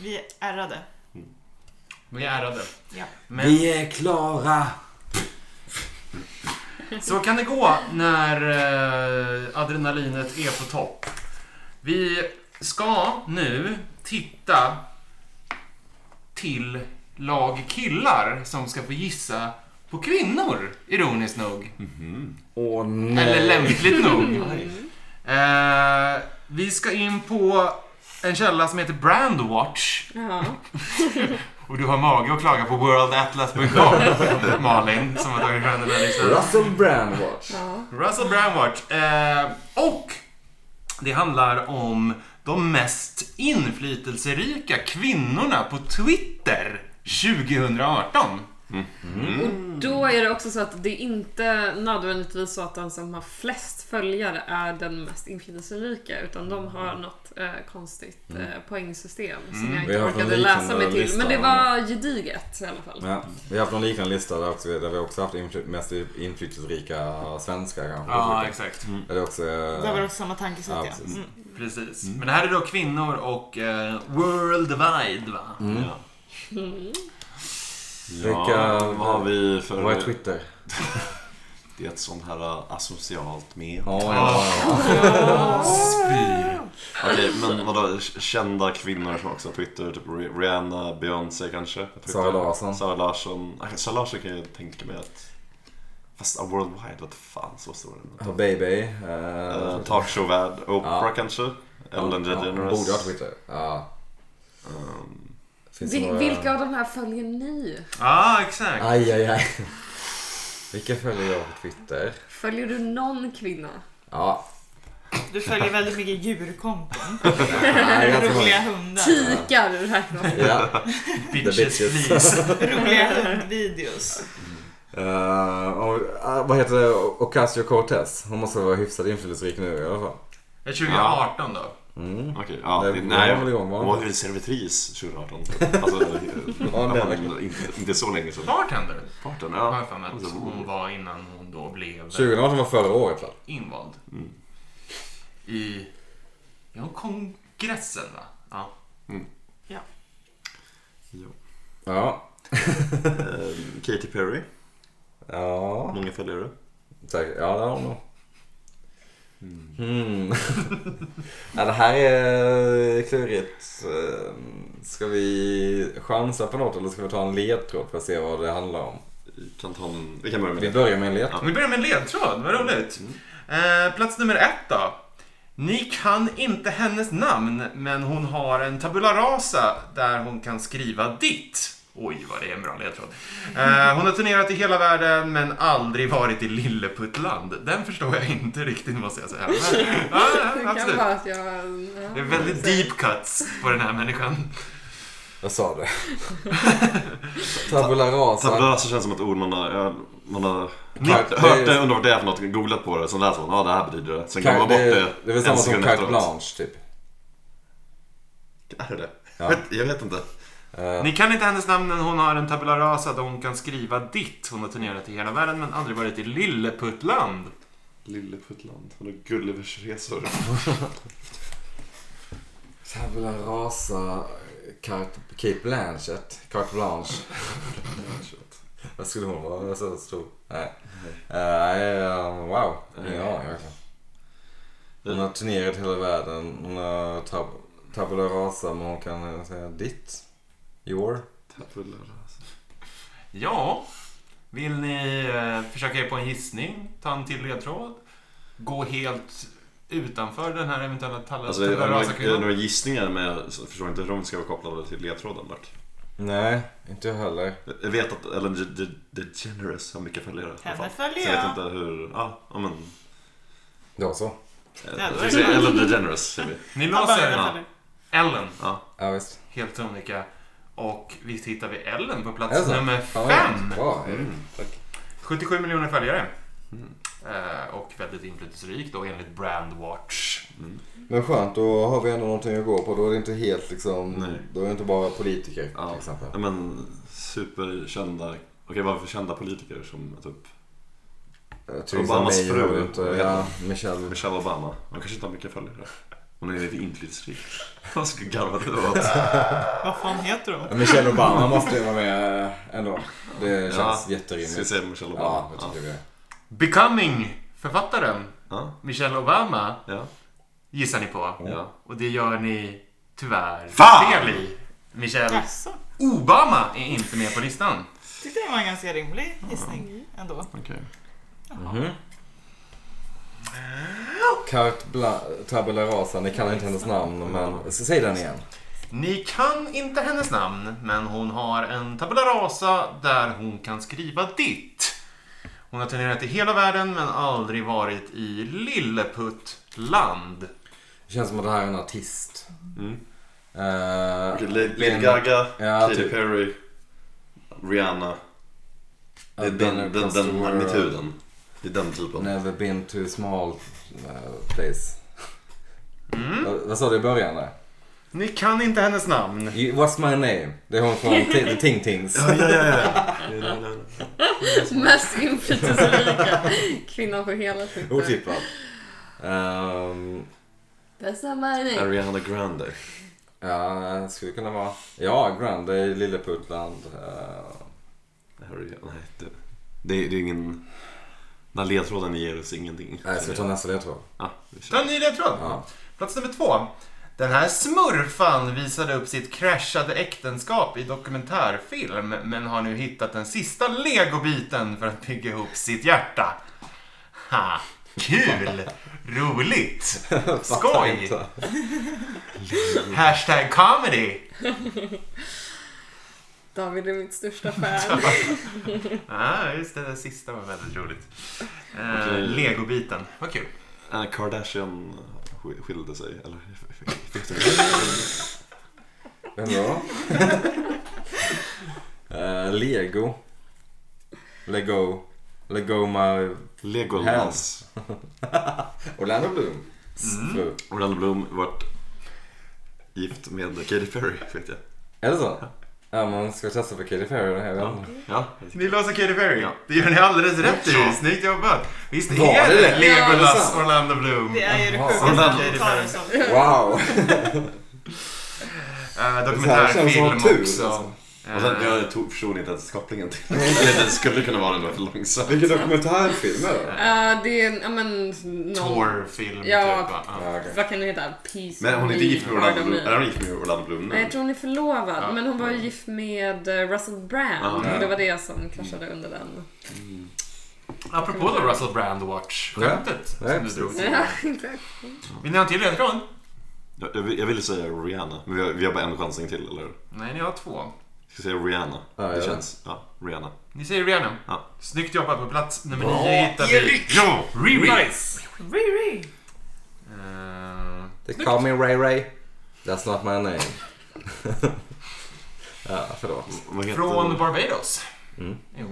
[SPEAKER 3] Vi är ärrade.
[SPEAKER 1] Vi är ärrade.
[SPEAKER 3] Ja.
[SPEAKER 1] Men
[SPEAKER 2] är klara.
[SPEAKER 1] så kan det gå när eh, adrenalinet är på topp. Vi ska nu titta till lag killar som ska få gissa på kvinnor, ironiskt nog.
[SPEAKER 2] Åh
[SPEAKER 1] Eller
[SPEAKER 2] nej.
[SPEAKER 1] lämpligt
[SPEAKER 2] *laughs*
[SPEAKER 1] nog. Eh, vi ska in på en källa som heter Brandwatch.
[SPEAKER 5] Ja.
[SPEAKER 1] Och du har mage att klaga på
[SPEAKER 2] *laughs*
[SPEAKER 1] worldatlas.com, Malin, som har tagit fram den här listan.
[SPEAKER 2] Russell Brand Watch.
[SPEAKER 5] Ja.
[SPEAKER 1] Russell Brandwatch. Eh, och det handlar om de mest inflytelserika kvinnorna på Twitter 2018.
[SPEAKER 5] Och då är det också så att det är inte nödvändigtvis så att den som har flest följare är den mest inflytelserika utan de
[SPEAKER 2] Mm.
[SPEAKER 5] har något eh, konstigt eh, poängsystem som jag
[SPEAKER 2] Vi
[SPEAKER 5] inte
[SPEAKER 2] har fått
[SPEAKER 5] orkade
[SPEAKER 2] en
[SPEAKER 5] läsa
[SPEAKER 2] liknande
[SPEAKER 5] mig till. Men det
[SPEAKER 2] lista.
[SPEAKER 5] var gediget i alla fall.
[SPEAKER 2] Ja, vi har haft en liknande lista där, också, där vi också haft infly- mest inflytelserika svenskar kanske.
[SPEAKER 1] Ja, exakt.
[SPEAKER 2] Eller också... eh,
[SPEAKER 3] Det var också samma tankesätt
[SPEAKER 2] Ja,
[SPEAKER 3] ja.
[SPEAKER 2] precis.
[SPEAKER 3] Mm.
[SPEAKER 1] Precis. Men det här är då kvinnor och eh, worldwide, va?
[SPEAKER 2] Mm.
[SPEAKER 4] Ja.
[SPEAKER 2] Vilka-
[SPEAKER 4] Ja, vad har vi för...
[SPEAKER 2] Vad är Twitter?
[SPEAKER 4] Det är ett sånt här eh, asocialt med.
[SPEAKER 2] Ja, ja, ja.
[SPEAKER 1] Spy.
[SPEAKER 4] Okej, men vadå? k- Kända kvinnor som också har Twitter? Typ Rih- Rihanna, Beyoncé kanske? på Twitter.
[SPEAKER 2] Sara Larsson.
[SPEAKER 4] Sara Larsson. Okej, Sara Larsson kan jag tänka mig att... Fast a worldwide, vad fan så stor är den inte.
[SPEAKER 2] ja. Baby. eh,
[SPEAKER 4] Eh, Talkshowvärd. Oprah
[SPEAKER 2] Ja.
[SPEAKER 4] kanske? Ellen
[SPEAKER 2] ja,
[SPEAKER 4] DeGeneres.
[SPEAKER 2] Borde ha Twitter. Ja.
[SPEAKER 4] Ehm,
[SPEAKER 2] Finns det
[SPEAKER 5] Vi-
[SPEAKER 2] några-
[SPEAKER 5] Vilka av de här följer ni?
[SPEAKER 1] Ja, exakt.
[SPEAKER 2] Aj, aj, aj. Vilka följer jag på Twitter?
[SPEAKER 5] Följer du någon kvinna?
[SPEAKER 3] *laughs*
[SPEAKER 2] Ja,
[SPEAKER 3] Du följer väldigt mycket djurkonton.
[SPEAKER 2] nej, ganska
[SPEAKER 3] Roliga
[SPEAKER 2] många.
[SPEAKER 3] hundar.
[SPEAKER 5] Tikar räknas.
[SPEAKER 2] Ja.
[SPEAKER 1] Bitches,
[SPEAKER 2] bitches.
[SPEAKER 3] *laughs*
[SPEAKER 1] please.
[SPEAKER 3] Roliga hundvideos.
[SPEAKER 2] Eh, och, eh, vad heter det? Ocasio Cortez. Hon måste vara hyfsat inflytelserik nu i alla fall.
[SPEAKER 1] Ja, 2018 då.
[SPEAKER 4] Okej, ja.
[SPEAKER 2] Det
[SPEAKER 4] det-
[SPEAKER 2] var
[SPEAKER 4] nej,
[SPEAKER 2] väl igång, va?
[SPEAKER 4] hon var väl servitris
[SPEAKER 2] *laughs*
[SPEAKER 4] 2018. Alltså,
[SPEAKER 2] Ja,
[SPEAKER 4] ja,
[SPEAKER 2] nej.
[SPEAKER 4] men inte, inte så länge sedan.
[SPEAKER 1] Bartender.
[SPEAKER 4] Parten,
[SPEAKER 1] Har
[SPEAKER 4] ja.
[SPEAKER 1] jag för mig att hon var innan hon då blev
[SPEAKER 2] 2018 var förra året va?
[SPEAKER 1] invald. I... Ja, kongressen va? Ja.
[SPEAKER 4] ja.
[SPEAKER 2] Ja.
[SPEAKER 4] Ehm, Katy Perry,
[SPEAKER 2] Ja,
[SPEAKER 4] många följare.
[SPEAKER 2] säkert. Ja, det har hon nog. Hmm. *laughs* ja, det här är klurigt. Eh, Ska vi chansa på något eller ska vi ta en ledtråd för att se vad det handlar om?
[SPEAKER 4] Vi kan ta en, vi kan börja med
[SPEAKER 2] Vi
[SPEAKER 4] det.
[SPEAKER 2] börjar med en ledtråd.
[SPEAKER 1] Vi börjar med en ledtråd, vad roligt.
[SPEAKER 5] Mm.
[SPEAKER 1] Eh, plats nummer ett då. Ni kan inte hennes namn, men hon har en tabula rasa där hon kan skriva ditt. Oj, vad det är en bra ledtråd. Eh, hon har turnerat i hela världen, men aldrig varit i Lilleputtland. Den förstår jag inte riktigt, måste jag säga. Men, ja,
[SPEAKER 5] *laughs* Det
[SPEAKER 1] ja,
[SPEAKER 5] kan
[SPEAKER 1] absolut.
[SPEAKER 5] vara att jag...
[SPEAKER 1] Det är
[SPEAKER 5] Ja.
[SPEAKER 1] väldigt deep cuts på den här människan.
[SPEAKER 2] Vad sa
[SPEAKER 4] *laughs*
[SPEAKER 2] du? Tabula rasa.
[SPEAKER 4] Tabulösa känns som ett ord man har, ja, man har hört,
[SPEAKER 2] det är-
[SPEAKER 4] hört det, undrar vad det är för något, googlat på det, sen läser man, ja det här betyder det. Sen glömmer man
[SPEAKER 2] Ka-
[SPEAKER 4] bort
[SPEAKER 2] det,
[SPEAKER 4] det
[SPEAKER 2] är- det är väl samma som carte
[SPEAKER 4] efteråt.
[SPEAKER 2] blanche typ.
[SPEAKER 4] Är det det?
[SPEAKER 2] Ja.
[SPEAKER 4] Jag vet- Jag vet inte.
[SPEAKER 2] Eh,
[SPEAKER 1] Ni kan inte hennes namn men hon har en tabula rasa där hon kan skriva ditt. Hon har turnerat i hela världen men aldrig varit i Lilleputtland.
[SPEAKER 4] Lilleputtland. Hon har Gullivers resor.
[SPEAKER 2] Tabula rasa, carte, Kate Blanchett, carte blanche. Vad skulle hon vara så stor? Nej. Eh, nej, eh, wow, ingen
[SPEAKER 4] Nej.
[SPEAKER 2] aning verkligen. Hon har turnerat hela världen. Hon har tab tabula rasa men hon kan eh, säga ditt. Your. Alltså,
[SPEAKER 4] Tabula rasa.
[SPEAKER 1] Ja, vill ni eh, försöka er på en gissning? Ta en till ledtråd? Gå helt utanför den här eventuella tal-
[SPEAKER 4] Alltså, är det
[SPEAKER 1] tabula
[SPEAKER 4] några-
[SPEAKER 1] rasa
[SPEAKER 4] är det
[SPEAKER 1] kvinnan?
[SPEAKER 4] några gissningar men jag förstår inte hur de ska vara kopplade till ledtråden Mark.
[SPEAKER 2] Nej, inte jag heller.
[SPEAKER 4] Jag vet att Ellen De- De- DeGeneres har mycket följare. i alla
[SPEAKER 3] Henne
[SPEAKER 4] fall.
[SPEAKER 3] följer
[SPEAKER 4] Så jag vet
[SPEAKER 3] jag.
[SPEAKER 4] inte hur... Ja, ja, men...
[SPEAKER 2] Det var så.
[SPEAKER 4] eh,
[SPEAKER 3] det
[SPEAKER 4] Jag
[SPEAKER 3] var
[SPEAKER 4] tänkte säga
[SPEAKER 3] det.
[SPEAKER 4] Ellen DeGeneres. säger vi.
[SPEAKER 1] Ni
[SPEAKER 3] Han bara,
[SPEAKER 1] låser
[SPEAKER 4] ja.
[SPEAKER 3] "Följer."
[SPEAKER 1] Ellen,
[SPEAKER 4] Ja.
[SPEAKER 2] Ja visst.
[SPEAKER 1] helt sonika. Och visst hittar vi Ellen på plats
[SPEAKER 2] Är det så?
[SPEAKER 1] nummer
[SPEAKER 2] Fan, vad
[SPEAKER 1] fem.
[SPEAKER 2] Bra, Erik.
[SPEAKER 1] 77 miljoner följare.
[SPEAKER 4] Mm.
[SPEAKER 1] Eh, och väldigt inflytelserik då enligt Brandwatch.
[SPEAKER 2] Men skönt, då har vi ändå någonting att gå på. Då är det inte helt liksom...
[SPEAKER 4] Nej.
[SPEAKER 2] Då är det inte bara politiker till
[SPEAKER 4] Ja,
[SPEAKER 2] exempel.
[SPEAKER 4] ja, men superkända. Okej, vad för kända politiker som typ
[SPEAKER 2] Eh, Theresa
[SPEAKER 4] Obamas
[SPEAKER 2] May
[SPEAKER 4] fru,
[SPEAKER 2] har vi inte,
[SPEAKER 4] vad heter
[SPEAKER 2] ja, Michelle.
[SPEAKER 4] Michelle Obama? Hon kanske inte har mycket följare. Hon är lite inflytelserik. *laughs* Vad skulle garva
[SPEAKER 2] *laughs*
[SPEAKER 4] det åt?
[SPEAKER 3] Vad fan heter de?
[SPEAKER 2] Ja, Michelle Obama måste ju vara med eh, ändå. Det känns
[SPEAKER 4] Ska vi
[SPEAKER 2] jätterimligt.
[SPEAKER 4] säga Michelle
[SPEAKER 2] Ja,
[SPEAKER 4] Obama?
[SPEAKER 2] jag
[SPEAKER 4] Ja,
[SPEAKER 2] tycker det.
[SPEAKER 1] Becoming, författaren
[SPEAKER 4] ja,
[SPEAKER 1] Michelle Obama
[SPEAKER 4] ja.
[SPEAKER 1] gissar ni på.
[SPEAKER 4] ja.
[SPEAKER 1] Och det gör ni tyvärr
[SPEAKER 4] Fan!
[SPEAKER 1] fel i. Michelle
[SPEAKER 3] Jaså?
[SPEAKER 1] Obama är inte med på listan.
[SPEAKER 3] Tyckte det var en ganska rimlig gissning ändå.
[SPEAKER 4] Okej.
[SPEAKER 2] Carte Bla, Tabula Rasa, ni kan inte hennes namn men... S- Säg den igen.
[SPEAKER 1] Ni kan inte hennes namn, men hon har en tabula rasa där hon kan skriva ditt. Hon har turnerat i hela världen, men aldrig varit i Lilleputtland.
[SPEAKER 2] Det känns som att det här är en artist.
[SPEAKER 4] Mm.
[SPEAKER 2] Eh,
[SPEAKER 4] Okej, Lady
[SPEAKER 2] Ben-
[SPEAKER 4] Gaga,
[SPEAKER 2] Ja,
[SPEAKER 4] Katy
[SPEAKER 2] typ.
[SPEAKER 4] Perry, Rihanna.
[SPEAKER 2] Ja,
[SPEAKER 4] Det är den, den, den,
[SPEAKER 2] Custer-
[SPEAKER 4] magnituden. Det är den typen.
[SPEAKER 2] Never been to small eh, place. Vad, vad sa du i början där?
[SPEAKER 1] Ni kan inte hennes namn.
[SPEAKER 2] You- What's my name? Det är hon från Ti- The Ting
[SPEAKER 4] *laughs*
[SPEAKER 2] Tings.
[SPEAKER 4] Ja, ja, ja, ja. Ja, ja, ja.
[SPEAKER 5] Mest inflytelserika kvinnan på hela
[SPEAKER 4] typ.
[SPEAKER 5] Twitter.
[SPEAKER 2] Otippat. Ehm,
[SPEAKER 5] That's not my name.
[SPEAKER 4] Ariana Grande.
[SPEAKER 2] ja, det skulle kunna vara... Ja, Grand. Det är Lilleputtland. eh,
[SPEAKER 4] Ariana, nej, det, det, är- det är ingen... Den här ledtråden ger oss ingenting.
[SPEAKER 2] Nej, ska vi ta nästa ledtråd?
[SPEAKER 4] Ja, vi kör.
[SPEAKER 1] Ta en ny ledtråd.
[SPEAKER 2] Ja.
[SPEAKER 1] Plats nummer två. Den här smurfan visade upp sitt kraschade äktenskap i dokumentärfilm, men har nu hittat den sista legobiten för att bygga ihop sitt hjärta. Ha! Kul! *laughs* Roligt! Skoj! Hashtag comedy!
[SPEAKER 5] David är mitt
[SPEAKER 4] *laughs*
[SPEAKER 5] största fan.
[SPEAKER 1] Ja, just det. Det sista var väldigt roligt. Eh,
[SPEAKER 4] Okej.
[SPEAKER 1] Legobiten. Vad kul.
[SPEAKER 4] Anna Kardashian sk- skilde sig, eller fick det.
[SPEAKER 2] Vem då? *laughs* Eh, Lego. Lego. Lego my...
[SPEAKER 4] Legolas.
[SPEAKER 2] Orlando Bloom. Fru.
[SPEAKER 4] Orlando Bloom vart gift med Katy Perry, vet jag.
[SPEAKER 2] Är det så? Ja, man ska testa för Katy Perry. det här, väl?
[SPEAKER 4] Ja,
[SPEAKER 1] Ni låser Katy Perry.
[SPEAKER 4] Ja.
[SPEAKER 1] Det gör ni alldeles rätt i. Snyggt jobbat. Visst
[SPEAKER 2] Var
[SPEAKER 1] är
[SPEAKER 2] det
[SPEAKER 1] det
[SPEAKER 2] det?
[SPEAKER 5] Ja, det
[SPEAKER 1] Legolas
[SPEAKER 2] sant.
[SPEAKER 1] Orlando Bloom?
[SPEAKER 3] Det är ju det
[SPEAKER 2] Jaha.
[SPEAKER 3] sjukaste
[SPEAKER 4] Orlando.
[SPEAKER 3] att vi tar det som.
[SPEAKER 2] Wow!
[SPEAKER 1] Eh,
[SPEAKER 2] Det här känns
[SPEAKER 1] dokumentärfilm
[SPEAKER 2] som tur,
[SPEAKER 1] också.
[SPEAKER 2] alltså.
[SPEAKER 4] Och sen,
[SPEAKER 1] Eh,
[SPEAKER 4] jag tog, förstod inte ens kopplingen till det. skulle kunna vara den, det var för
[SPEAKER 2] *laughs*
[SPEAKER 4] långsamt.
[SPEAKER 2] Vilken dokumentärfilm är det?
[SPEAKER 5] Eh, det är en, ja men... någon-
[SPEAKER 1] Torrfilm, typ.
[SPEAKER 5] Ja.
[SPEAKER 1] va? Ja.
[SPEAKER 2] Ja, okej.
[SPEAKER 5] Vad kan det heta? Peace
[SPEAKER 4] Men hon är inte gift med
[SPEAKER 5] Hard
[SPEAKER 4] Orlando
[SPEAKER 5] on
[SPEAKER 4] Bloom.
[SPEAKER 5] Me.
[SPEAKER 4] Eller hon är gift med Orlando Bloom
[SPEAKER 5] Nej,
[SPEAKER 4] nu.
[SPEAKER 5] jag tror hon är förlovad.
[SPEAKER 1] Ja.
[SPEAKER 5] Men hon var ju gift med eh, Russell Brand.
[SPEAKER 4] Ah, Mm.
[SPEAKER 2] ja.
[SPEAKER 5] Det var det som kraschade under den.
[SPEAKER 1] Apropå då Russell Brand Watch-skämtet som
[SPEAKER 2] Ja,
[SPEAKER 1] du
[SPEAKER 2] precis.
[SPEAKER 1] drog.
[SPEAKER 5] Ja, inte.
[SPEAKER 1] Vill ni ha en till ledtråd?
[SPEAKER 4] Jag, jag, vill- jag ville säga Rihanna, men vi har, vi har bara en chansning till, eller hur?
[SPEAKER 1] Nej, ni har två.
[SPEAKER 4] Ska säga Rihanna.
[SPEAKER 2] Ja,
[SPEAKER 4] det
[SPEAKER 2] ja.
[SPEAKER 4] känns. Ja, Rihanna.
[SPEAKER 1] Ni säger Rihanna.
[SPEAKER 4] Ja.
[SPEAKER 1] Snyggt jobbat på plats nummer nio hittar vi... Ja, Riri!
[SPEAKER 3] Nice! Riri!
[SPEAKER 1] Eh,
[SPEAKER 2] They call me Ray Ray. That's not my name. *laughs* ja, förlåt.
[SPEAKER 4] Vad heter
[SPEAKER 1] Från Barbados.
[SPEAKER 2] Mm.
[SPEAKER 1] Jo.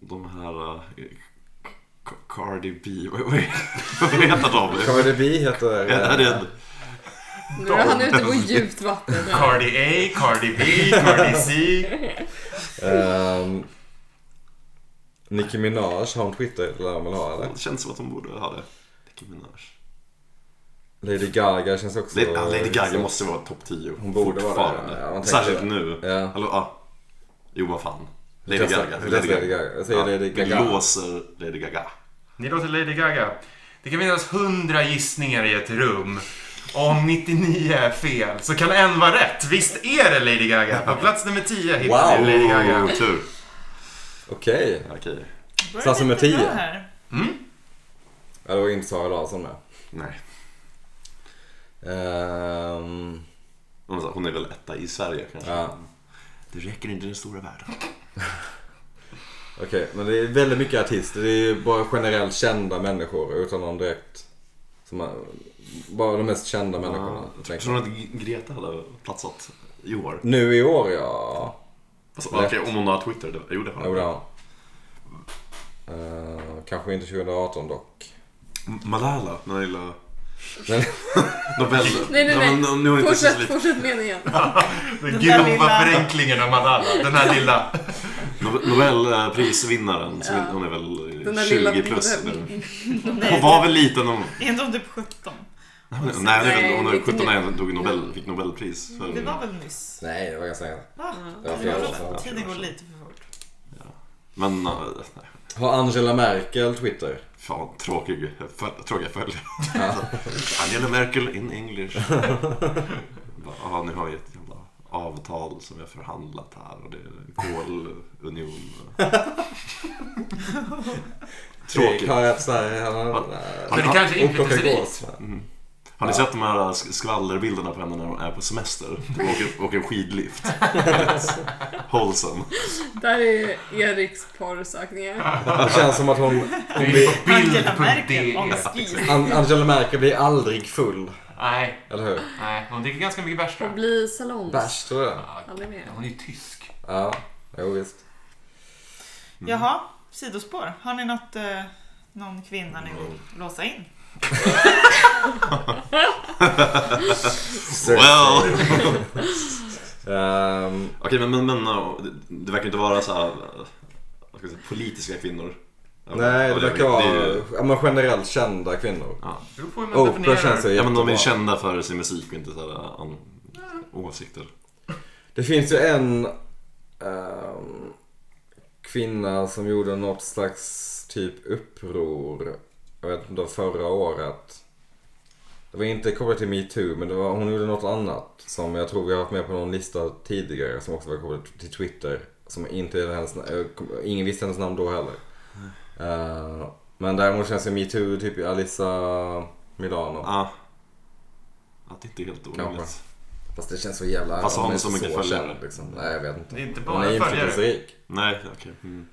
[SPEAKER 4] de här... eh, K- K- *laughs* Cardi B. Vad vad- vad heter de?
[SPEAKER 2] Cardi B heter...
[SPEAKER 4] Är det en
[SPEAKER 5] Nu är han ute på djupt vatten. här.
[SPEAKER 1] Cardi A, Cardi B, Cardi
[SPEAKER 2] *laughs*
[SPEAKER 1] C.
[SPEAKER 2] Ehm, Nicki Minaj, har hon Twitter? Det lär hon väl ha eller?
[SPEAKER 4] Det känns som att hon borde ha det. Nicki Minaj.
[SPEAKER 2] Lady Gaga känns också...
[SPEAKER 4] Lady, ja, Lady Gaga måste vara topp 10
[SPEAKER 2] Hon borde vara det,
[SPEAKER 4] fortfarande.
[SPEAKER 2] ja, man tänker
[SPEAKER 4] Särskilt
[SPEAKER 2] det.
[SPEAKER 4] nu.
[SPEAKER 2] Ja.
[SPEAKER 4] Alltså, ja. Jo, vad fan. Lady
[SPEAKER 2] Jag testar-
[SPEAKER 4] Gaga.
[SPEAKER 2] jag testar Lady Gaga. Jag säger Lady
[SPEAKER 4] Vi
[SPEAKER 2] Gaga.
[SPEAKER 4] låser Lady Gaga.
[SPEAKER 1] Ni låter Lady Gaga. Det kan finnas hundra gissningar i ett rum. Om 99 är fel så kan en vara rätt. Visst är det Lady Gaga? På plats nummer 10 hittar
[SPEAKER 2] Wow.
[SPEAKER 1] vi Lady Gaga.
[SPEAKER 4] Oh, tur.
[SPEAKER 2] Okej.
[SPEAKER 4] Okej.
[SPEAKER 3] Börjar
[SPEAKER 2] Klass nummer
[SPEAKER 3] lite bra
[SPEAKER 2] 10.
[SPEAKER 3] här.
[SPEAKER 2] Ja, det var inte Sara Larsson med.
[SPEAKER 4] Nej.
[SPEAKER 2] Ehm,
[SPEAKER 4] Hon sa- hon är väl etta i Sverige kanske.
[SPEAKER 2] ja.
[SPEAKER 4] Det räcker inte i den stora världen.
[SPEAKER 2] Okej, men det är väldigt mycket artister. Det är ju bara generellt kända människor utan någon direkt... Som är, bara de mest kända människorna.
[SPEAKER 4] Ja,
[SPEAKER 2] tänker
[SPEAKER 4] Tror
[SPEAKER 2] jag.
[SPEAKER 4] du att G- Greta hade platsat i år?
[SPEAKER 2] Nu i år ja.
[SPEAKER 4] Alltså,
[SPEAKER 2] Lätt.
[SPEAKER 4] Okej, om hon har Twitter. Det, jo, det har
[SPEAKER 2] Jo
[SPEAKER 4] hon.
[SPEAKER 2] det har hon. Eh, Kanske inte 2018 dock.
[SPEAKER 4] M- Malala, den här lilla...
[SPEAKER 2] Men-
[SPEAKER 4] Nobel...
[SPEAKER 5] Nej, nej, nej.
[SPEAKER 4] men nu- nu har inte så
[SPEAKER 5] Fortsätt,
[SPEAKER 4] lite...
[SPEAKER 5] fortsätt meningen.
[SPEAKER 1] Den
[SPEAKER 3] där
[SPEAKER 1] grova
[SPEAKER 3] lilla-
[SPEAKER 1] förenklingen av Madonna. Den här lilla.
[SPEAKER 4] Nobel- Nobelprisvinnaren, som
[SPEAKER 5] Ja.
[SPEAKER 4] hon är väl
[SPEAKER 5] Den där
[SPEAKER 4] 20
[SPEAKER 5] lilla
[SPEAKER 4] plus
[SPEAKER 5] bilden.
[SPEAKER 4] nu. Hon
[SPEAKER 3] Nej,
[SPEAKER 4] var väl liten om...
[SPEAKER 3] är inte hon typ 17?
[SPEAKER 4] Nej, hon är väl- hon är
[SPEAKER 5] Nej,
[SPEAKER 4] väl 17 när hon
[SPEAKER 5] lite
[SPEAKER 4] tog
[SPEAKER 5] mer.
[SPEAKER 4] Nobel, fick Nobelpris. För...
[SPEAKER 3] Det var väl nyss?
[SPEAKER 2] Nej, det var ganska länge
[SPEAKER 3] Va?
[SPEAKER 2] Det var flera år sedan.
[SPEAKER 3] Ja, Tiden går lite för fort.
[SPEAKER 4] Men, äh, nej.
[SPEAKER 2] Har Angela Merkel Twitter?
[SPEAKER 4] Fan, tråkig, föl, tråkiga följare. *laughs* Angela Merkel in English. Bara, Ja, ni har ju ett jävla avtal som vi har förhandlat här och det
[SPEAKER 2] *laughs*
[SPEAKER 4] är kolunion. Tråkigt.
[SPEAKER 2] Har jag så här, han har,
[SPEAKER 1] Men det kanske är inflytelserikt.
[SPEAKER 4] Har ni sett de här sk- skvallerbilderna på henne när hon är på semester? De åker, åker
[SPEAKER 2] *laughs*
[SPEAKER 4] skidlift. Holsen.
[SPEAKER 5] Där är Eriks porrsökningar.
[SPEAKER 2] Det känns som att hon...
[SPEAKER 1] Det är på
[SPEAKER 3] Angela Merkel
[SPEAKER 1] bild.de.
[SPEAKER 3] on skis.
[SPEAKER 2] An- Angela Merkel blir aldrig full.
[SPEAKER 1] Nej,
[SPEAKER 2] Eller hur?
[SPEAKER 1] nej. Hon dricker ganska mycket bärs tror
[SPEAKER 5] Och
[SPEAKER 1] jag.
[SPEAKER 5] bli salongs.
[SPEAKER 2] Bärs tror jag.
[SPEAKER 5] Aldrig mer.
[SPEAKER 1] Hon är ju tysk.
[SPEAKER 2] Ja, jo visst.
[SPEAKER 3] Jaha, sidospår. Har ni något, eh, någon kvinna ni vill låsa in?
[SPEAKER 4] Well!
[SPEAKER 2] Ehm,
[SPEAKER 4] Okej, men, men, men uh, det, det verkar inte vara så här, uh, vad ska jag säga, politiska kvinnor. Ja,
[SPEAKER 2] nej,
[SPEAKER 4] och
[SPEAKER 2] det verkar
[SPEAKER 4] det är
[SPEAKER 2] vara
[SPEAKER 4] ju-
[SPEAKER 2] ja, men generellt kända kvinnor.
[SPEAKER 4] Ja.
[SPEAKER 1] Det beror på hur man
[SPEAKER 2] Oprah känns
[SPEAKER 1] definierar.
[SPEAKER 2] ju
[SPEAKER 4] ja, men de är
[SPEAKER 2] jättebra.
[SPEAKER 4] ju kända för sin musik och inte så här, uh, an, åsikter.
[SPEAKER 2] Det finns ju en ehm, kvinna som gjorde något slags typ uppror. Jag vet inte, förra året. Det var inte kopplat till metoo men det var, hon gjorde något annat som jag tror vi har haft med på någon lista tidigare som också var kopplat till Twitter. Som inte är hennes, na- jag kom- ingen visste hennes namn då heller. Eh, men däremot känns ju metoo typ Alissa Milano.
[SPEAKER 4] Ja. Ja, det är inte helt
[SPEAKER 2] Kanske.
[SPEAKER 4] orimligt.
[SPEAKER 2] Fast det känns så jävla...
[SPEAKER 4] Fast har hon
[SPEAKER 2] är
[SPEAKER 4] så
[SPEAKER 2] inte
[SPEAKER 4] mycket följare?
[SPEAKER 2] känd, liksom. Nej jag vet inte.
[SPEAKER 1] Det är inte
[SPEAKER 2] Hon
[SPEAKER 1] bara
[SPEAKER 2] är
[SPEAKER 1] följare.
[SPEAKER 2] inflytelserik.
[SPEAKER 4] Nej, okej. Mm.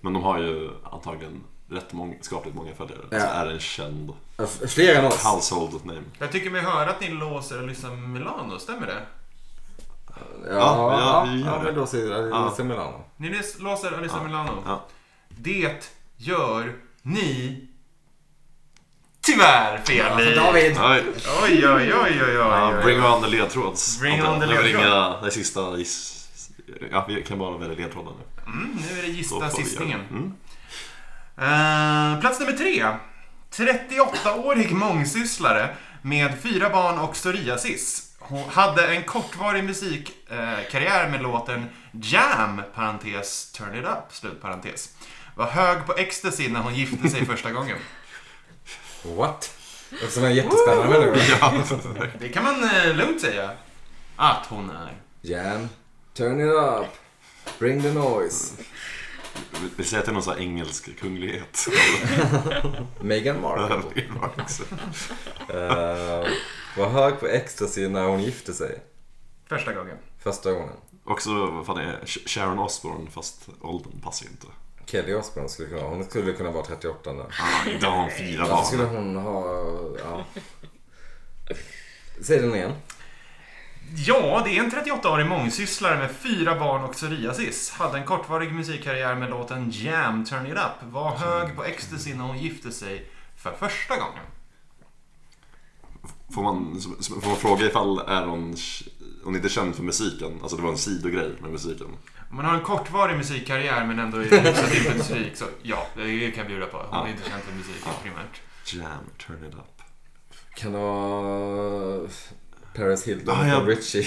[SPEAKER 4] Men de har ju antagligen rätt många, skapligt många följare.
[SPEAKER 2] Ja.
[SPEAKER 4] Så är en känd
[SPEAKER 2] Ja, f- Fler än oss.
[SPEAKER 4] household name.
[SPEAKER 1] Jag tycker mig höra att ni låser Alyssa Milano, stämmer det?
[SPEAKER 2] Ja, ja,
[SPEAKER 4] ja,
[SPEAKER 2] ja,
[SPEAKER 4] vi gör det.
[SPEAKER 2] men då säger jag
[SPEAKER 4] Ja.
[SPEAKER 2] Lisa Milano.
[SPEAKER 1] Ni låser Alyssa Milano.
[SPEAKER 4] Ja.
[SPEAKER 1] Det gör ni tyvärr fel i.
[SPEAKER 2] David!
[SPEAKER 4] Oj,
[SPEAKER 1] Oj, oj, oj, oj, oj.
[SPEAKER 4] ja,
[SPEAKER 1] oj.
[SPEAKER 4] bring on the ledtråds.
[SPEAKER 1] Bring on the
[SPEAKER 4] Det var
[SPEAKER 1] ledtråd.
[SPEAKER 4] inga- Det är sista giss... Ja, vi kan bara välja ledtrådar nu.
[SPEAKER 1] Mm, nu är det
[SPEAKER 4] Då får
[SPEAKER 1] gissa
[SPEAKER 4] vi göra
[SPEAKER 1] sistingen.
[SPEAKER 4] det. Mm. *laughs*
[SPEAKER 1] Eh, plats nummer tre. 38-årig mångsysslare med fyra barn och psoriasis. Hon hade en kortvarig musikkarriär med låten Jam, parentes, turn it up, slut parentes. Var hög på ecstasy när hon gifte sig första gången.
[SPEAKER 2] What? Det är som en jättespännande människa.
[SPEAKER 1] *laughs* Det kan man eh, lugnt säga att hon är.
[SPEAKER 2] Jan, turn it up. Bring the noise.
[SPEAKER 4] Vi- Vi säger att det är någon sån här engelsk kunglighet.
[SPEAKER 2] Meghan Markle. *laughs* Eh, var hög på ecstasy när hon gifte sig.
[SPEAKER 1] Första gången.
[SPEAKER 2] Första gången.
[SPEAKER 4] Också, vad fan är Sh- Sharon Osbourne fast åldern passar ju inte.
[SPEAKER 2] Kelly Osbourne skulle kunna Hon skulle kunna vara 38 nu.
[SPEAKER 4] Ah, inte har hon fyra
[SPEAKER 2] Varför skulle
[SPEAKER 4] barn.
[SPEAKER 2] hon ha... Ja. Säg den igen.
[SPEAKER 1] Ja, det är en 38-årig mångsysslare med fyra barn och psoriasis. Hade en kortvarig musikkarriär med låten Jam, Turn It Up. Var hög på ecstasy när hon gifte sig för första gången.
[SPEAKER 4] Får man, så- så får man fråga ifall är hon, hon är inte känd för musiken? Alltså det var en sidogrej med musiken.
[SPEAKER 1] Om man har en kortvarig musikkarriär men ändå är hyfsat inflytelserik så ja, det kan jag bjuda på. Hon är
[SPEAKER 4] Ja.
[SPEAKER 1] inte känd för musiken
[SPEAKER 4] Ja.
[SPEAKER 1] primärt.
[SPEAKER 4] Jam, turn it up. *laughs*
[SPEAKER 6] Kan det vara Paris Hilton
[SPEAKER 2] Ah,
[SPEAKER 4] Ja, ja.
[SPEAKER 6] och Richie?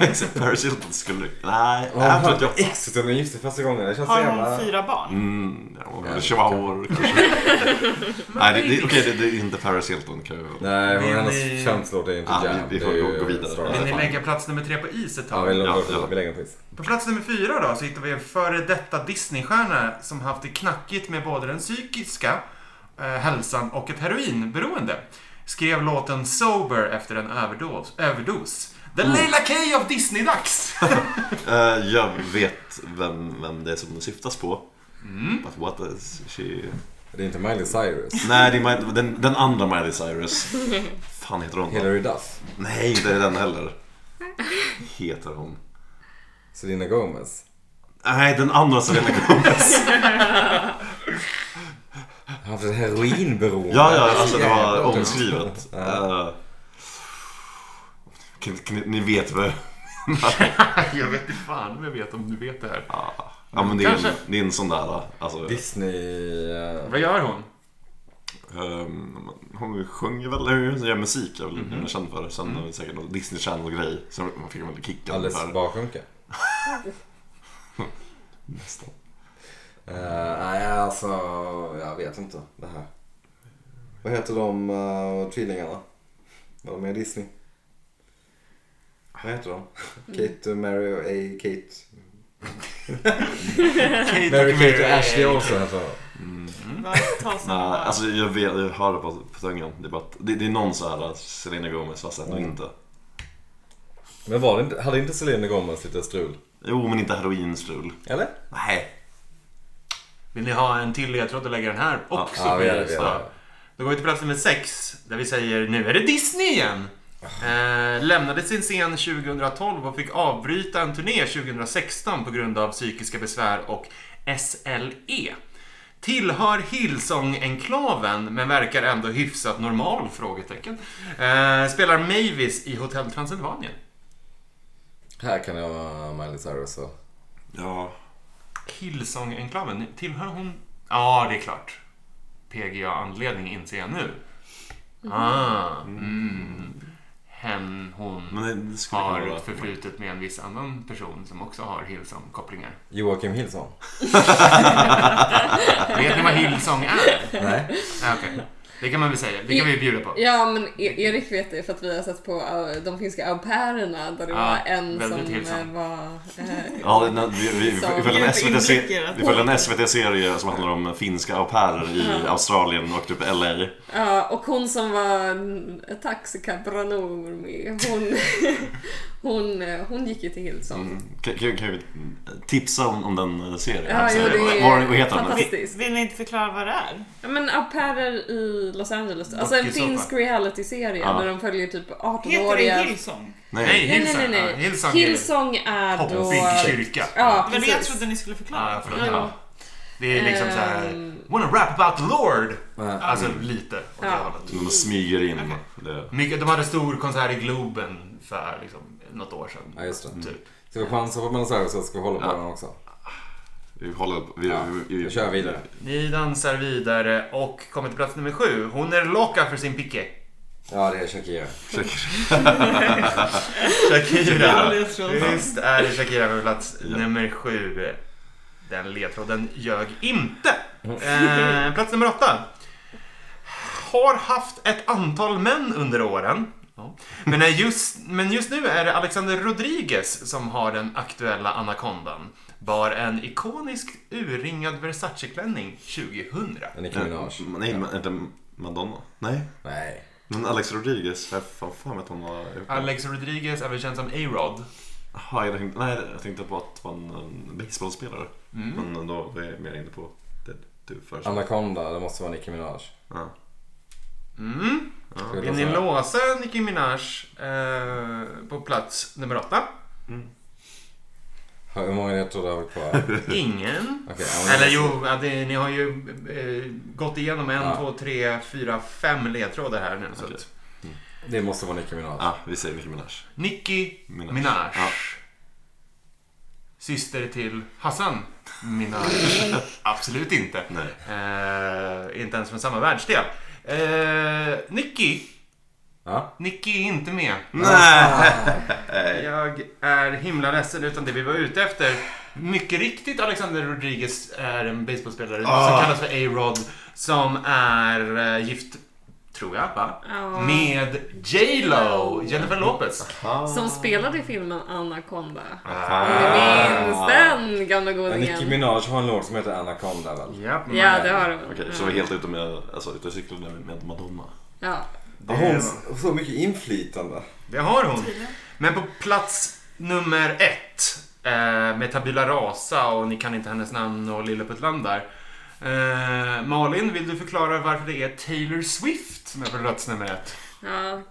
[SPEAKER 4] Exakt, Paris Hilton skulle... Nej,
[SPEAKER 6] Åh, fan,
[SPEAKER 4] absolut jag...
[SPEAKER 6] Exit när hon gifte sig första gången. Det känns så
[SPEAKER 3] Har hon
[SPEAKER 6] jävla...
[SPEAKER 3] fyra barn?
[SPEAKER 4] Mm, ja,
[SPEAKER 6] Ja,
[SPEAKER 4] eller chihuahor kanske. Nej, det, det, okej, det, det är inte Paris Hilton kan jag väl...
[SPEAKER 6] Nej, hon
[SPEAKER 1] Vill
[SPEAKER 6] hennes
[SPEAKER 1] ni-
[SPEAKER 6] känslor det är inte
[SPEAKER 4] Ah, vi-
[SPEAKER 6] jam.
[SPEAKER 4] vi får
[SPEAKER 6] det är
[SPEAKER 4] gå-
[SPEAKER 6] ju
[SPEAKER 4] gå vidare.
[SPEAKER 6] Star
[SPEAKER 1] Vill
[SPEAKER 6] Wars.
[SPEAKER 1] ni
[SPEAKER 4] fan.
[SPEAKER 1] lägga plats nummer tre på is ett
[SPEAKER 6] Ja,
[SPEAKER 1] tag?
[SPEAKER 6] vi
[SPEAKER 4] Ja,
[SPEAKER 6] lägger-
[SPEAKER 4] ja.
[SPEAKER 6] vi lägger den på is.
[SPEAKER 1] På plats nummer fyra då så hittar vi en före detta Disneystjärna som haft det knackigt med både den psykiska eh, hälsan och ett heroinberoende. Skrev låten Sober efter en överdos. överdos. The Leila Kay of Disney-dags!
[SPEAKER 4] Eh, jag vet vem, vem det är som syftas på. But what is she...
[SPEAKER 6] Det är inte Miley Cyrus.
[SPEAKER 4] Nej, det är Miley- den, den andra Miley Cyrus. fan heter hon? då?
[SPEAKER 6] Hillary Duff.
[SPEAKER 4] Nej, inte är det den heller. Heter hon?
[SPEAKER 6] Selena Gomez.
[SPEAKER 4] Nej, den andra Selena
[SPEAKER 6] *laughs*
[SPEAKER 4] Gomez.
[SPEAKER 6] Har haft ett heroinberoende.
[SPEAKER 4] Ja, ja, alltså det var
[SPEAKER 6] Jävlar,
[SPEAKER 4] omskrivet. Eh, kan- kan ni- ni vet vad...
[SPEAKER 1] *laughs* jag vet inte fan om jag vet om du vet det här.
[SPEAKER 4] Ja, men det är, en,
[SPEAKER 1] Kanske.
[SPEAKER 4] det är en sån där... Alltså,
[SPEAKER 6] Disney... eh,
[SPEAKER 1] Vad gör hon?
[SPEAKER 4] Um, hon sjunger väl, eller hon gör musik, är väl
[SPEAKER 6] Mhm.
[SPEAKER 4] det hon är känd för.
[SPEAKER 6] Mm.
[SPEAKER 4] Sen har vi säkert någon Disney Channel-grej. Så man fick väl kicken
[SPEAKER 6] Alice *laughs*
[SPEAKER 4] för.
[SPEAKER 6] Barsjunka.
[SPEAKER 4] Nästan.
[SPEAKER 6] Eh, nej, alltså... Jag vet inte det här. Vad heter de uh, tvillingarna? Var de med i Disney? Vad heter de? Kate, och Mary och A. Kate.
[SPEAKER 1] Kate
[SPEAKER 6] Mary, Kate och
[SPEAKER 1] Mary.
[SPEAKER 6] Ashley också heter de.
[SPEAKER 1] Mm.
[SPEAKER 3] Vad
[SPEAKER 1] *laughs*
[SPEAKER 3] tas
[SPEAKER 4] Nej,
[SPEAKER 3] han
[SPEAKER 4] alltså jag, vet, jag har det på, på tungan. Det är, bara att, det, det är någon så här Selena Gomez fast ändå
[SPEAKER 6] Mm.
[SPEAKER 4] inte.
[SPEAKER 6] Men var det inte, hade inte Selena Gomez lite strul?
[SPEAKER 4] Jo, men inte heroinstrul.
[SPEAKER 6] Eller?
[SPEAKER 4] Nej.
[SPEAKER 1] Vill ni ha en till ledtråd och lägga den här också?
[SPEAKER 6] Ja,
[SPEAKER 1] på
[SPEAKER 6] vi gör det,
[SPEAKER 1] is
[SPEAKER 6] vi gör
[SPEAKER 1] då?
[SPEAKER 6] det.
[SPEAKER 1] Då går vi till plats nummer sex där vi säger nu är det Disney igen. Eh, lämnade sin scen 2012 och fick avbryta en turné 2016 på grund av psykiska besvär och SLE. Tillhör Hillsong-enklaven men verkar ändå hyfsat normal? Frågetecken. Eh, spelar Mavis i Hotell Transylvanien.
[SPEAKER 6] Här kan jag vara Miley Cyrus och...
[SPEAKER 4] Ja.
[SPEAKER 1] Hillsong-enklaven, tillhör hon... Ja, det är klart. PGA-anledning inser jag nu.
[SPEAKER 5] Mhm.
[SPEAKER 1] Ah, mm. Hen, hon
[SPEAKER 4] Men det, det skulle kunna
[SPEAKER 1] har
[SPEAKER 4] vara...
[SPEAKER 1] ett förflutet med en viss annan person som också har Hillsong-kopplingar.
[SPEAKER 6] Joakim Hillson.
[SPEAKER 1] Vet ni vad Hillsong är?
[SPEAKER 6] Nej.
[SPEAKER 1] Ah, Okej, det kan man väl säga. Det kan vi bjuda på.
[SPEAKER 5] Ja, men E- Erik vet det för att vi har sett på eh, de finska au pairerna där det
[SPEAKER 1] Ja,
[SPEAKER 5] var en
[SPEAKER 1] väldigt
[SPEAKER 5] som
[SPEAKER 1] hilsam.
[SPEAKER 5] eh, var... eh,
[SPEAKER 4] Ja, det- nej, vi, vi, vi,
[SPEAKER 5] Som-
[SPEAKER 4] vi följer en
[SPEAKER 3] Gud,
[SPEAKER 4] SVT-serie
[SPEAKER 3] inblickar.
[SPEAKER 4] vi följer en SVT-serie som handlar om finska au pairer i Australien och typ LA.
[SPEAKER 5] Ja, och hon som var en taxikabranorm med, hon, *laughs* hon, eh, hon gick ju till Hillsong.
[SPEAKER 4] Kan, kan, kan vi tipsa om, om den eh, serien?
[SPEAKER 5] Ja, jo, det är
[SPEAKER 4] Vad- vad heter den?
[SPEAKER 5] fantastiskt.
[SPEAKER 3] Vill, vill ni inte förklara vad det är?
[SPEAKER 5] Ja, men au pairer i Los Angeles. Alltså en
[SPEAKER 1] Dokusåpa.
[SPEAKER 5] finsk realityserie
[SPEAKER 4] Ja.
[SPEAKER 5] där de följer typ
[SPEAKER 3] Heter
[SPEAKER 5] 18-åriga...
[SPEAKER 3] det Hillsong?
[SPEAKER 1] Nej,
[SPEAKER 5] Nej, nej,
[SPEAKER 1] Hillsong.
[SPEAKER 5] nej, nej.
[SPEAKER 1] Ah, Hillsong,
[SPEAKER 5] Hillsong är
[SPEAKER 1] är
[SPEAKER 5] då...
[SPEAKER 1] poppig kyrka.
[SPEAKER 5] Ja,
[SPEAKER 3] Det var det jag
[SPEAKER 5] precis.
[SPEAKER 3] trodde ni skulle
[SPEAKER 1] Ah,
[SPEAKER 3] förklara.
[SPEAKER 1] förlåt.
[SPEAKER 5] Ja,
[SPEAKER 1] Ja.
[SPEAKER 5] ja.
[SPEAKER 1] Det är liksom så här...
[SPEAKER 5] Ehm.
[SPEAKER 1] Wanna rap about the Lord!
[SPEAKER 6] Ja.
[SPEAKER 1] Alltså lite åt det
[SPEAKER 5] Ja.
[SPEAKER 1] hållet.
[SPEAKER 4] De smyger in det.
[SPEAKER 1] Mycket, de hade stor konsert i Globen för liksom, något år sedan.
[SPEAKER 6] Ja, just det. Mm.
[SPEAKER 1] Typ.
[SPEAKER 6] Ska vi chansa på Miley Cyrus eller ska vi hålla på
[SPEAKER 4] Ja.
[SPEAKER 6] den också?
[SPEAKER 4] Vi håller vi,
[SPEAKER 6] Ja,
[SPEAKER 4] vi,
[SPEAKER 6] vi kör vidare.
[SPEAKER 1] Ni dansar vidare och kommer till plats nummer sju. Hon är locka för sin picke.
[SPEAKER 6] Ja, det är Shakira.
[SPEAKER 1] Shakira.
[SPEAKER 3] Ledtråd.
[SPEAKER 1] Visst är det Shakira på plats
[SPEAKER 4] Ja.
[SPEAKER 1] nummer sju. Den ledtråden ljög inte. Eh, plats nummer åtta. Har haft ett antal män under åren. Ja. Men, är just, men just nu är det Alexander Rodriguez som har den aktuella anakondan. Bar en ikonisk urringad Versace-klänning 2000.
[SPEAKER 6] Nicki Minaj.
[SPEAKER 4] Nej, men inte Madonna. Nej.
[SPEAKER 6] Nej.
[SPEAKER 4] Men Alex Rodriguez, jag fan fan vet hon var...
[SPEAKER 1] Alex Rodriguez, även känd som A-Rod.
[SPEAKER 4] Aha, jag tänkte, nej, jag tänkte på att man en baseballspelare. Men då var jag mer inne på det du först.
[SPEAKER 6] Anaconda, det måste vara Nicki Minaj.
[SPEAKER 4] Ja.
[SPEAKER 1] Mm.
[SPEAKER 6] Skulle
[SPEAKER 1] Vill
[SPEAKER 6] jag
[SPEAKER 1] ni
[SPEAKER 6] säga.
[SPEAKER 1] låsa Nicki Minaj eh, på plats nummer åtta?
[SPEAKER 6] Hur många ledtrådar har vi *laughs* kvar?
[SPEAKER 1] Ingen.
[SPEAKER 6] Okej,
[SPEAKER 1] Eller jo, ja, det, ni har ju eh, gått igenom en,
[SPEAKER 6] Ja.
[SPEAKER 1] två, tre, fyra, fem ledtrådar här nu. Så
[SPEAKER 4] Okej.
[SPEAKER 1] att,
[SPEAKER 6] Det måste vara Nicki Minaj.
[SPEAKER 4] Ja, Ah, vi säger Nicki Minaj.
[SPEAKER 1] Nicki
[SPEAKER 4] Minaj.
[SPEAKER 1] Minaj.
[SPEAKER 4] Ja.
[SPEAKER 1] Syster till Hassan Minaj. *laughs* Absolut inte.
[SPEAKER 4] Nej.
[SPEAKER 1] Eh, inte ens från samma världsdel. Eh, Nicki.
[SPEAKER 6] Ja.
[SPEAKER 1] Nicki är inte med.
[SPEAKER 4] Nej!
[SPEAKER 1] Jag är himla ledsen utan det vi var ute efter. Mycket riktigt Alexander Rodriguez är en baseballspelare som
[SPEAKER 4] Ah.
[SPEAKER 1] kallas för A-Rod. Som är eh, gift, tror jag, va?
[SPEAKER 5] Ja.
[SPEAKER 1] Med J-Lo, Jennifer Lopez.
[SPEAKER 5] Som spelade i filmen Anaconda. Om
[SPEAKER 1] Ah.
[SPEAKER 5] ni minns den gamla
[SPEAKER 6] Men Nicki
[SPEAKER 5] godingen.
[SPEAKER 6] Minaj har en låt som heter Anaconda väl?
[SPEAKER 1] Japp, men-
[SPEAKER 5] Ja, det har de.
[SPEAKER 4] Okej, så helt ute med, alltså ute och cyklade med Madonna.
[SPEAKER 5] Ja.
[SPEAKER 6] Har hon s- så mycket inflytande?
[SPEAKER 1] Det har hon. Men på plats nummer ett eh, med Tabula Rasa och Ni kan inte hennes namn och Lille Puttland där. Eh, Malin, vill du förklara varför det är Taylor Swift som är på plats nummer ett?
[SPEAKER 5] ja.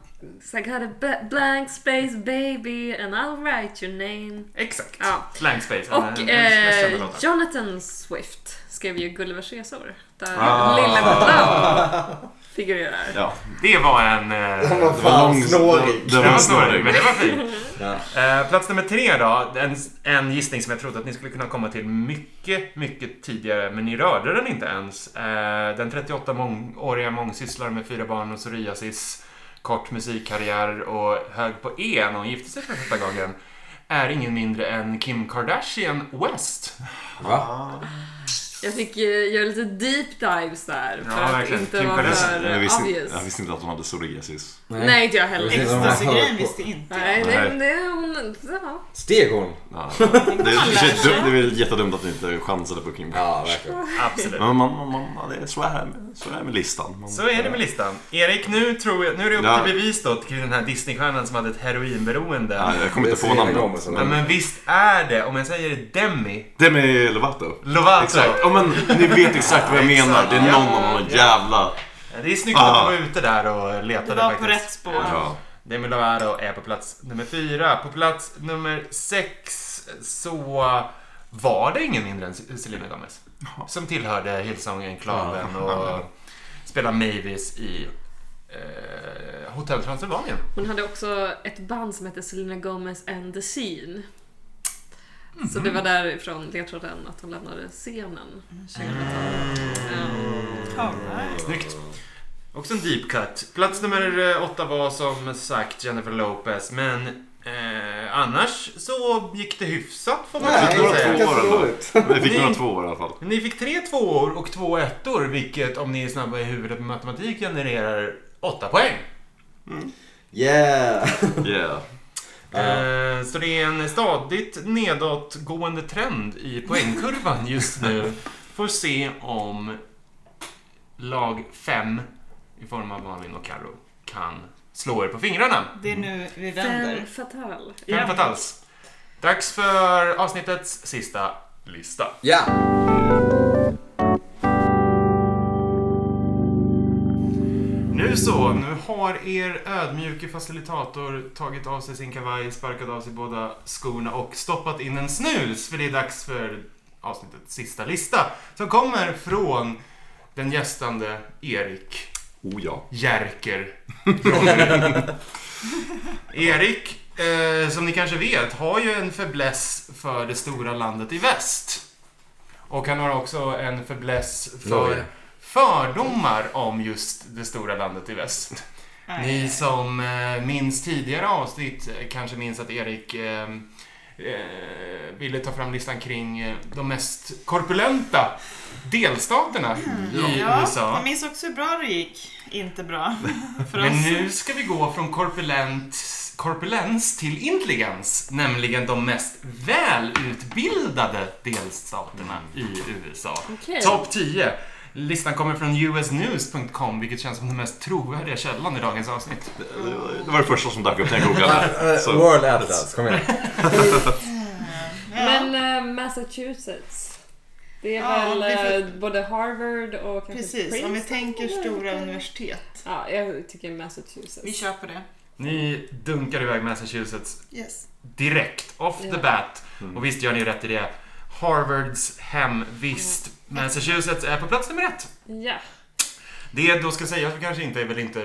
[SPEAKER 5] So I got a b- blank space baby and I'll write your name.
[SPEAKER 1] Exakt.
[SPEAKER 5] Ja.
[SPEAKER 1] Blank Space. en-
[SPEAKER 5] Och
[SPEAKER 1] en- en mest kända
[SPEAKER 5] eh,
[SPEAKER 1] låtar.
[SPEAKER 5] Jonathan Swift skrev ju Gullivers resor. Där
[SPEAKER 4] Ah.
[SPEAKER 5] Lille Butland figurerar.
[SPEAKER 4] Ja,
[SPEAKER 1] Det var en... Eh,
[SPEAKER 6] Han var
[SPEAKER 4] det var
[SPEAKER 6] fan
[SPEAKER 4] långt.
[SPEAKER 6] snårig.
[SPEAKER 4] Det
[SPEAKER 1] det
[SPEAKER 4] var
[SPEAKER 1] var snårig, men
[SPEAKER 4] snårig.
[SPEAKER 1] det var fint.
[SPEAKER 6] Ja.
[SPEAKER 1] Eh, plats nummer tre då. En, en gissning som jag trodde att ni skulle kunna komma till mycket, mycket tidigare, men ni rörde den inte ens. Eh, den 38-åriga mångsysslaren med fyra barn och psoriasis, kort musikkarriär och hög på E när hon gifte sig för första gången är ingen mindre än Kim Kardashian West.
[SPEAKER 6] Va?
[SPEAKER 5] Jag fick eh, göra lite deep dives där för
[SPEAKER 1] Ja,
[SPEAKER 5] att
[SPEAKER 1] verkligen.
[SPEAKER 5] inte
[SPEAKER 1] Kim
[SPEAKER 5] vara
[SPEAKER 1] Kardashian.
[SPEAKER 5] för
[SPEAKER 4] Jag visste,
[SPEAKER 5] obvious.
[SPEAKER 4] jag visste inte att hon hade psoriasis.
[SPEAKER 5] Nej, inte jag heller.
[SPEAKER 6] Precis.
[SPEAKER 3] Ecstasy-grejen visste inte jag.
[SPEAKER 5] Nej, det,
[SPEAKER 4] Nej.
[SPEAKER 5] det, hon, ja.
[SPEAKER 6] Steg hon?
[SPEAKER 4] Ja. Det, är- det, är- det är väl jättedumt att ni inte chansade på Kim
[SPEAKER 6] Ja, verkligen.
[SPEAKER 1] Absolut.
[SPEAKER 4] Men man, man, man, man, det är så, här med, så här med listan. Man,
[SPEAKER 1] Så är det med listan. Erik, nu, tror jag, nu är det upp
[SPEAKER 4] Ja.
[SPEAKER 1] till bevis då till den här Disneystjärnan som hade ett heroinberoende.
[SPEAKER 4] ja, jag kommer
[SPEAKER 6] Det
[SPEAKER 4] inte
[SPEAKER 6] är Selena
[SPEAKER 4] på namnet.
[SPEAKER 6] Gomez, eller?
[SPEAKER 1] Ja,
[SPEAKER 4] Men,
[SPEAKER 1] men visst är det, om jag säger Demi
[SPEAKER 4] det med Lovato.
[SPEAKER 1] Lovato.
[SPEAKER 4] Exakt. Ja, men, ni vet exakt vad jag menar. Det är någon av någon jävla...
[SPEAKER 1] Det är snyggt
[SPEAKER 4] Ah.
[SPEAKER 1] att du var ute där och letade
[SPEAKER 3] Du var på
[SPEAKER 1] faktiskt.
[SPEAKER 3] rätt spår.
[SPEAKER 4] Ja.
[SPEAKER 1] Demi Lovato är på plats nummer fyra. På plats nummer sex så var det ingen mindre än Selena Gomez. Som tillhörde Hillsong-enklaven och spelade Mavis i eh, Hotell Transylvanien.
[SPEAKER 5] Hon hade också ett band som hette Selena Gomez and the Scene. Så det var därifrån ledtråden att hon lämnade scenen.
[SPEAKER 3] Mm.
[SPEAKER 5] Ja.
[SPEAKER 3] Alright.
[SPEAKER 1] Snyggt. Också en deep cut. Plats nummer eh, åtta var som sagt Jennifer Lopez, men eh, annars så gick det hyfsat får man
[SPEAKER 6] Nej,
[SPEAKER 1] väl
[SPEAKER 6] det var
[SPEAKER 1] säga.
[SPEAKER 4] Två år
[SPEAKER 6] ganska
[SPEAKER 4] ändå.
[SPEAKER 6] dåligt.
[SPEAKER 4] Vi fick några två år i alla fall.
[SPEAKER 1] Men Ni fick tre tvåor och två ettor, vilket om ni är snabba i huvudet med matematik genererar åtta poäng.
[SPEAKER 6] Yeah! *laughs*
[SPEAKER 4] Yeah.
[SPEAKER 1] Eh, Så det är en stadigt nedåtgående trend i poängkurvan just nu. Får se om lag 5 i form av Malin och Karo kan slå er på fingrarna.
[SPEAKER 3] Det är nu vi
[SPEAKER 5] Femme
[SPEAKER 3] vänder.
[SPEAKER 5] fatale.
[SPEAKER 1] Fem fatals. Dags för avsnittets sista lista.
[SPEAKER 6] Ja!
[SPEAKER 1] Nu så, nu har er ödmjuke facilitator tagit av sig sin kavaj, sparkat av sig båda skorna och stoppat in en snus för det är dags för avsnittets sista lista som kommer från den gästande Erik
[SPEAKER 4] Oh ja.
[SPEAKER 1] Jerker. *laughs* Erik, eh, som ni kanske vet, har ju en fäbless för det stora landet i väst. Och han har också en fäbless för
[SPEAKER 6] Norge.
[SPEAKER 1] fördomar om just det stora landet i väst. Ni som eh, minns tidigare avsnitt eh, kanske minns att Erik eh, eh, ville ta fram listan kring eh, de mest korpulenta delstaterna i
[SPEAKER 3] Mm. Ja,
[SPEAKER 1] USA.
[SPEAKER 3] jag minns också hur bra det gick. Inte *laughs* bra för
[SPEAKER 1] Men
[SPEAKER 3] oss.
[SPEAKER 1] nu ska vi gå från korpulens, korpulens till intelligens, nämligen de mest välutbildade delstaterna i USA.
[SPEAKER 5] Okej.
[SPEAKER 1] Topp 10. Listan kommer från usnews.com, vilket känns som den mest trovärdiga källan i dagens avsnitt.
[SPEAKER 4] Det, det var- det var det första som dök upp när jag googlade.
[SPEAKER 6] Eh,
[SPEAKER 4] Så,
[SPEAKER 6] World Atlas, kom igen.
[SPEAKER 3] Ja.
[SPEAKER 5] Men eh, Massachusetts. Det är
[SPEAKER 3] Ja,
[SPEAKER 5] väl
[SPEAKER 3] det är
[SPEAKER 5] eh, både Harvard och kanske
[SPEAKER 3] Precis, om vi
[SPEAKER 5] Princeton
[SPEAKER 3] tänker
[SPEAKER 5] eller
[SPEAKER 3] stora
[SPEAKER 5] något.
[SPEAKER 3] universitet.
[SPEAKER 5] Ja, jag tycker Massachusetts.
[SPEAKER 3] Vi kör på det.
[SPEAKER 1] Ni dunkar iväg Massachusetts
[SPEAKER 3] Yes.
[SPEAKER 1] direkt, off
[SPEAKER 5] Ja.
[SPEAKER 1] the bat. Och visst gör ni rätt i det. Harvards hemvist. Massachusetts är på plats nummer ett.
[SPEAKER 5] Ja.
[SPEAKER 1] Det då ska sägas kanske inte är väl inte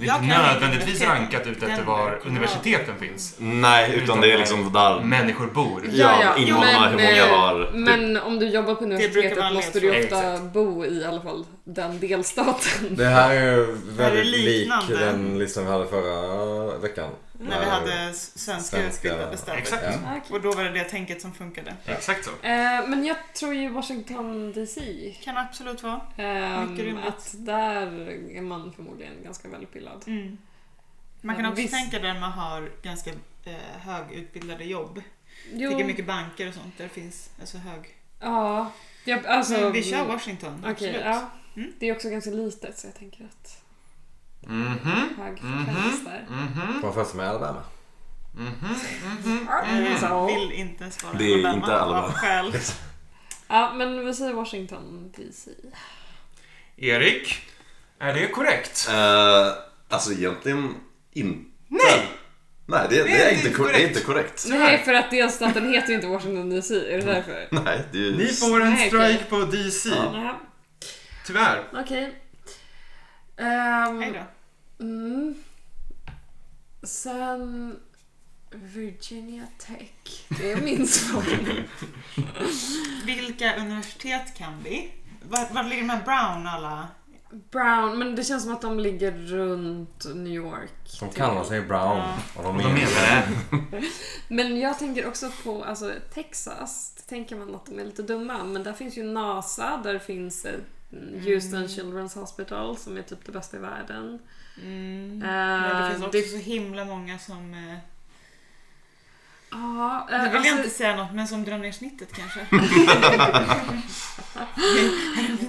[SPEAKER 3] Jag kan
[SPEAKER 1] nödvändigtvis
[SPEAKER 3] inte.
[SPEAKER 1] rankat ut efter var universiteten finns.
[SPEAKER 4] *laughs* Nej, utan det är liksom där
[SPEAKER 1] Människor bor.
[SPEAKER 4] Ja, invånarna, hur många
[SPEAKER 5] eh,
[SPEAKER 4] har- typ-
[SPEAKER 5] Men om du jobbar på
[SPEAKER 3] brukar vara
[SPEAKER 5] universitetet måste du ju
[SPEAKER 1] ledtråd.
[SPEAKER 5] ofta bo i i alla fall den delstaten.
[SPEAKER 6] Det här är ju
[SPEAKER 3] här är
[SPEAKER 6] väldigt lik
[SPEAKER 3] liknande.
[SPEAKER 6] den listan vi hade förra veckan.
[SPEAKER 3] När vi hade s- svenska,
[SPEAKER 6] Svenska-
[SPEAKER 3] utbildade städer.
[SPEAKER 1] Exakt,
[SPEAKER 6] Ja.
[SPEAKER 3] Och då var det det tänket som funkade.
[SPEAKER 1] exakt så.
[SPEAKER 5] Eh, men jag tror ju Washington DC.
[SPEAKER 3] Kan absolut vara.
[SPEAKER 5] ehm,
[SPEAKER 3] Mycket rimligt.
[SPEAKER 5] att där är man förmodligen ganska välutbildad.
[SPEAKER 3] Mm. Man kan
[SPEAKER 5] Men
[SPEAKER 3] också
[SPEAKER 5] visst.
[SPEAKER 3] tänka där man har ganska eh, högutbildade jobb.
[SPEAKER 5] Jo,
[SPEAKER 3] Jag tänker mycket banker och sånt där det finns alltså hög.
[SPEAKER 5] ja. Jag, alltså,
[SPEAKER 3] Men Mm, vi kör Washington.
[SPEAKER 5] Okej,
[SPEAKER 3] absolut.
[SPEAKER 5] ja.
[SPEAKER 3] Mm.
[SPEAKER 5] Det är också ganska litet så jag tänker att
[SPEAKER 1] Mhm,
[SPEAKER 5] hög frekvens
[SPEAKER 1] mhm,
[SPEAKER 5] där.
[SPEAKER 3] Mm.
[SPEAKER 1] mhm,
[SPEAKER 6] Man föds med Alabama.
[SPEAKER 1] mhm, mhm.
[SPEAKER 5] Så.
[SPEAKER 3] Jag Mm. vill inte svara
[SPEAKER 4] Det är
[SPEAKER 3] Alabama
[SPEAKER 4] inte Alabama.
[SPEAKER 3] av skäl.
[SPEAKER 5] Ja, men vi säger Washington DC.
[SPEAKER 1] Erik, är det korrekt?
[SPEAKER 4] Eh, alltså egentligen inte.
[SPEAKER 1] Nej!
[SPEAKER 4] Nej, det, det, är, inte korrekt. det är inte korrekt.
[SPEAKER 5] Nej, för att delstaten heter ju inte Washington DC. Är det därför?
[SPEAKER 4] Nej, det är ju...
[SPEAKER 1] Ni får en
[SPEAKER 5] Nej,
[SPEAKER 1] strike
[SPEAKER 5] okej.
[SPEAKER 1] på DC.
[SPEAKER 5] Nej,
[SPEAKER 1] Tyvärr.
[SPEAKER 5] okej. Ehm,
[SPEAKER 3] Hej då.
[SPEAKER 5] mm. Sen Virginia Tech. Det är *laughs* min svar.
[SPEAKER 3] Vilka universitet kan vi? Var, var ligger de här Brown alla?
[SPEAKER 5] Brown, men det känns som att de ligger runt New York.
[SPEAKER 6] Som kallar sig Brown. Och de
[SPEAKER 1] Och de menar det.
[SPEAKER 5] Men jag tänker också på alltså, Texas. Då tänker man att de är lite dumma. Men där finns ju NASA. Där finns eh, Houston Children's Hospital som är typ det bästa i världen.
[SPEAKER 3] Mm. Men det
[SPEAKER 5] Eh,
[SPEAKER 3] finns också
[SPEAKER 5] det-
[SPEAKER 3] så himla många som... eh,
[SPEAKER 5] Ja,
[SPEAKER 3] Nu
[SPEAKER 5] eh,
[SPEAKER 3] vill
[SPEAKER 5] alltså-
[SPEAKER 3] jag inte säga något, men som drar ner snittet
[SPEAKER 4] *laughs*
[SPEAKER 3] kanske.
[SPEAKER 6] Vi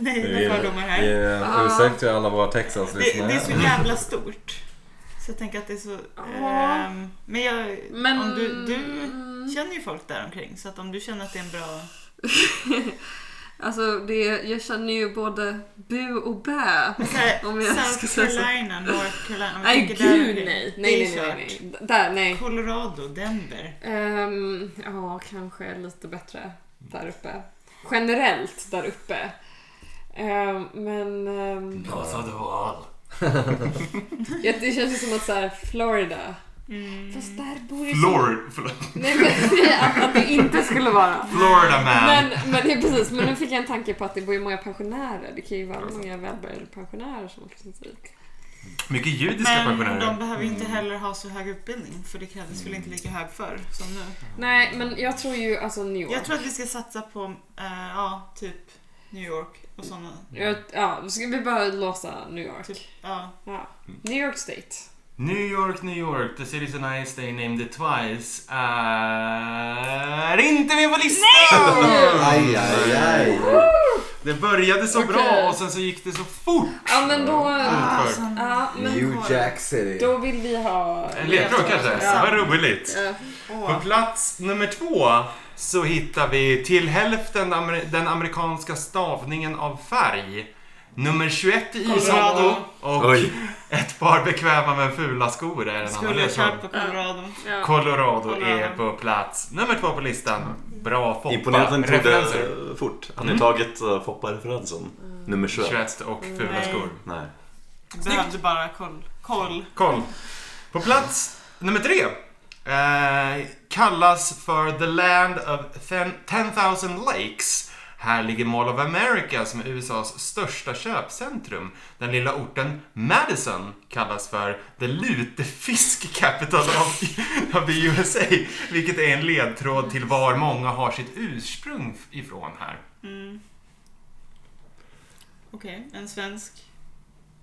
[SPEAKER 3] Mina fördomar här.
[SPEAKER 6] vi är en ursäkt till alla våra
[SPEAKER 3] Det, det är så
[SPEAKER 6] Texas-lyssnare.
[SPEAKER 3] jävla stort. Så jag tänker att det är så...
[SPEAKER 5] Ja.
[SPEAKER 3] ehm, men jag,
[SPEAKER 5] Men...
[SPEAKER 3] om du, du
[SPEAKER 5] Mm, *laughs*
[SPEAKER 3] känner ju folk där omkring så att om du känner att det är en bra...
[SPEAKER 5] Alltså, det, jag känner ju både bu och bä.
[SPEAKER 3] Så här,
[SPEAKER 5] Om jag ska
[SPEAKER 3] South
[SPEAKER 5] säga så.
[SPEAKER 3] Carolina, North Carolina. om vi
[SPEAKER 5] Nej,
[SPEAKER 3] tänker där
[SPEAKER 5] gud
[SPEAKER 3] omkring.
[SPEAKER 5] nej.
[SPEAKER 3] Det är
[SPEAKER 5] Nej, nej,
[SPEAKER 3] kört.
[SPEAKER 5] nej, nej. Där, nej.
[SPEAKER 3] Colorado, Denver.
[SPEAKER 5] Ehm, ja, kanske lite bättre där uppe. Generellt där uppe. Ehm, men
[SPEAKER 3] Mm.
[SPEAKER 5] ehm,
[SPEAKER 1] North of the wall.
[SPEAKER 5] ja, det känns ju som att så här, Florida.
[SPEAKER 3] Mm.
[SPEAKER 5] Fast där bor ju... så-
[SPEAKER 1] Flor, förlåt,
[SPEAKER 5] Nej, men *laughs* att, att det inte skulle vara.
[SPEAKER 1] Florida man.
[SPEAKER 5] Men, men ja, precis, men nu fick jag en tanke på att det bor ju många pensionärer. Det kan ju vara många välbärgade pensionärer som flyttat hit.
[SPEAKER 1] Mycket judiska
[SPEAKER 3] Men
[SPEAKER 1] pensionärer.
[SPEAKER 3] de behöver ju inte
[SPEAKER 1] Mm.
[SPEAKER 3] heller ha så hög utbildning för det krävdes väl inte lika hög förr som nu.
[SPEAKER 5] Nej, men jag tror ju alltså New York.
[SPEAKER 3] Jag tror att vi ska satsa på, eh, ja, typ New York och sådana.
[SPEAKER 5] Jag, ja, då ska vi bara låsa New York.
[SPEAKER 3] Typ, ja.
[SPEAKER 5] Ja. New York State.
[SPEAKER 1] New York, New York, the city's a nice day named it twice. Är inte med på listan!
[SPEAKER 6] Aj, aj, aj.
[SPEAKER 1] Det började så
[SPEAKER 5] Okej.
[SPEAKER 1] bra och sen så gick det så fort.
[SPEAKER 5] Ja, men då...
[SPEAKER 1] Ah,
[SPEAKER 3] Alltså,
[SPEAKER 5] Ja, men
[SPEAKER 6] New Jack City.
[SPEAKER 5] då vill vi ha...
[SPEAKER 1] En ledtråd kanske?
[SPEAKER 5] Ja.
[SPEAKER 1] Vad roligt.
[SPEAKER 5] Ja.
[SPEAKER 1] På
[SPEAKER 3] åh.
[SPEAKER 1] plats nummer två så hittar vi till hälften amer- den amerikanska stavningen av färg. Nummer 21 i ishockey
[SPEAKER 3] Colorado.
[SPEAKER 1] och
[SPEAKER 4] Oj.
[SPEAKER 1] ett par bekväma men fula skor är en annan
[SPEAKER 3] Skulle ha
[SPEAKER 1] ledtråd.
[SPEAKER 3] kört på Colorado.
[SPEAKER 5] Ja.
[SPEAKER 1] Colorado är
[SPEAKER 3] Colorado.
[SPEAKER 1] på plats nummer två på listan. Bra
[SPEAKER 4] Imponerande att han tog
[SPEAKER 1] Foppa-referenser.
[SPEAKER 4] det fort. Han har
[SPEAKER 1] Mm.
[SPEAKER 4] tagit uh, Foppa-referensen. Nummer 21.
[SPEAKER 1] 21 och fula
[SPEAKER 3] Nej.
[SPEAKER 1] skor.
[SPEAKER 4] Nej.
[SPEAKER 3] Behövde bara koll. koll.
[SPEAKER 1] Koll. På plats nummer tre. Eh, kallas för The Land of Ten- 10,000 Lakes. Här ligger Mall of America som är USAs största köpcentrum. Den lilla orten Madison kallas för The Lutefisk Capital of, *laughs* of the USA. Vilket är en ledtråd till var många har sitt ursprung ifrån här.
[SPEAKER 3] Mm. Okej, en svensk.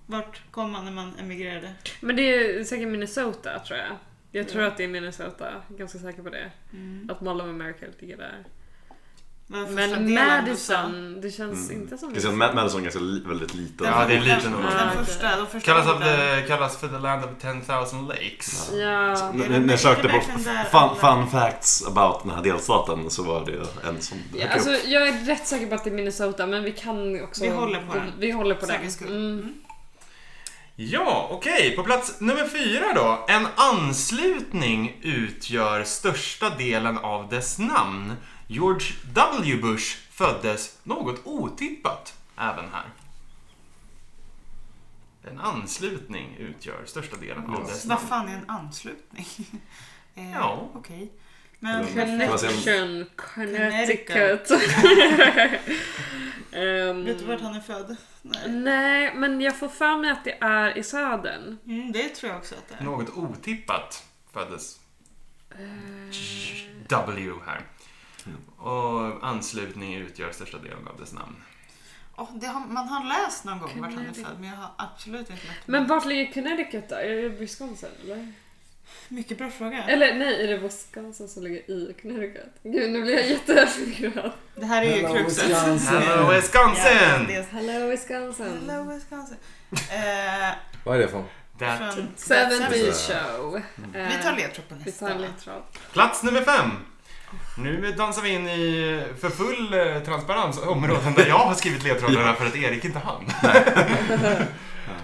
[SPEAKER 3] Vart kom man när man emigrerade?
[SPEAKER 5] Men det är säkert Minnesota, tror jag. Jag tror att det är Minnesota. Ganska säker på det.
[SPEAKER 3] Mm.
[SPEAKER 5] Att Mall of America ligger där.
[SPEAKER 3] Varför
[SPEAKER 5] Men
[SPEAKER 3] delen av USA?
[SPEAKER 5] Madison, det känns
[SPEAKER 4] Mm.
[SPEAKER 5] inte som...
[SPEAKER 4] Kan säga att Mad- Madison är ganska li- väldigt liten.
[SPEAKER 1] Ja, det är en liten
[SPEAKER 3] Den,
[SPEAKER 1] ort.
[SPEAKER 5] Ja, okej.
[SPEAKER 3] den första, de första
[SPEAKER 1] Kallas, av
[SPEAKER 3] orden.
[SPEAKER 1] the, kallas för The Land of 10,000 Lakes.
[SPEAKER 5] Ja.
[SPEAKER 4] N- n- När jag sökte på
[SPEAKER 3] American där, alla-
[SPEAKER 4] fun, fun facts about den här delstaten så var det en som
[SPEAKER 5] Ja,
[SPEAKER 4] dök
[SPEAKER 5] alltså,
[SPEAKER 4] upp.
[SPEAKER 5] jag är rätt säker på att det är Minnesota, men vi kan också...
[SPEAKER 3] Vi håller på den.
[SPEAKER 5] Vi håller på
[SPEAKER 3] Säkert
[SPEAKER 5] den.
[SPEAKER 3] skull.
[SPEAKER 5] Mm.
[SPEAKER 1] Ja, okej. På plats nummer fyra då. En anslutning utgör största delen av dess namn. George W. Bush föddes något otippat även här. En anslutning utgör största delen av dess
[SPEAKER 3] Vad
[SPEAKER 1] namn.
[SPEAKER 3] fan är en anslutning? *laughs* Eh,
[SPEAKER 1] Ja.
[SPEAKER 3] Okej. Men
[SPEAKER 5] Connection, Connecticut. *laughs* Ehm,
[SPEAKER 3] vet du vart han är född?
[SPEAKER 5] Mm.
[SPEAKER 3] Nej.
[SPEAKER 5] Nej, men jag får för mig att det är i södern.
[SPEAKER 3] Mm, det tror jag också att det är.
[SPEAKER 1] Något otippat föddes
[SPEAKER 3] Eh.
[SPEAKER 1] W här. Och anslutning utgör största delen av dess namn.
[SPEAKER 3] Åh, det har, man har läst någon gång vart han är
[SPEAKER 5] Connecticut.
[SPEAKER 3] född, men jag har absolut inte lärt mig.
[SPEAKER 5] Men vart ligger Connecticut då? Är det Wisconsin eller?
[SPEAKER 3] Mycket bra fråga.
[SPEAKER 5] Eller nej, är det Wisconsin som ligger i Connecticut? Gud, nu blir jag jätteförvirrad.
[SPEAKER 3] Det här är ju kruxet.
[SPEAKER 1] Hello
[SPEAKER 3] Ja,
[SPEAKER 1] Wisconsin!
[SPEAKER 3] det är-
[SPEAKER 5] Hello Wisconsin.
[SPEAKER 3] Hello Wisconsin. Eh,
[SPEAKER 6] Vad är det för?
[SPEAKER 1] That.
[SPEAKER 3] från
[SPEAKER 5] Seventy show. Eh,
[SPEAKER 3] Vi tar ledtråd på
[SPEAKER 5] typ Vi tar
[SPEAKER 3] nästa.
[SPEAKER 5] en ledtråd.
[SPEAKER 1] Plats nummer fem. Nu dansar vi in i för full eh, transparens områden där jag har skrivit ledtrådarna för att Erik inte hann. *laughs*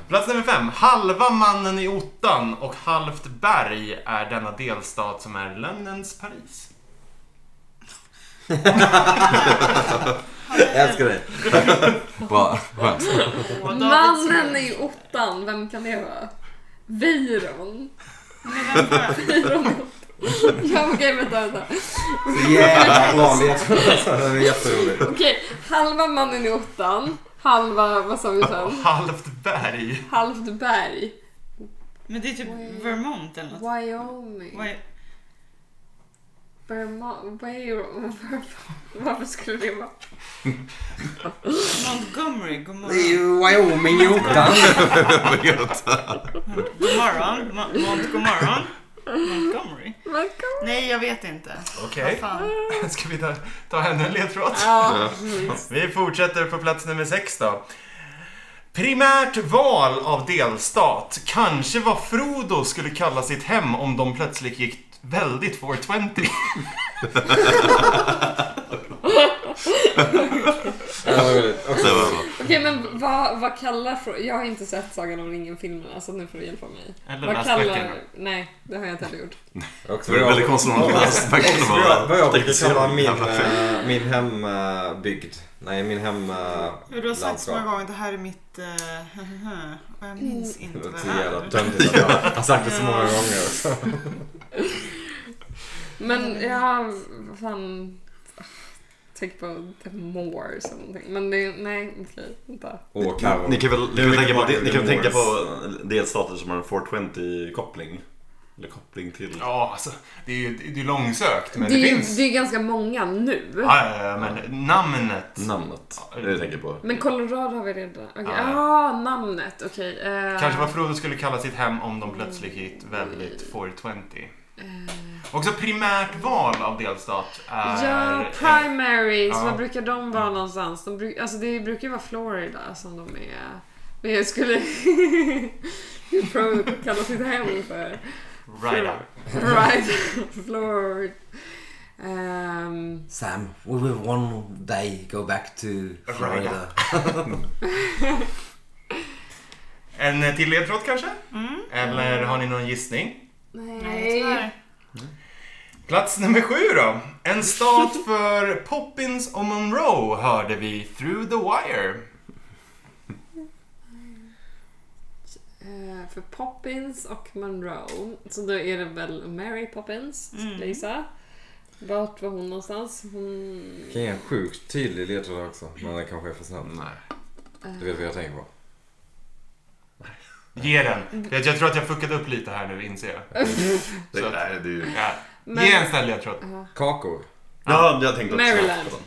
[SPEAKER 1] Plats nummer fem. Halva mannen i ottan och halvt berg är denna delstat som är lögnens Paris.
[SPEAKER 6] Jag älskar dig. Bra. Skönt.
[SPEAKER 3] Och David Smith.
[SPEAKER 5] Mannen i ottan, vem kan det vara? Veyron.
[SPEAKER 3] Men vem var-
[SPEAKER 5] Veyron. Ja, okej, vänta, vänta.
[SPEAKER 6] Så jävla vanligt. Det är jätteroligt.
[SPEAKER 5] Okej, halva mannen i ottan, halva, vad sa vi
[SPEAKER 1] Och
[SPEAKER 5] sen?
[SPEAKER 1] halvt berg.
[SPEAKER 5] Halvt berg.
[SPEAKER 3] Men det är typ Vermont eller något.
[SPEAKER 5] Wyoming.
[SPEAKER 3] Vad är-
[SPEAKER 5] Vermont. Veyron. *laughs* Varför skulle det vara?
[SPEAKER 3] Montgomery, god
[SPEAKER 6] Det är
[SPEAKER 3] morgon.
[SPEAKER 6] ju Wyoming i ottan.
[SPEAKER 3] God morgon. Mo- Mont, god morgon. Montgomery.
[SPEAKER 5] Welcome.
[SPEAKER 3] Nej, jag vet inte. Vad
[SPEAKER 1] Okej,
[SPEAKER 3] fan.
[SPEAKER 1] *laughs* ska vi ta, ta ännu en ledtråd?
[SPEAKER 5] Ja, minst.
[SPEAKER 1] Vi fortsätter på plats nummer sex då. Primärt val av delstat. Kanske vad Frodo skulle kalla sitt hem om de plötsligt gick väldigt 420.
[SPEAKER 6] Det var roligt. Också.
[SPEAKER 4] Det var bra.
[SPEAKER 5] Okej, men vad, vad kallar... Fro- Jag har inte sett Sagan om ringen-filmerna, så nu får du hjälpa mig.
[SPEAKER 1] Eller
[SPEAKER 5] Vad
[SPEAKER 1] läs böckerna.
[SPEAKER 5] kallar... Nej, det har jag inte heller gjort.
[SPEAKER 6] Också
[SPEAKER 4] Det var
[SPEAKER 6] bra.
[SPEAKER 4] väldigt konstigt om man läste böckerna
[SPEAKER 6] Vad jag- vad jag brukar kalla min,
[SPEAKER 4] Jävla fel.
[SPEAKER 6] eh, min hembygd. Nej, min hem... eh,
[SPEAKER 3] Du har sagt så
[SPEAKER 6] landskap.
[SPEAKER 3] många gånger, det här är mitt... eh, *laughs* och jag minns
[SPEAKER 5] Mm.
[SPEAKER 3] inte
[SPEAKER 6] Det
[SPEAKER 3] vad
[SPEAKER 6] var
[SPEAKER 3] det
[SPEAKER 6] så jävla
[SPEAKER 3] är.
[SPEAKER 6] töntigt att jag har sagt det så många gånger. också.
[SPEAKER 5] Men jag... vad Fan... Tänk på The Moors eller någonting. Men det... Nej, okej. Vänta.
[SPEAKER 6] Åh, Carro.
[SPEAKER 4] Ni kan väl, ni kan väl
[SPEAKER 6] mycket
[SPEAKER 4] tänka, på,
[SPEAKER 6] bakom
[SPEAKER 4] ni kan väl tänka på
[SPEAKER 6] Moors.
[SPEAKER 4] delstater som har en 420-koppling? Eller koppling till...
[SPEAKER 1] Ja, alltså, det är ju det är ju långsökt, men
[SPEAKER 5] Det
[SPEAKER 1] det,
[SPEAKER 5] är, ju-
[SPEAKER 1] finns.
[SPEAKER 5] det är ganska många nu.
[SPEAKER 1] Ja, ja, ja, men namnet.
[SPEAKER 4] Namnet. Det är det jag tänker på.
[SPEAKER 5] Men Colorado har vi redan. Okej.
[SPEAKER 1] Ja.
[SPEAKER 5] Ah, namnet. Okej. eh,
[SPEAKER 1] Kanske vad Frodo skulle kalla sitt hem om de plötsligt gick väldigt 420. Också primärt val av delstat är...
[SPEAKER 5] Eh. Ja, primaries.
[SPEAKER 1] Ja.
[SPEAKER 5] Vad brukar de vara någonstans? De bruk, alltså det brukar ju vara Florida som de är. Men jag skulle... *laughs* Frodo kallar sitt hem för...
[SPEAKER 1] Right up.
[SPEAKER 5] Right. Florida. Ehm,
[SPEAKER 7] Sam, we will one day go back to Florida.
[SPEAKER 1] En till ledtråd kanske?
[SPEAKER 3] Mm.
[SPEAKER 1] Eller har ni någon gissning?
[SPEAKER 3] Nej,
[SPEAKER 5] nej.
[SPEAKER 3] tyvärr.
[SPEAKER 1] Plats nummer sju då. En stat för Poppins och Monroe hörde vi Through the Wire.
[SPEAKER 5] Eh, för Poppins och Monroe. Så då är det väl Mary Poppins,
[SPEAKER 3] Mm.
[SPEAKER 5] skulle jag gissa. Vart var hon någonstans? Hon...
[SPEAKER 6] Kan ge en sjukt tydlig ledtråd också. Men det kanske är för snabbt.
[SPEAKER 4] Nej.
[SPEAKER 6] Du vet vad jag tänker på.
[SPEAKER 1] Ge den. Jag, jag tror att jag fuckade upp lite här nu, inser jag.
[SPEAKER 4] Det,
[SPEAKER 1] Så att-
[SPEAKER 4] nej, det är ju...
[SPEAKER 1] Ja.
[SPEAKER 5] Men-
[SPEAKER 1] Ge en snäll ledtråd.
[SPEAKER 6] Kakor.
[SPEAKER 4] Ja, jag tänkte också
[SPEAKER 5] Maryland.
[SPEAKER 4] på den.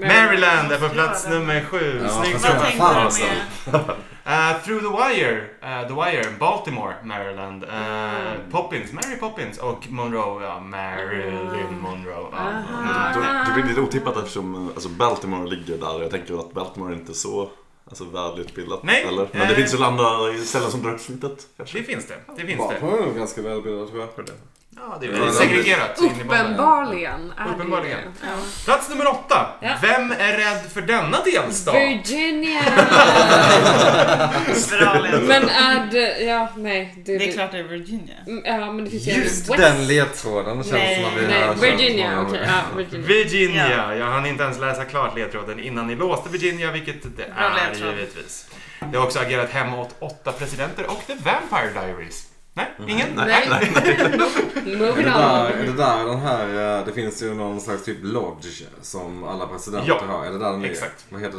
[SPEAKER 1] Maryland är på plats nummer sju.
[SPEAKER 6] Ja,
[SPEAKER 1] Snyggt
[SPEAKER 6] fast
[SPEAKER 1] jobbat.
[SPEAKER 3] Vad
[SPEAKER 6] Fan,
[SPEAKER 3] tänkte
[SPEAKER 6] fan,
[SPEAKER 3] du
[SPEAKER 6] alltså.
[SPEAKER 3] med...
[SPEAKER 1] Eh, through the Wire, eh, The Wire, Baltimore, Maryland. Eh, Poppins, Mary Poppins och Monroe, ja, Marilyn Monroe. ja.
[SPEAKER 5] Aha.
[SPEAKER 4] Det- Det blir lite otippat eftersom alltså, Baltimore ligger där och jag tänker att Baltimore inte är så alltså, välutbildat.
[SPEAKER 1] Nej.
[SPEAKER 4] Eller? Men det
[SPEAKER 1] Eh.
[SPEAKER 4] finns väl andra ställen som drar upp snittet. kanske.
[SPEAKER 1] Det finns det, det finns det.
[SPEAKER 6] Baltimore är nog ganska välbildad tror jag.
[SPEAKER 1] Ja, det är väl segregerat. in i bollen.
[SPEAKER 5] Uppenbarligen är det
[SPEAKER 1] Uppenbarligen.
[SPEAKER 5] ju det.
[SPEAKER 1] Plats nummer åtta.
[SPEAKER 5] Ja.
[SPEAKER 1] Vem är rädd för denna
[SPEAKER 5] Ja.
[SPEAKER 1] delstat?
[SPEAKER 5] Virginia!
[SPEAKER 1] *laughs*
[SPEAKER 6] *laughs*
[SPEAKER 3] Bra ledtråd.
[SPEAKER 5] men är det... Ja, nej.
[SPEAKER 3] Det är klart det är Virginia.
[SPEAKER 5] Mm, Ja, men det finns ju
[SPEAKER 2] Just
[SPEAKER 5] West-
[SPEAKER 2] den ledtråden känns
[SPEAKER 3] Nej.
[SPEAKER 2] som att vi
[SPEAKER 5] Nej,
[SPEAKER 2] har
[SPEAKER 5] Virginia.
[SPEAKER 2] kört
[SPEAKER 5] Okej,
[SPEAKER 2] många
[SPEAKER 5] ja,
[SPEAKER 2] gånger.
[SPEAKER 5] Virginia.
[SPEAKER 1] Virginia.
[SPEAKER 3] Ja.
[SPEAKER 1] Jag hann inte ens läsa klart ledtråden innan ni låste Virginia, vilket det
[SPEAKER 3] Bra
[SPEAKER 1] är
[SPEAKER 3] ledtråd.
[SPEAKER 1] givetvis. Det har också agerat hemma åt åtta presidenter och The Vampire Diaries. Nej, ingen?
[SPEAKER 5] Nej.
[SPEAKER 2] Är
[SPEAKER 5] Moving
[SPEAKER 2] det, där, är
[SPEAKER 5] on.
[SPEAKER 2] det där den här, eh, det finns ju någon slags typ lodge som alla presidenter
[SPEAKER 1] Ja,
[SPEAKER 2] har. Är det där den ligger?
[SPEAKER 1] exakt.
[SPEAKER 2] Vad heter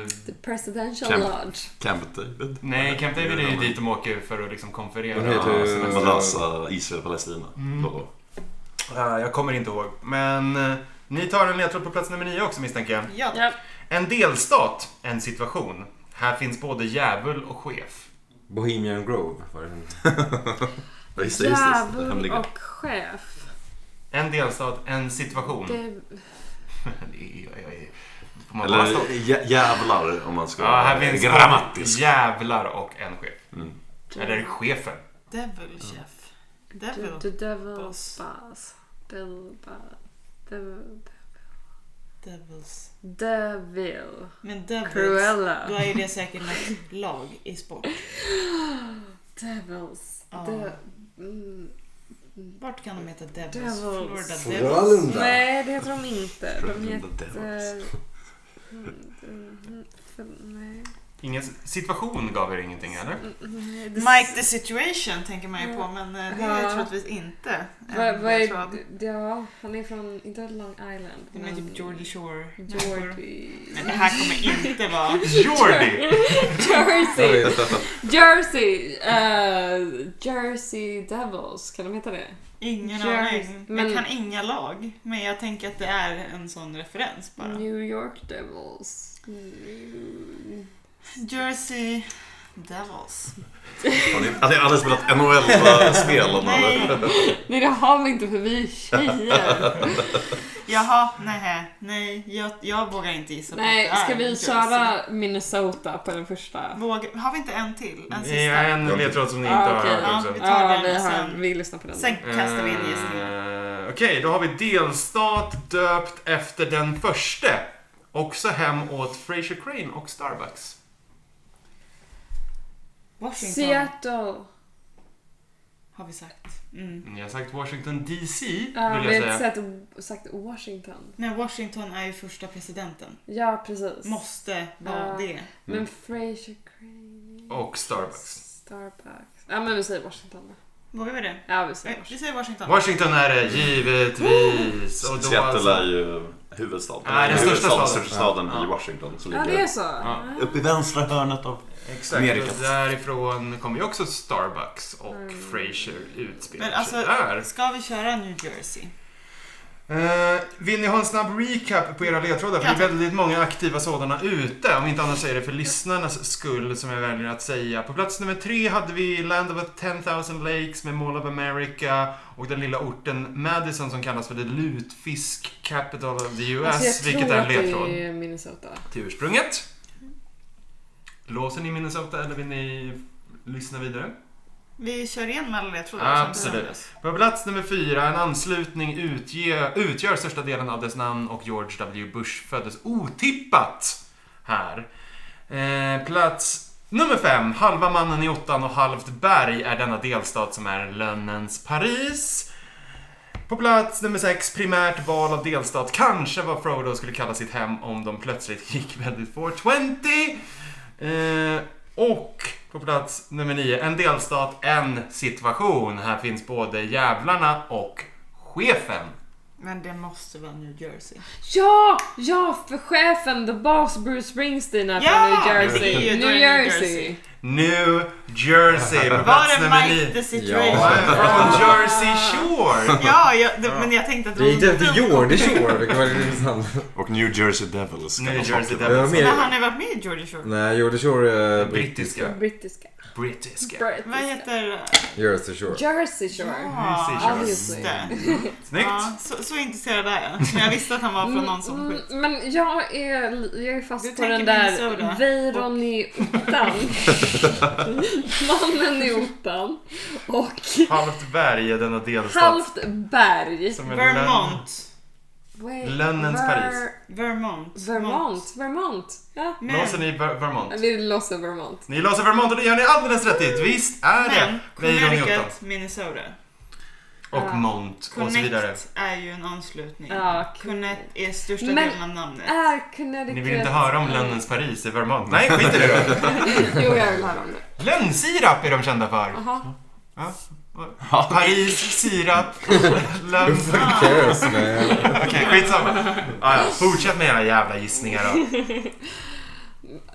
[SPEAKER 1] *laughs* Eh,
[SPEAKER 5] The Presidential
[SPEAKER 4] Kämpa.
[SPEAKER 5] Lodge.
[SPEAKER 4] Camp typ. David.
[SPEAKER 1] nej, Camp David är ju dit de åker för att liksom konferera.
[SPEAKER 2] Den heter ju-
[SPEAKER 1] och semestra.
[SPEAKER 4] Och lösa Israel och Palestina.
[SPEAKER 1] Mm.
[SPEAKER 4] Då, då.
[SPEAKER 1] Eh, jag kommer inte ihåg. Men eh, ni tar en ledtråd på plats nummer nio också misstänker jag.
[SPEAKER 3] Ja,
[SPEAKER 5] Ja.
[SPEAKER 1] En delstat, en situation. Här finns både djävul och chef.
[SPEAKER 2] Bohemian Grove var det.
[SPEAKER 4] Ja, just det, just det, just det.
[SPEAKER 5] Djävul
[SPEAKER 4] Hemliga.
[SPEAKER 5] och chef.
[SPEAKER 1] En delstat, en situation. Det...
[SPEAKER 5] Det,
[SPEAKER 1] är- jag är- Får man vara
[SPEAKER 4] Eller
[SPEAKER 1] stolt?
[SPEAKER 4] jä- jävlar om man ska
[SPEAKER 1] Ja, här finns
[SPEAKER 4] grammatisk.
[SPEAKER 1] djävlar och en chef.
[SPEAKER 4] Mm.
[SPEAKER 1] Eller chefen.
[SPEAKER 3] Devil chef.
[SPEAKER 5] the,
[SPEAKER 3] Devil.
[SPEAKER 5] the Devil's
[SPEAKER 3] Boss.
[SPEAKER 5] Buzz. Devil Buzz.
[SPEAKER 3] Devils.
[SPEAKER 5] Devil.
[SPEAKER 3] Men devils. Då
[SPEAKER 5] Cruella.
[SPEAKER 3] är det säkert något lag i sport.
[SPEAKER 5] Devils.
[SPEAKER 3] Ja.
[SPEAKER 5] De, mm,
[SPEAKER 3] Vart kan de heta Devils?
[SPEAKER 5] Devils.
[SPEAKER 3] Florida Devils.
[SPEAKER 6] Frölunda.
[SPEAKER 5] nej, det heter de inte. De
[SPEAKER 4] Frölunda
[SPEAKER 5] heter...
[SPEAKER 4] Devils.
[SPEAKER 5] Mm, mm, för- Nej.
[SPEAKER 1] Ingen situation gav er ingenting eller?
[SPEAKER 5] Mm, nej, det-
[SPEAKER 3] Mike the situation tänker man ju på men eh, det är
[SPEAKER 5] Mm. Ja.
[SPEAKER 3] troligtvis inte Eh, en
[SPEAKER 5] Vad, vad
[SPEAKER 3] ledtråd.
[SPEAKER 5] är, ja, han är från, inte Long Island.
[SPEAKER 3] Det var typ Georgie Shore.
[SPEAKER 5] Georgie.
[SPEAKER 3] Men det här kommer inte vara...
[SPEAKER 1] Jordi!
[SPEAKER 5] *laughs* Jersey! Jersey! eh, Jersey Devils, kan de heta det?
[SPEAKER 3] Ingen
[SPEAKER 5] Jersey.
[SPEAKER 3] aning.
[SPEAKER 5] Men-
[SPEAKER 3] Jag kan inga lag. Men jag tänker att det är en sån referens bara.
[SPEAKER 5] New York Devils. New...
[SPEAKER 3] Jersey Devils.
[SPEAKER 4] Har ni, har ni aldrig spelat NHL-spel? om man-
[SPEAKER 3] Nej.
[SPEAKER 5] Nej, det har vi inte för vi
[SPEAKER 3] *laughs*
[SPEAKER 5] är tjejer.
[SPEAKER 3] Jaha, nej, nej. Jag, jag vågar inte gissa på
[SPEAKER 5] Nej,
[SPEAKER 3] att det är
[SPEAKER 5] ska vi
[SPEAKER 3] Jersey.
[SPEAKER 5] köra Minnesota på den första?
[SPEAKER 3] Våga, har vi inte en till? En
[SPEAKER 1] Det är
[SPEAKER 3] sista?
[SPEAKER 1] en ledtråd som ni inte
[SPEAKER 5] Ah,
[SPEAKER 1] har
[SPEAKER 5] okej.
[SPEAKER 1] hört också.
[SPEAKER 3] Vi tar
[SPEAKER 5] Ja,
[SPEAKER 3] den
[SPEAKER 5] vi, har,
[SPEAKER 3] sen.
[SPEAKER 5] vi lyssnar på den.
[SPEAKER 3] Sen kastar vi in gissningar.
[SPEAKER 1] Eh, Okej, då har vi delstat döpt efter den förste. Också hem åt Fraser Crane och Starbucks.
[SPEAKER 3] Washington
[SPEAKER 5] Seattle.
[SPEAKER 3] har vi sagt. Mm.
[SPEAKER 1] Ni har sagt Washington DC,
[SPEAKER 5] Ja,
[SPEAKER 1] vill
[SPEAKER 5] vi
[SPEAKER 1] jag
[SPEAKER 5] har inte
[SPEAKER 1] säga.
[SPEAKER 5] sagt, sagt Washington.
[SPEAKER 3] Men Washington är ju första presidenten.
[SPEAKER 5] Ja, precis.
[SPEAKER 3] Måste vara
[SPEAKER 5] Ja.
[SPEAKER 3] det.
[SPEAKER 5] Men Fraser Crane.
[SPEAKER 1] Mm. Och Starbucks.
[SPEAKER 5] Starbucks. Ja, men vi säger Washington då.
[SPEAKER 3] Vågar vi det?
[SPEAKER 5] Ja, vi säger
[SPEAKER 3] Nej, Vi
[SPEAKER 5] Washington.
[SPEAKER 3] säger Washington.
[SPEAKER 1] Washington är det, givetvis. Och då
[SPEAKER 4] Seattle är
[SPEAKER 1] alltså-
[SPEAKER 4] ju huvudstaden.
[SPEAKER 1] Nej, den största
[SPEAKER 4] Huvudstaden-
[SPEAKER 1] staden.
[SPEAKER 4] största staden
[SPEAKER 1] Ja.
[SPEAKER 4] i Washington. Som
[SPEAKER 5] Ja,
[SPEAKER 4] ligger
[SPEAKER 5] det är så.
[SPEAKER 1] Ja.
[SPEAKER 4] uppe i vänstra hörnet av...
[SPEAKER 1] Exakt,
[SPEAKER 4] Amerika.
[SPEAKER 1] och därifrån kommer ju också Starbucks och
[SPEAKER 5] Mm.
[SPEAKER 1] Frasier utspelar
[SPEAKER 3] Men alltså-
[SPEAKER 1] sig där.
[SPEAKER 3] Ska vi köra New Jersey?
[SPEAKER 1] Eh, vill ni ha en snabb recap på era ledtrådar? För det är väldigt många aktiva sådana ute. Om inte annars är det för lyssnarnas skull som jag väljer att säga. På plats nummer tre hade vi Land of a 10,000 Lakes med Mall of America och den lilla orten Madison som kallas för The Lutfisk Capital of the US,
[SPEAKER 5] Alltså, jag tror
[SPEAKER 1] vilket är en
[SPEAKER 5] att
[SPEAKER 1] ledtråd.
[SPEAKER 5] det är Minnesota.
[SPEAKER 1] till ursprunget. Låser ni Minnesota eller vill ni lyssna vidare?
[SPEAKER 3] Vi kör igen med alla ledtrådar. som
[SPEAKER 1] Absolut.
[SPEAKER 3] behövs.
[SPEAKER 1] På plats nummer fyra, en anslutning utge, utgör största delen av dess namn och George W. Bush föddes otippat här. Eh, plats nummer fem, halva mannen i åttan och halvt berg är denna delstat som är lönnens Paris. På plats nummer sex, primärt val av delstat, kanske vad Frodo skulle kalla sitt hem om de plötsligt gick väldigt 420. Eh, och på plats nummer nio, en delstat, en situation. Här finns både jävlarna och chefen.
[SPEAKER 3] Men det måste vara New Jersey.
[SPEAKER 5] Ja! Ja, för chefen, the boss Bruce Springsteen är
[SPEAKER 3] Ja!
[SPEAKER 5] från New
[SPEAKER 3] Det är
[SPEAKER 5] Jersey.
[SPEAKER 3] ju- då
[SPEAKER 5] New
[SPEAKER 3] är det New
[SPEAKER 5] Jersey.
[SPEAKER 3] Jersey.
[SPEAKER 1] New Jersey på
[SPEAKER 3] Var
[SPEAKER 1] plats
[SPEAKER 3] det
[SPEAKER 1] nummer
[SPEAKER 3] Mike
[SPEAKER 1] nio.
[SPEAKER 3] the situation?
[SPEAKER 1] I'm From Jersey
[SPEAKER 3] *laughs*
[SPEAKER 1] Shore.
[SPEAKER 3] Ja, jag, det, men jag tänkte att
[SPEAKER 2] Det är
[SPEAKER 3] det
[SPEAKER 2] inte för
[SPEAKER 3] var dumt.
[SPEAKER 2] Jordy Shore, vilket var lite
[SPEAKER 6] liksom
[SPEAKER 2] intressant.
[SPEAKER 4] Och New Jersey Devils. kan
[SPEAKER 1] New
[SPEAKER 4] de
[SPEAKER 1] Jersey
[SPEAKER 4] också-
[SPEAKER 2] Det var
[SPEAKER 1] Devils.
[SPEAKER 2] mer...
[SPEAKER 3] Men han har ju varit med i Georgia Shore.
[SPEAKER 6] eh,
[SPEAKER 2] Nej, Jordy Shore är
[SPEAKER 1] Brittiska.
[SPEAKER 5] Brittiska.
[SPEAKER 1] Brittiska.
[SPEAKER 5] Brittiska.
[SPEAKER 3] Vad heter...
[SPEAKER 6] Jersey Shore.
[SPEAKER 5] Jersey Shore.
[SPEAKER 3] Ja,
[SPEAKER 1] Jersey
[SPEAKER 5] Obviously.
[SPEAKER 3] just det.
[SPEAKER 1] Snyggt!
[SPEAKER 3] Ja, så, så intresserad är jag. Men jag visste att han var från någon sån skit.
[SPEAKER 5] Mm, men jag är, jag är
[SPEAKER 3] Du
[SPEAKER 5] fast på
[SPEAKER 3] tänker
[SPEAKER 5] den där
[SPEAKER 3] Minnesota.
[SPEAKER 5] Weiron i ottan. Mannen i ottan. Och
[SPEAKER 1] Halvt berg är denna delstat.
[SPEAKER 5] halvt berg.
[SPEAKER 1] Som är lön-
[SPEAKER 3] Vermont.
[SPEAKER 5] Wait,
[SPEAKER 1] Lönnens Paris.
[SPEAKER 3] Vermont.
[SPEAKER 5] Vermont. Vermont. Ja.
[SPEAKER 3] Men,
[SPEAKER 1] Låser ni Ver- Vermont?
[SPEAKER 5] Vi låser Vermont.
[SPEAKER 1] Ni låser Vermont och det gör ni alldeles rätt i. Visst är det
[SPEAKER 3] men
[SPEAKER 1] Weiron i ottan.
[SPEAKER 3] Connecticut, Minnesota.
[SPEAKER 1] Och Mont och så vidare.
[SPEAKER 3] Connect är ju en anslutning.
[SPEAKER 5] Ja,
[SPEAKER 3] Connect är största
[SPEAKER 5] Men-
[SPEAKER 3] delen av namnet.
[SPEAKER 5] Är Ah, Connecticut...
[SPEAKER 1] Ni vill inte höra om Lönnens Paris i Vermont? Nej, skit i det då.
[SPEAKER 5] Mm. *laughs* Jo, jag vill höra om det.
[SPEAKER 1] Lönnsirap är de kända för.
[SPEAKER 5] Jaha.
[SPEAKER 1] Paris, sirap, lönn...
[SPEAKER 6] Cares man.
[SPEAKER 1] Okej, skitsamma. Ah, ja. Fortsätt med era jävla gissningar då.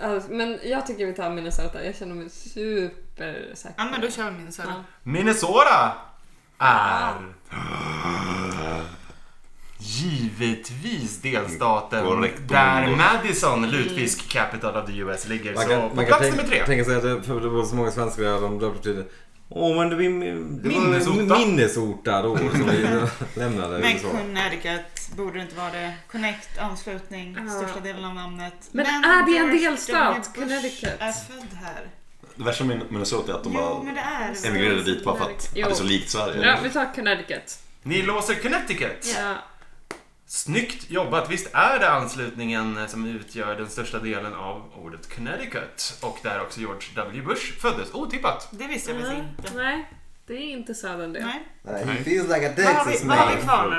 [SPEAKER 5] Alltså, men jag tycker vi tar Minnesota. Jag känner mig supersäker.
[SPEAKER 3] Ja men då kör vi Minnesota.
[SPEAKER 5] Ja.
[SPEAKER 1] Minnesota är... Givetvis delstaten
[SPEAKER 4] Korrekt.
[SPEAKER 1] där Madison, lutfisk capital of the US, ligger.
[SPEAKER 6] Man
[SPEAKER 1] Så
[SPEAKER 6] kan,
[SPEAKER 1] på
[SPEAKER 6] man kan
[SPEAKER 1] plats
[SPEAKER 6] tänka,
[SPEAKER 1] nummer tre.
[SPEAKER 6] tänka sig att det, för det var så många svenskar där de döpte till det. Åh, men det var det var-
[SPEAKER 1] Minnesorta.
[SPEAKER 6] Minnesorta då som vi lämnade.
[SPEAKER 3] Men
[SPEAKER 6] USA.
[SPEAKER 3] Connecticut, borde det inte vara det? Connect, anslutning,
[SPEAKER 5] Ja.
[SPEAKER 3] största delen av namnet.
[SPEAKER 5] Men är det en
[SPEAKER 3] George
[SPEAKER 5] delstat,
[SPEAKER 3] W. Bush
[SPEAKER 5] Connecticut?
[SPEAKER 3] är född här.
[SPEAKER 4] Det värsta med Minnesota är att de
[SPEAKER 3] Jo, men
[SPEAKER 4] bara
[SPEAKER 3] det är det.
[SPEAKER 4] emigrerade dit bara för att
[SPEAKER 5] Jo.
[SPEAKER 4] det är så likt Sverige.
[SPEAKER 5] Ja, vi tar Connecticut.
[SPEAKER 1] Ni låser Connecticut.
[SPEAKER 5] Ja.
[SPEAKER 1] Snyggt jobbat! Visst är det anslutningen som utgör den största delen av ordet Connecticut? Och där också George W. Bush föddes. Otippat!
[SPEAKER 3] Det visste jag
[SPEAKER 5] Nej,
[SPEAKER 3] faktiskt inte.
[SPEAKER 5] Nej, det är inte Southern det.
[SPEAKER 3] Nej.
[SPEAKER 6] He feels like a
[SPEAKER 3] Vad har, vi,
[SPEAKER 6] Texas
[SPEAKER 3] vad har vi
[SPEAKER 6] man.
[SPEAKER 3] kvar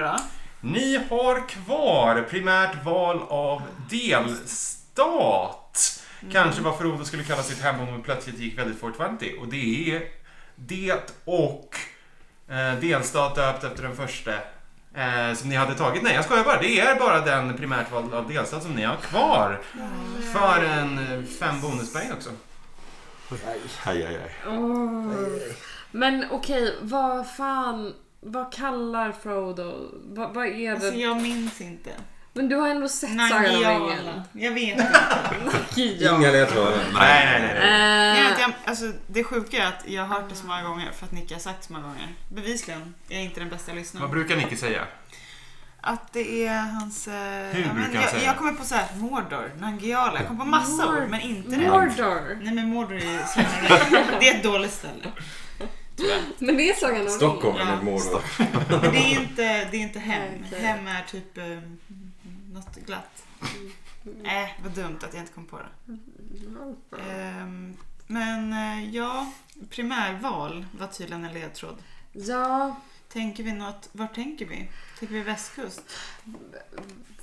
[SPEAKER 3] nu då?
[SPEAKER 1] Ni har kvar primärt val av delstat.
[SPEAKER 5] Mm.
[SPEAKER 1] Kanske vad Frodo skulle kalla sitt hemområde plötsligt gick väldigt 420. Och det är det och eh, delstat döpt efter den första eh, som ni hade tagit. Nej, jag skojar bara. Det är bara den primärt val av delstat som ni har kvar. För en eh, fem bonuspoäng också.
[SPEAKER 4] Aj, aj, aj.
[SPEAKER 5] Åh. Men okej, vad fan... Vad kallar Frodo? Vad, vad är
[SPEAKER 3] Alltså,
[SPEAKER 5] det?
[SPEAKER 3] jag minns inte.
[SPEAKER 5] Men du har ändå sett Sagan om ringen.
[SPEAKER 3] Nangiala. Jag vet inte.
[SPEAKER 6] Inga ledtrådar.
[SPEAKER 1] Nej, nej, nej. nej.
[SPEAKER 3] Jag vet,
[SPEAKER 5] Eh,
[SPEAKER 3] jag, alltså, det sjuka är att jag har hört det så många gånger för att Nick har sagt det så många gånger. Bevisligen är jag inte den bästa
[SPEAKER 1] Vad
[SPEAKER 3] lyssnaren.
[SPEAKER 1] brukar Nicky säga?
[SPEAKER 3] Att det är hans... eh,
[SPEAKER 1] Hur
[SPEAKER 3] ja, men
[SPEAKER 1] brukar han
[SPEAKER 3] jag,
[SPEAKER 1] säga?
[SPEAKER 3] Jag kommer på så här, Mordor, Nangiala. Jag kommer på massa
[SPEAKER 5] Mord-
[SPEAKER 3] ord men inte det.
[SPEAKER 5] Mordor.
[SPEAKER 3] Nej men Mordor är ju sämre. *laughs* Det är ett dåligt ställe.
[SPEAKER 5] Men det är Sagan om ringen.
[SPEAKER 6] Stockholm
[SPEAKER 3] Ja.
[SPEAKER 6] är Mordor.
[SPEAKER 3] Men det är inte, det är inte hem.
[SPEAKER 5] *laughs* Okej.
[SPEAKER 3] Hem är typ eh, något glatt. Äh, vad dumt att jag inte kom på det.
[SPEAKER 5] Eh.
[SPEAKER 3] Ehm, men eh, ja, primärval var tydligen en ledtråd.
[SPEAKER 5] Ja,
[SPEAKER 3] Tänker vi något, var tänker vi? Tänker vi västkust?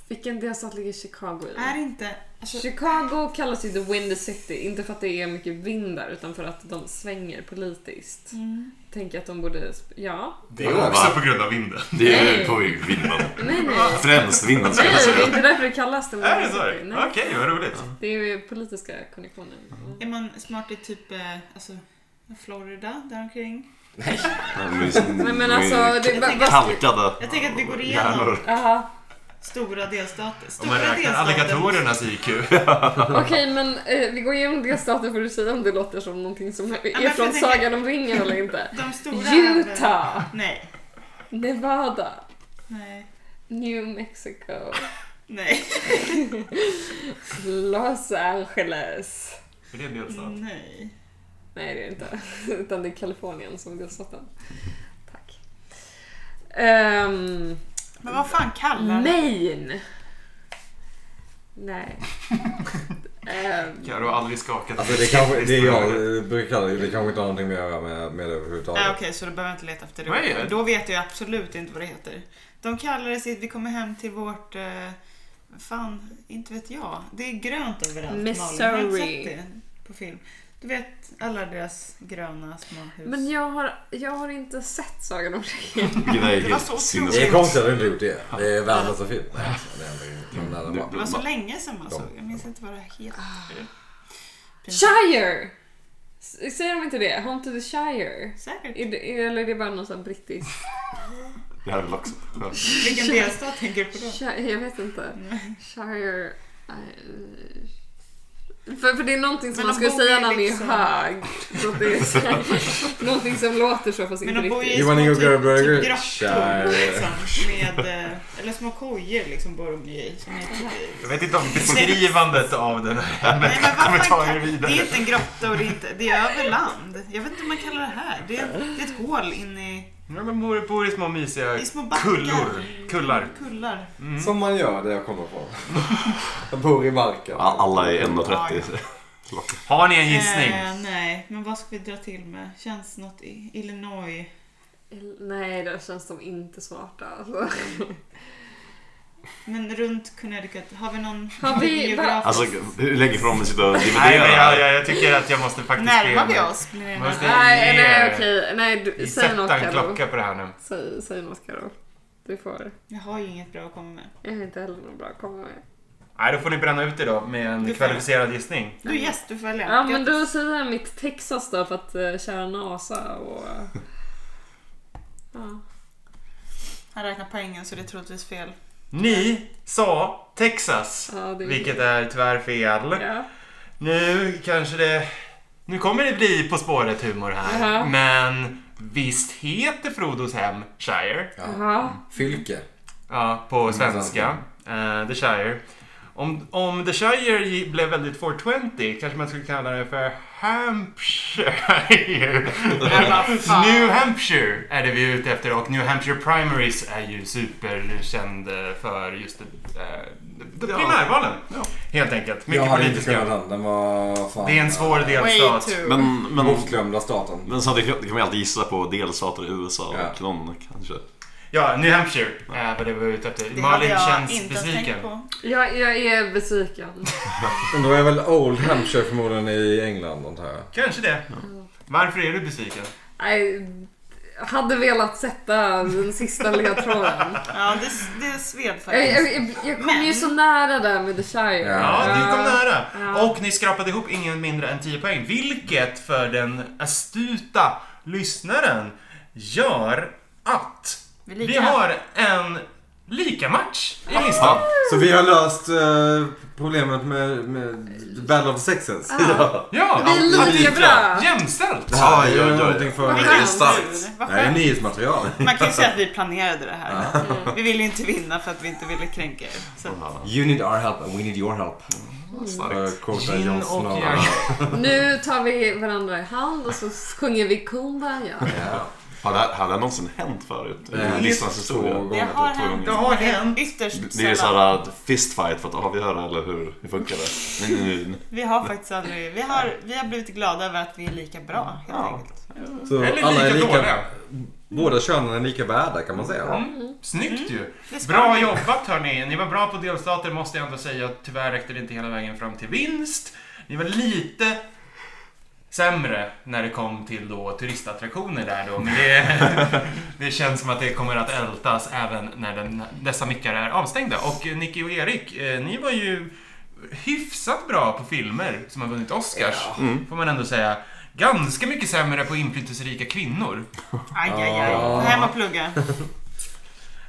[SPEAKER 5] vilken delstat ligger Chicago i?
[SPEAKER 3] Är inte... Alltså,
[SPEAKER 5] Chicago kallas ju The Windy City, inte för att det är mycket vind där utan för att de svänger politiskt.
[SPEAKER 3] mm.
[SPEAKER 5] Tänker att de borde... sp- Ja.
[SPEAKER 1] Det är också på grund av vinden.
[SPEAKER 4] Det är på vinden.
[SPEAKER 5] Nej, nej.
[SPEAKER 4] Främst vinden ska jag
[SPEAKER 3] alltså,
[SPEAKER 5] Nej, det
[SPEAKER 4] säga.
[SPEAKER 5] är inte därför det
[SPEAKER 3] *laughs*
[SPEAKER 5] kallas The
[SPEAKER 1] Är
[SPEAKER 5] Windy
[SPEAKER 1] det så?
[SPEAKER 5] City.
[SPEAKER 1] Okej,
[SPEAKER 5] Nej,
[SPEAKER 1] vad roligt.
[SPEAKER 5] det är ju politiska konjunktioner.
[SPEAKER 3] Är man smart i typ eh, alltså, Florida däromkring?
[SPEAKER 5] Nej men alltså,
[SPEAKER 4] Mm.
[SPEAKER 5] det är bara... bara-
[SPEAKER 4] Kalkade
[SPEAKER 3] Jag tänker att vi går igenom
[SPEAKER 4] hjärnor.
[SPEAKER 3] *laughs*
[SPEAKER 5] Jaha.
[SPEAKER 3] stora delstater.
[SPEAKER 1] Om man
[SPEAKER 3] Stora
[SPEAKER 1] räknar alligatorernas IQ.
[SPEAKER 5] Okej men eh, vi går igenom delstaten för att säga om det låter som någonting som
[SPEAKER 3] men
[SPEAKER 5] är
[SPEAKER 3] jag
[SPEAKER 5] från
[SPEAKER 3] tänker-
[SPEAKER 5] Sagan om ringen eller
[SPEAKER 3] *laughs*
[SPEAKER 5] inte.
[SPEAKER 3] De stora...
[SPEAKER 5] Utah,
[SPEAKER 3] Nej.
[SPEAKER 5] Nevada,
[SPEAKER 3] Nej.
[SPEAKER 5] New Mexico,
[SPEAKER 3] Nej.
[SPEAKER 5] Los Angeles.
[SPEAKER 1] Är det en delstat?
[SPEAKER 3] Nej.
[SPEAKER 5] Nej, det är det inte. *laughs* Utan det är Kalifornien som är delstaten. Tack. Ehm,
[SPEAKER 3] Men vad fan kallar
[SPEAKER 5] Maine. Nej. Ehm,
[SPEAKER 1] Karo har aldrig skakat
[SPEAKER 6] Alltså det kanske, det jag eh, brukar kalla det, det kanske inte har någonting med att göra med, med det överhuvudtaget.
[SPEAKER 3] Nej, Okej, så då behöver jag inte leta efter det.
[SPEAKER 1] Vad är det?
[SPEAKER 3] Då vet jag absolut inte vad det heter. De kallar det sitt, vi kommer hem till vårt, eh, fan, inte vet jag. Det är grönt överallt. Malin. Har du
[SPEAKER 5] Missouri.
[SPEAKER 3] sett det på film? Du vet alla deras gröna små hus.
[SPEAKER 5] men jag har, jag har inte sett Sagan om
[SPEAKER 3] *laughs*
[SPEAKER 5] ringen.
[SPEAKER 4] Vilket är
[SPEAKER 3] Det var så
[SPEAKER 4] helt
[SPEAKER 6] Det är
[SPEAKER 4] sinnessjukt.
[SPEAKER 6] konstigt att du inte gjort det. Det är världens så fint. Nej, alltså, det är ändå inte- men den är
[SPEAKER 3] det var
[SPEAKER 6] bra.
[SPEAKER 3] så länge sedan man
[SPEAKER 6] De-
[SPEAKER 3] såg. Jag minns inte vad det heter.
[SPEAKER 5] Ah.
[SPEAKER 3] Pinsamt.
[SPEAKER 5] Shire! S- Säger de inte det? Home to the Shire?
[SPEAKER 3] Säkert.
[SPEAKER 5] Är det, eller är det bara någon sån brittisk?
[SPEAKER 4] Det här är väl också.
[SPEAKER 3] Vilken delstat tänker du på då?
[SPEAKER 5] Shire, jag vet inte. Shire... eh, För, för det är någonting
[SPEAKER 3] Men
[SPEAKER 5] som man
[SPEAKER 3] de
[SPEAKER 5] skulle
[SPEAKER 3] bor
[SPEAKER 5] säga
[SPEAKER 3] ju
[SPEAKER 5] när man är
[SPEAKER 3] liksom-
[SPEAKER 5] hög. Så att det är
[SPEAKER 3] *laughs*
[SPEAKER 5] så här, någonting som låter så fast
[SPEAKER 3] Men
[SPEAKER 5] inte
[SPEAKER 3] de bor ju
[SPEAKER 5] riktigt.
[SPEAKER 3] i
[SPEAKER 6] You
[SPEAKER 3] små
[SPEAKER 6] wanna
[SPEAKER 3] typ,
[SPEAKER 6] go get a burger?
[SPEAKER 3] typ grottor
[SPEAKER 6] Sure.
[SPEAKER 3] liksom, med, eh, eller små kojor liksom bor de ju i. Som är typ,
[SPEAKER 1] Jag vet inte om beskrivandet av den här
[SPEAKER 3] Nej, men vad
[SPEAKER 1] kommer
[SPEAKER 3] fan
[SPEAKER 1] ta
[SPEAKER 3] kan-
[SPEAKER 1] er vidare.
[SPEAKER 3] Det är inte en grotta och det är, inte, det är över land. Jag vet inte vad man kallar det här. Det är, det är ett hål in i,
[SPEAKER 1] Ja, men bor, bor i små mysiga
[SPEAKER 3] i små backar.
[SPEAKER 1] kullor. Kullar.
[SPEAKER 3] Kullar.
[SPEAKER 7] Mm.
[SPEAKER 6] Som man gör där jag kommer ifrån. *laughs* jag bor i marken.
[SPEAKER 4] A- Alla är
[SPEAKER 3] Ja,
[SPEAKER 4] 1,30.
[SPEAKER 1] Har ni en gissning?
[SPEAKER 3] Eh, nej, men vad ska vi dra till med? Känns något i Illinois?
[SPEAKER 5] Nej, det känns som inte smarta. Alltså.
[SPEAKER 3] Men runt Connecticut, har vi någon
[SPEAKER 5] Har vi-
[SPEAKER 3] geografisk-
[SPEAKER 4] Alltså, hur länge får de sitta och
[SPEAKER 1] Nej, men jag,
[SPEAKER 4] dividera?
[SPEAKER 1] jag, jag tycker att jag måste faktiskt...
[SPEAKER 3] Närmar vi
[SPEAKER 1] be-
[SPEAKER 3] oss? Blir det
[SPEAKER 1] Måste-
[SPEAKER 3] närmare?
[SPEAKER 5] Nej,
[SPEAKER 1] Ge-
[SPEAKER 5] nej okej. Nej, du, säg något
[SPEAKER 1] Sätta en
[SPEAKER 5] Carro.
[SPEAKER 1] klocka på det här nu.
[SPEAKER 5] Säg, säg något Carro. Du får.
[SPEAKER 3] Jag har ju inget bra att komma med.
[SPEAKER 5] Jag har inte heller något bra att komma med.
[SPEAKER 1] Nej, då får ni bränna ut det då med en
[SPEAKER 3] Du får-
[SPEAKER 1] kvalificerad gissning.
[SPEAKER 3] Du är gäst, du följer.
[SPEAKER 5] Ja, men då säger jag mitt Texas då för att eh, kära
[SPEAKER 1] *laughs*
[SPEAKER 5] NASA och... eh, Ja.
[SPEAKER 3] Han räknar poängen så det är troligtvis fel.
[SPEAKER 1] Ni sa Texas,
[SPEAKER 5] ja det
[SPEAKER 1] vilket är tyvärr fel.
[SPEAKER 5] Ja.
[SPEAKER 1] Nu kanske det... Nu kommer det bli På spåret-humor här.
[SPEAKER 5] Jaha.
[SPEAKER 1] Men visst heter Frodos hem Shire?
[SPEAKER 5] Jaha.
[SPEAKER 7] Fylke.
[SPEAKER 1] Ja, på
[SPEAKER 7] Mm,
[SPEAKER 1] svenska. Eh, the Shire. Om, om The Shire gi- blev väldigt 420 kanske man skulle kalla det för Hampshire. New Hampshire är det vi är ute efter och New Hampshire Primaries är ju superkänd eh, för just det, eh, det
[SPEAKER 4] Ja.
[SPEAKER 1] primärvalen.
[SPEAKER 4] Ja.
[SPEAKER 1] Helt enkelt.
[SPEAKER 7] Jag
[SPEAKER 1] Mycket
[SPEAKER 7] hade inte
[SPEAKER 1] politiska.
[SPEAKER 7] kunnat den. Den var fan...
[SPEAKER 1] Det är en svår
[SPEAKER 6] eh,
[SPEAKER 3] Way
[SPEAKER 1] delstat.
[SPEAKER 3] too.
[SPEAKER 4] Men, men,
[SPEAKER 7] Bortglömda staten.
[SPEAKER 4] men samtidigt kan- kan man ju alltid gissa på delstater i USA och
[SPEAKER 7] Ja.
[SPEAKER 4] någon kanske.
[SPEAKER 1] Ja, New Hampshire eh, var det vi var ute efter.
[SPEAKER 3] Det hade
[SPEAKER 1] Malin
[SPEAKER 3] jag
[SPEAKER 1] känns
[SPEAKER 3] inte ens
[SPEAKER 1] besviken.
[SPEAKER 3] tänkt på.
[SPEAKER 5] Jag, jag är besviken.
[SPEAKER 6] Men då är väl Old Hampshire förmodligen i England antar jag.
[SPEAKER 1] Kanske det. Varför är du besviken?
[SPEAKER 5] Nej, jag hade velat sätta den
[SPEAKER 1] *laughs*
[SPEAKER 5] sista ledtråden.
[SPEAKER 3] Ja, det, det sved
[SPEAKER 5] Jag,
[SPEAKER 3] faktiskt.
[SPEAKER 5] jag, jag, jag kom
[SPEAKER 3] Men-
[SPEAKER 5] ju så nära där med The Shire.
[SPEAKER 1] Ja, ni kom nära.
[SPEAKER 5] Ja.
[SPEAKER 1] Och ni skrapade ihop ingen mindre än 10 poäng. Vilket för den astuta lyssnaren gör att
[SPEAKER 3] Vi
[SPEAKER 1] vi har en lika match i listan.
[SPEAKER 6] Så vi har löst eh, problemet med, med Battle of the Sexes. *laughs*
[SPEAKER 5] Ah.
[SPEAKER 1] Ja,
[SPEAKER 5] Det är lika bra.
[SPEAKER 1] Jämställt!
[SPEAKER 6] Det här är
[SPEAKER 4] Oj, oj,
[SPEAKER 6] ju
[SPEAKER 4] oj.
[SPEAKER 6] någonting för...
[SPEAKER 3] Vilken
[SPEAKER 6] Det
[SPEAKER 3] starkt. Vad
[SPEAKER 6] här är
[SPEAKER 3] skönt.
[SPEAKER 6] nyhetsmaterial.
[SPEAKER 3] Man kan ju säga att vi planerade det här.
[SPEAKER 1] Mm.
[SPEAKER 3] Vi ville ju inte vinna för att vi inte ville kränka er.
[SPEAKER 4] Mm.
[SPEAKER 3] Så.
[SPEAKER 7] You need our help and we need your help.
[SPEAKER 6] För att quota
[SPEAKER 1] Gin
[SPEAKER 6] Jon
[SPEAKER 1] och
[SPEAKER 6] Eh, Snow.
[SPEAKER 1] yang.
[SPEAKER 5] Nu tar vi varandra i hand och så sjunger vi Kumbaya.
[SPEAKER 4] Har det, här, har det här någonsin hänt förut?
[SPEAKER 6] Nej.
[SPEAKER 1] Eh,
[SPEAKER 4] I listans
[SPEAKER 6] Två
[SPEAKER 4] historia?
[SPEAKER 6] gånger.
[SPEAKER 3] Det har
[SPEAKER 4] två
[SPEAKER 3] hänt.
[SPEAKER 4] gånger.
[SPEAKER 1] har hänt.
[SPEAKER 3] Ytterst
[SPEAKER 4] Det är
[SPEAKER 3] sällan.
[SPEAKER 4] såhär fistfight för att avgöra eller hur, hur funkar det? eh, Nej, nej, nej.
[SPEAKER 3] Vi har faktiskt aldrig... Vi har, vi har blivit glada över att vi är lika bra helt
[SPEAKER 4] Ja.
[SPEAKER 3] enkelt.
[SPEAKER 6] Så
[SPEAKER 1] Eller
[SPEAKER 6] alla är lika...
[SPEAKER 1] lika dåliga.
[SPEAKER 6] Båda könen är lika värda kan man säga.
[SPEAKER 1] Mm. Snyggt ju!
[SPEAKER 3] Det ska
[SPEAKER 1] Bra
[SPEAKER 3] vi.
[SPEAKER 1] jobbat hörni! Ni var bra på delstater måste jag ändå säga. Tyvärr räckte det inte hela vägen fram till vinst. Ni var lite sämre när det kom till då turistattraktioner där då. Men det, det känns som att det kommer att ältas även när den, dessa mickar är avstängda. Och eh, Nicky och Erik, eh, ni var ju hyfsat bra på filmer som har vunnit Oscars. Får man ändå säga. Ganska mycket sämre på inflytelserika kvinnor.
[SPEAKER 3] Aj, aj, aj. Gå hem och plugga.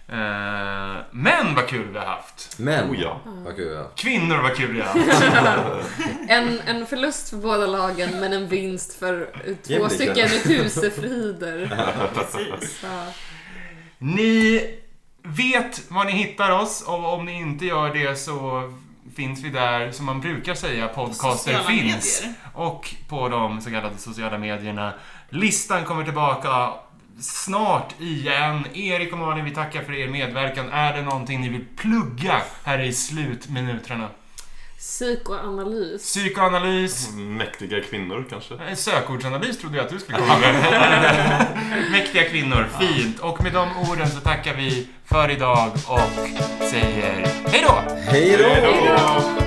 [SPEAKER 1] Eh, Men vad kul vi har haft!
[SPEAKER 6] Men,
[SPEAKER 4] Oh ja.
[SPEAKER 6] vad kul ja.
[SPEAKER 1] Kvinnor vad kul det är.
[SPEAKER 5] En, en förlust för båda lagen men en vinst för två
[SPEAKER 6] Jämlika.
[SPEAKER 5] stycken husefrider.
[SPEAKER 3] Precis.
[SPEAKER 5] Så.
[SPEAKER 1] Ni vet var ni hittar oss och om ni inte gör det så finns vi där, som man brukar säga, podcaster
[SPEAKER 3] Sociala
[SPEAKER 1] finns.
[SPEAKER 3] medier.
[SPEAKER 1] Och på de så kallade sociala medierna. Listan kommer tillbaka snart igen. Erik och Malin, vi tackar för er medverkan. Är det någonting ni vill plugga här i slutminuterna?
[SPEAKER 5] Psykoanalys.
[SPEAKER 1] Psykoanalys,
[SPEAKER 4] Mäktiga kvinnor kanske?
[SPEAKER 1] En Sökordsanalys trodde jag att du skulle komma med. Mäktiga kvinnor, fint. Och med de orden så tackar vi för idag och säger hej då!
[SPEAKER 6] Hej då!
[SPEAKER 5] Hej då!